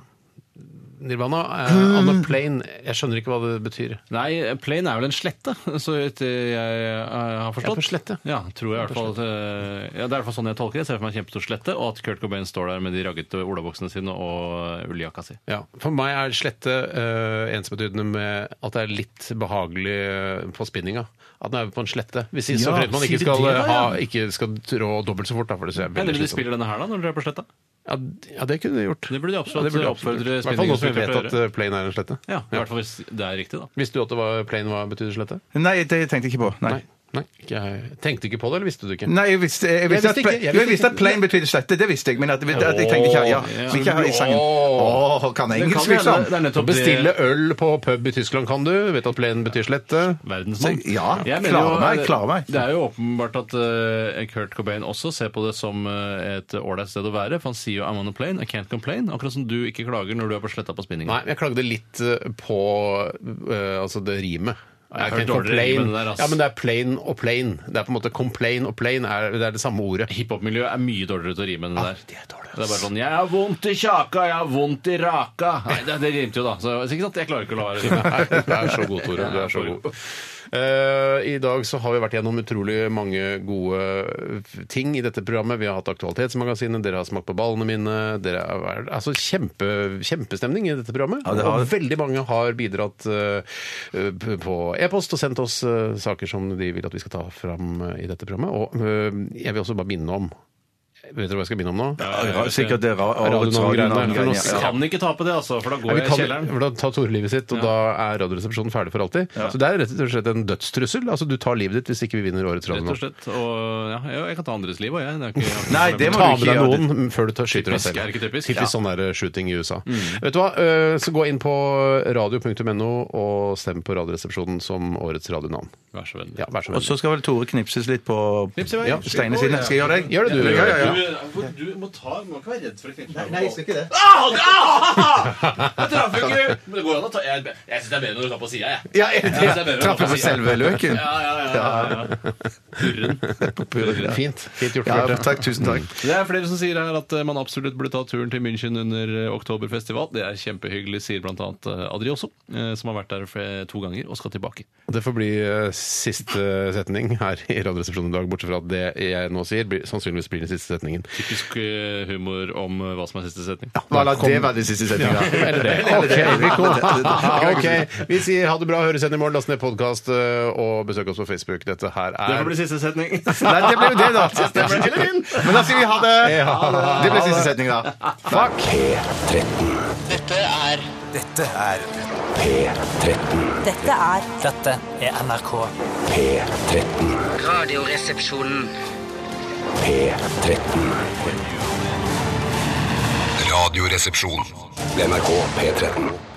Speaker 7: Nirvana,
Speaker 8: Hmm.
Speaker 7: eh, On a Plane. Jeg skjønner ikke hva det betyr.
Speaker 8: Nei, plain er vel en slette, så vidt jeg eh, har
Speaker 7: Ja,
Speaker 8: forstått.
Speaker 7: på slette.
Speaker 8: Ja, tror jeg i hvert fall at, eh, ja, Det er i hvert fall sånn jeg tolker det. Jeg ser for meg en kjempestor slette, og at Kurt Cobain står der med de raggete olaboksene sine og ulljakka si.
Speaker 7: Ja, For meg er slette eh, ensbetydende med at det er litt behagelig eh, på spinninga. At den er på en slette. Hvis i- så
Speaker 8: Ja,
Speaker 7: fremt man
Speaker 8: sier
Speaker 7: ikke
Speaker 8: det
Speaker 7: skal,
Speaker 8: det,
Speaker 7: eh,
Speaker 8: ja.
Speaker 7: ha, ikke skal trå dobbelt så fort. Da, for det ser jeg
Speaker 8: Eller
Speaker 7: veldig
Speaker 8: de
Speaker 7: slitsomt.
Speaker 8: spiller denne her, da, når dere er på sletta.
Speaker 7: Ja, d- ja, det kunne de gjort.
Speaker 8: Det burde de
Speaker 7: Ja,
Speaker 8: absolutt
Speaker 7: det burde de
Speaker 8: oppfordre
Speaker 7: absolutt gjort. I hvert fall nå som vi vet
Speaker 8: spinningsinstruktører
Speaker 7: at eh, plane er en slette.
Speaker 8: Ja, I hvert fall hvis det er riktig, da.
Speaker 7: Visste du at det var plane hva betydde slette?
Speaker 3: Nei, det tenkte jeg ikke på. Nei.
Speaker 7: Nei. Nei, ikke jeg. Tenkte ikke på det, eller visste du det ikke?
Speaker 3: Nei, jeg visste, jeg visste,
Speaker 7: visste
Speaker 3: at,
Speaker 7: ikke,
Speaker 3: pla-
Speaker 7: jeg
Speaker 3: jeg
Speaker 7: visste
Speaker 3: visste at
Speaker 7: ikke.
Speaker 3: plain betydde slette, det visste jeg, men at, at jeg tenkte ikke ja,
Speaker 8: Åh,
Speaker 3: så ikke her i sangen.
Speaker 7: Åh.
Speaker 3: Åh, kan
Speaker 8: Det
Speaker 3: engelsk,
Speaker 8: kan jo hende-
Speaker 3: liksom.
Speaker 8: det er nettopp
Speaker 7: Bestille
Speaker 8: det-
Speaker 7: øl på pub i Tyskland kan du. Vet at plane betyr slette.
Speaker 8: Verdensmann.
Speaker 3: Så- ja,
Speaker 8: Jeg
Speaker 3: klarer
Speaker 8: mener jo-
Speaker 3: meg, klarer meg.
Speaker 8: Det er jo åpenbart at eh, Kurt Cobain også ser på det som eh, et ålreit sted å være. For han sier jo 'I'm on a plane, I can't complain'. Akkurat som du ikke klager når du er på sletta på spinninga.
Speaker 7: Nei, men jeg klagde litt eh, på eh, altså det rimet. I
Speaker 8: Jeg har hørt
Speaker 7: can't complain.
Speaker 8: dårligere rim enn det der, ass.
Speaker 7: Ja, men det er plain og plain. Det er på en måte complain og plain er det, er det samme ordet.
Speaker 8: Hiphop-miljøet er mye dårligere til å rime enn det der.
Speaker 7: de Ah, er dårlige, ass.
Speaker 8: det er bare sånn 'Jeg har vondt i kjaka, jeg har vondt i raka'. Nei, det, det rimte jo, da. Så så ikke sant, jeg klarer ikke å la være å
Speaker 7: Nei,
Speaker 8: rime.
Speaker 7: du er så god, Tore. Du er så god. Eh, I dag så har vi vært gjennom utrolig mange gode eh, ting i dette programmet. Vi har hatt Aktualitetsmagasinet, dere har smakt på ballene mine. Dere er, altså kjempe, kjempestemning i dette programmet.
Speaker 3: Ja, det har-
Speaker 7: Og veldig mange har bidratt eh, p- på e-post og sendt oss eh, saker som de vil at vi skal ta fram eh, i dette programmet. Og eh, jeg vil også bare minne om Vet dere hva jeg skal minne om nå?
Speaker 3: Ja, Sikkert det er ra- årets
Speaker 7: Radionavngreiene.
Speaker 3: radionavngreiene,
Speaker 7: For nå
Speaker 3: ja.
Speaker 8: Kan ikke tape det, altså, for da
Speaker 7: Nei, vi
Speaker 8: går jeg i
Speaker 7: kan,
Speaker 8: kjelleren.
Speaker 7: for da tar Tore livet sitt, og da er Radioresepsjonen ferdig for alltid. Så det er rett og slett en dødstrussel. Altså, du tar livet ditt hvis ikke vi vinner årets
Speaker 8: Rett og
Speaker 7: radio.
Speaker 8: slett. Og ja, jo, jeg kan ta andres liv òg, jeg. Det er ikke, jeg har ikke
Speaker 3: Nei,
Speaker 8: noe
Speaker 3: det
Speaker 8: problem.
Speaker 7: Ta med
Speaker 3: må du ikke
Speaker 7: deg
Speaker 3: gjøre.
Speaker 7: noen før du tar, skyter deg
Speaker 8: Typisk,
Speaker 7: selv.
Speaker 8: er det ikke typisk? Ja. Mm.
Speaker 7: sånn der shooting i USA. Vet du hva? Eh, Så gå inn på radio.no og stem på Radioresepsjonen som årets radionavn.
Speaker 8: Vær så vennlig.
Speaker 7: Ja, vær så
Speaker 3: Og så
Speaker 7: vennlig.
Speaker 3: skal vel Tore knipses litt på
Speaker 8: Knips i vei.
Speaker 3: ja, steinene sine. Skal jeg gjøre det?
Speaker 7: Gjør det, du.
Speaker 3: Ja, ja, ja.
Speaker 8: Du, du må ta Du må ikke være redd for å knippe meg.
Speaker 3: Nei, jeg skal ikke det.
Speaker 8: Ah, ah! Jeg traff jo ikke! Men det går an å ta Jeg, jeg syns det er bedre når du tar på sida, jeg.
Speaker 7: Ja, jeg-
Speaker 8: Jeg synes det er bedre når du tar
Speaker 3: Trapper
Speaker 8: på
Speaker 3: for
Speaker 8: siden.
Speaker 3: selve løken.
Speaker 8: Ja, ja, ja, ja, ja. Purren.
Speaker 7: Fint. Fint gjort.
Speaker 3: Ja,
Speaker 7: Bjarte.
Speaker 3: takk. Tusen takk.
Speaker 8: Det er flere som sier her at eh, man absolutt burde ta turen til München under eh, oktoberfestival. Det er kjempehyggelig, sier bl.a. Adrioso, eh, som har vært der eh, to ganger og skal tilbake.
Speaker 7: Det får bli eh, siste setning her i Radioresepsjonen i dag, bortsett fra at det jeg nå sier, blir, sannsynligvis blir den siste setningen.
Speaker 8: Typisk eh, humor om eh, hva som er siste setning.
Speaker 3: Hva la det være den siste setninga?
Speaker 7: Eller det. Ok, vi, kom. Ok, vi sier ha det bra, høres igjen i morgen. Last ned podkast og besøk oss på Facebook. Dette her
Speaker 8: Det
Speaker 7: er
Speaker 8: får bli siste setning.
Speaker 3: Nei, det ble jo det, da.
Speaker 7: Det ble til min.
Speaker 3: Men da sier vi ha det.
Speaker 7: Ja.
Speaker 3: Det ble siste setning, da. Fuck.
Speaker 2: Dette er
Speaker 9: Dette er
Speaker 11: Dette er
Speaker 9: Dette er NRK.
Speaker 2: Radioresepsjonen.
Speaker 1: Radioresepsjon. NRK P13.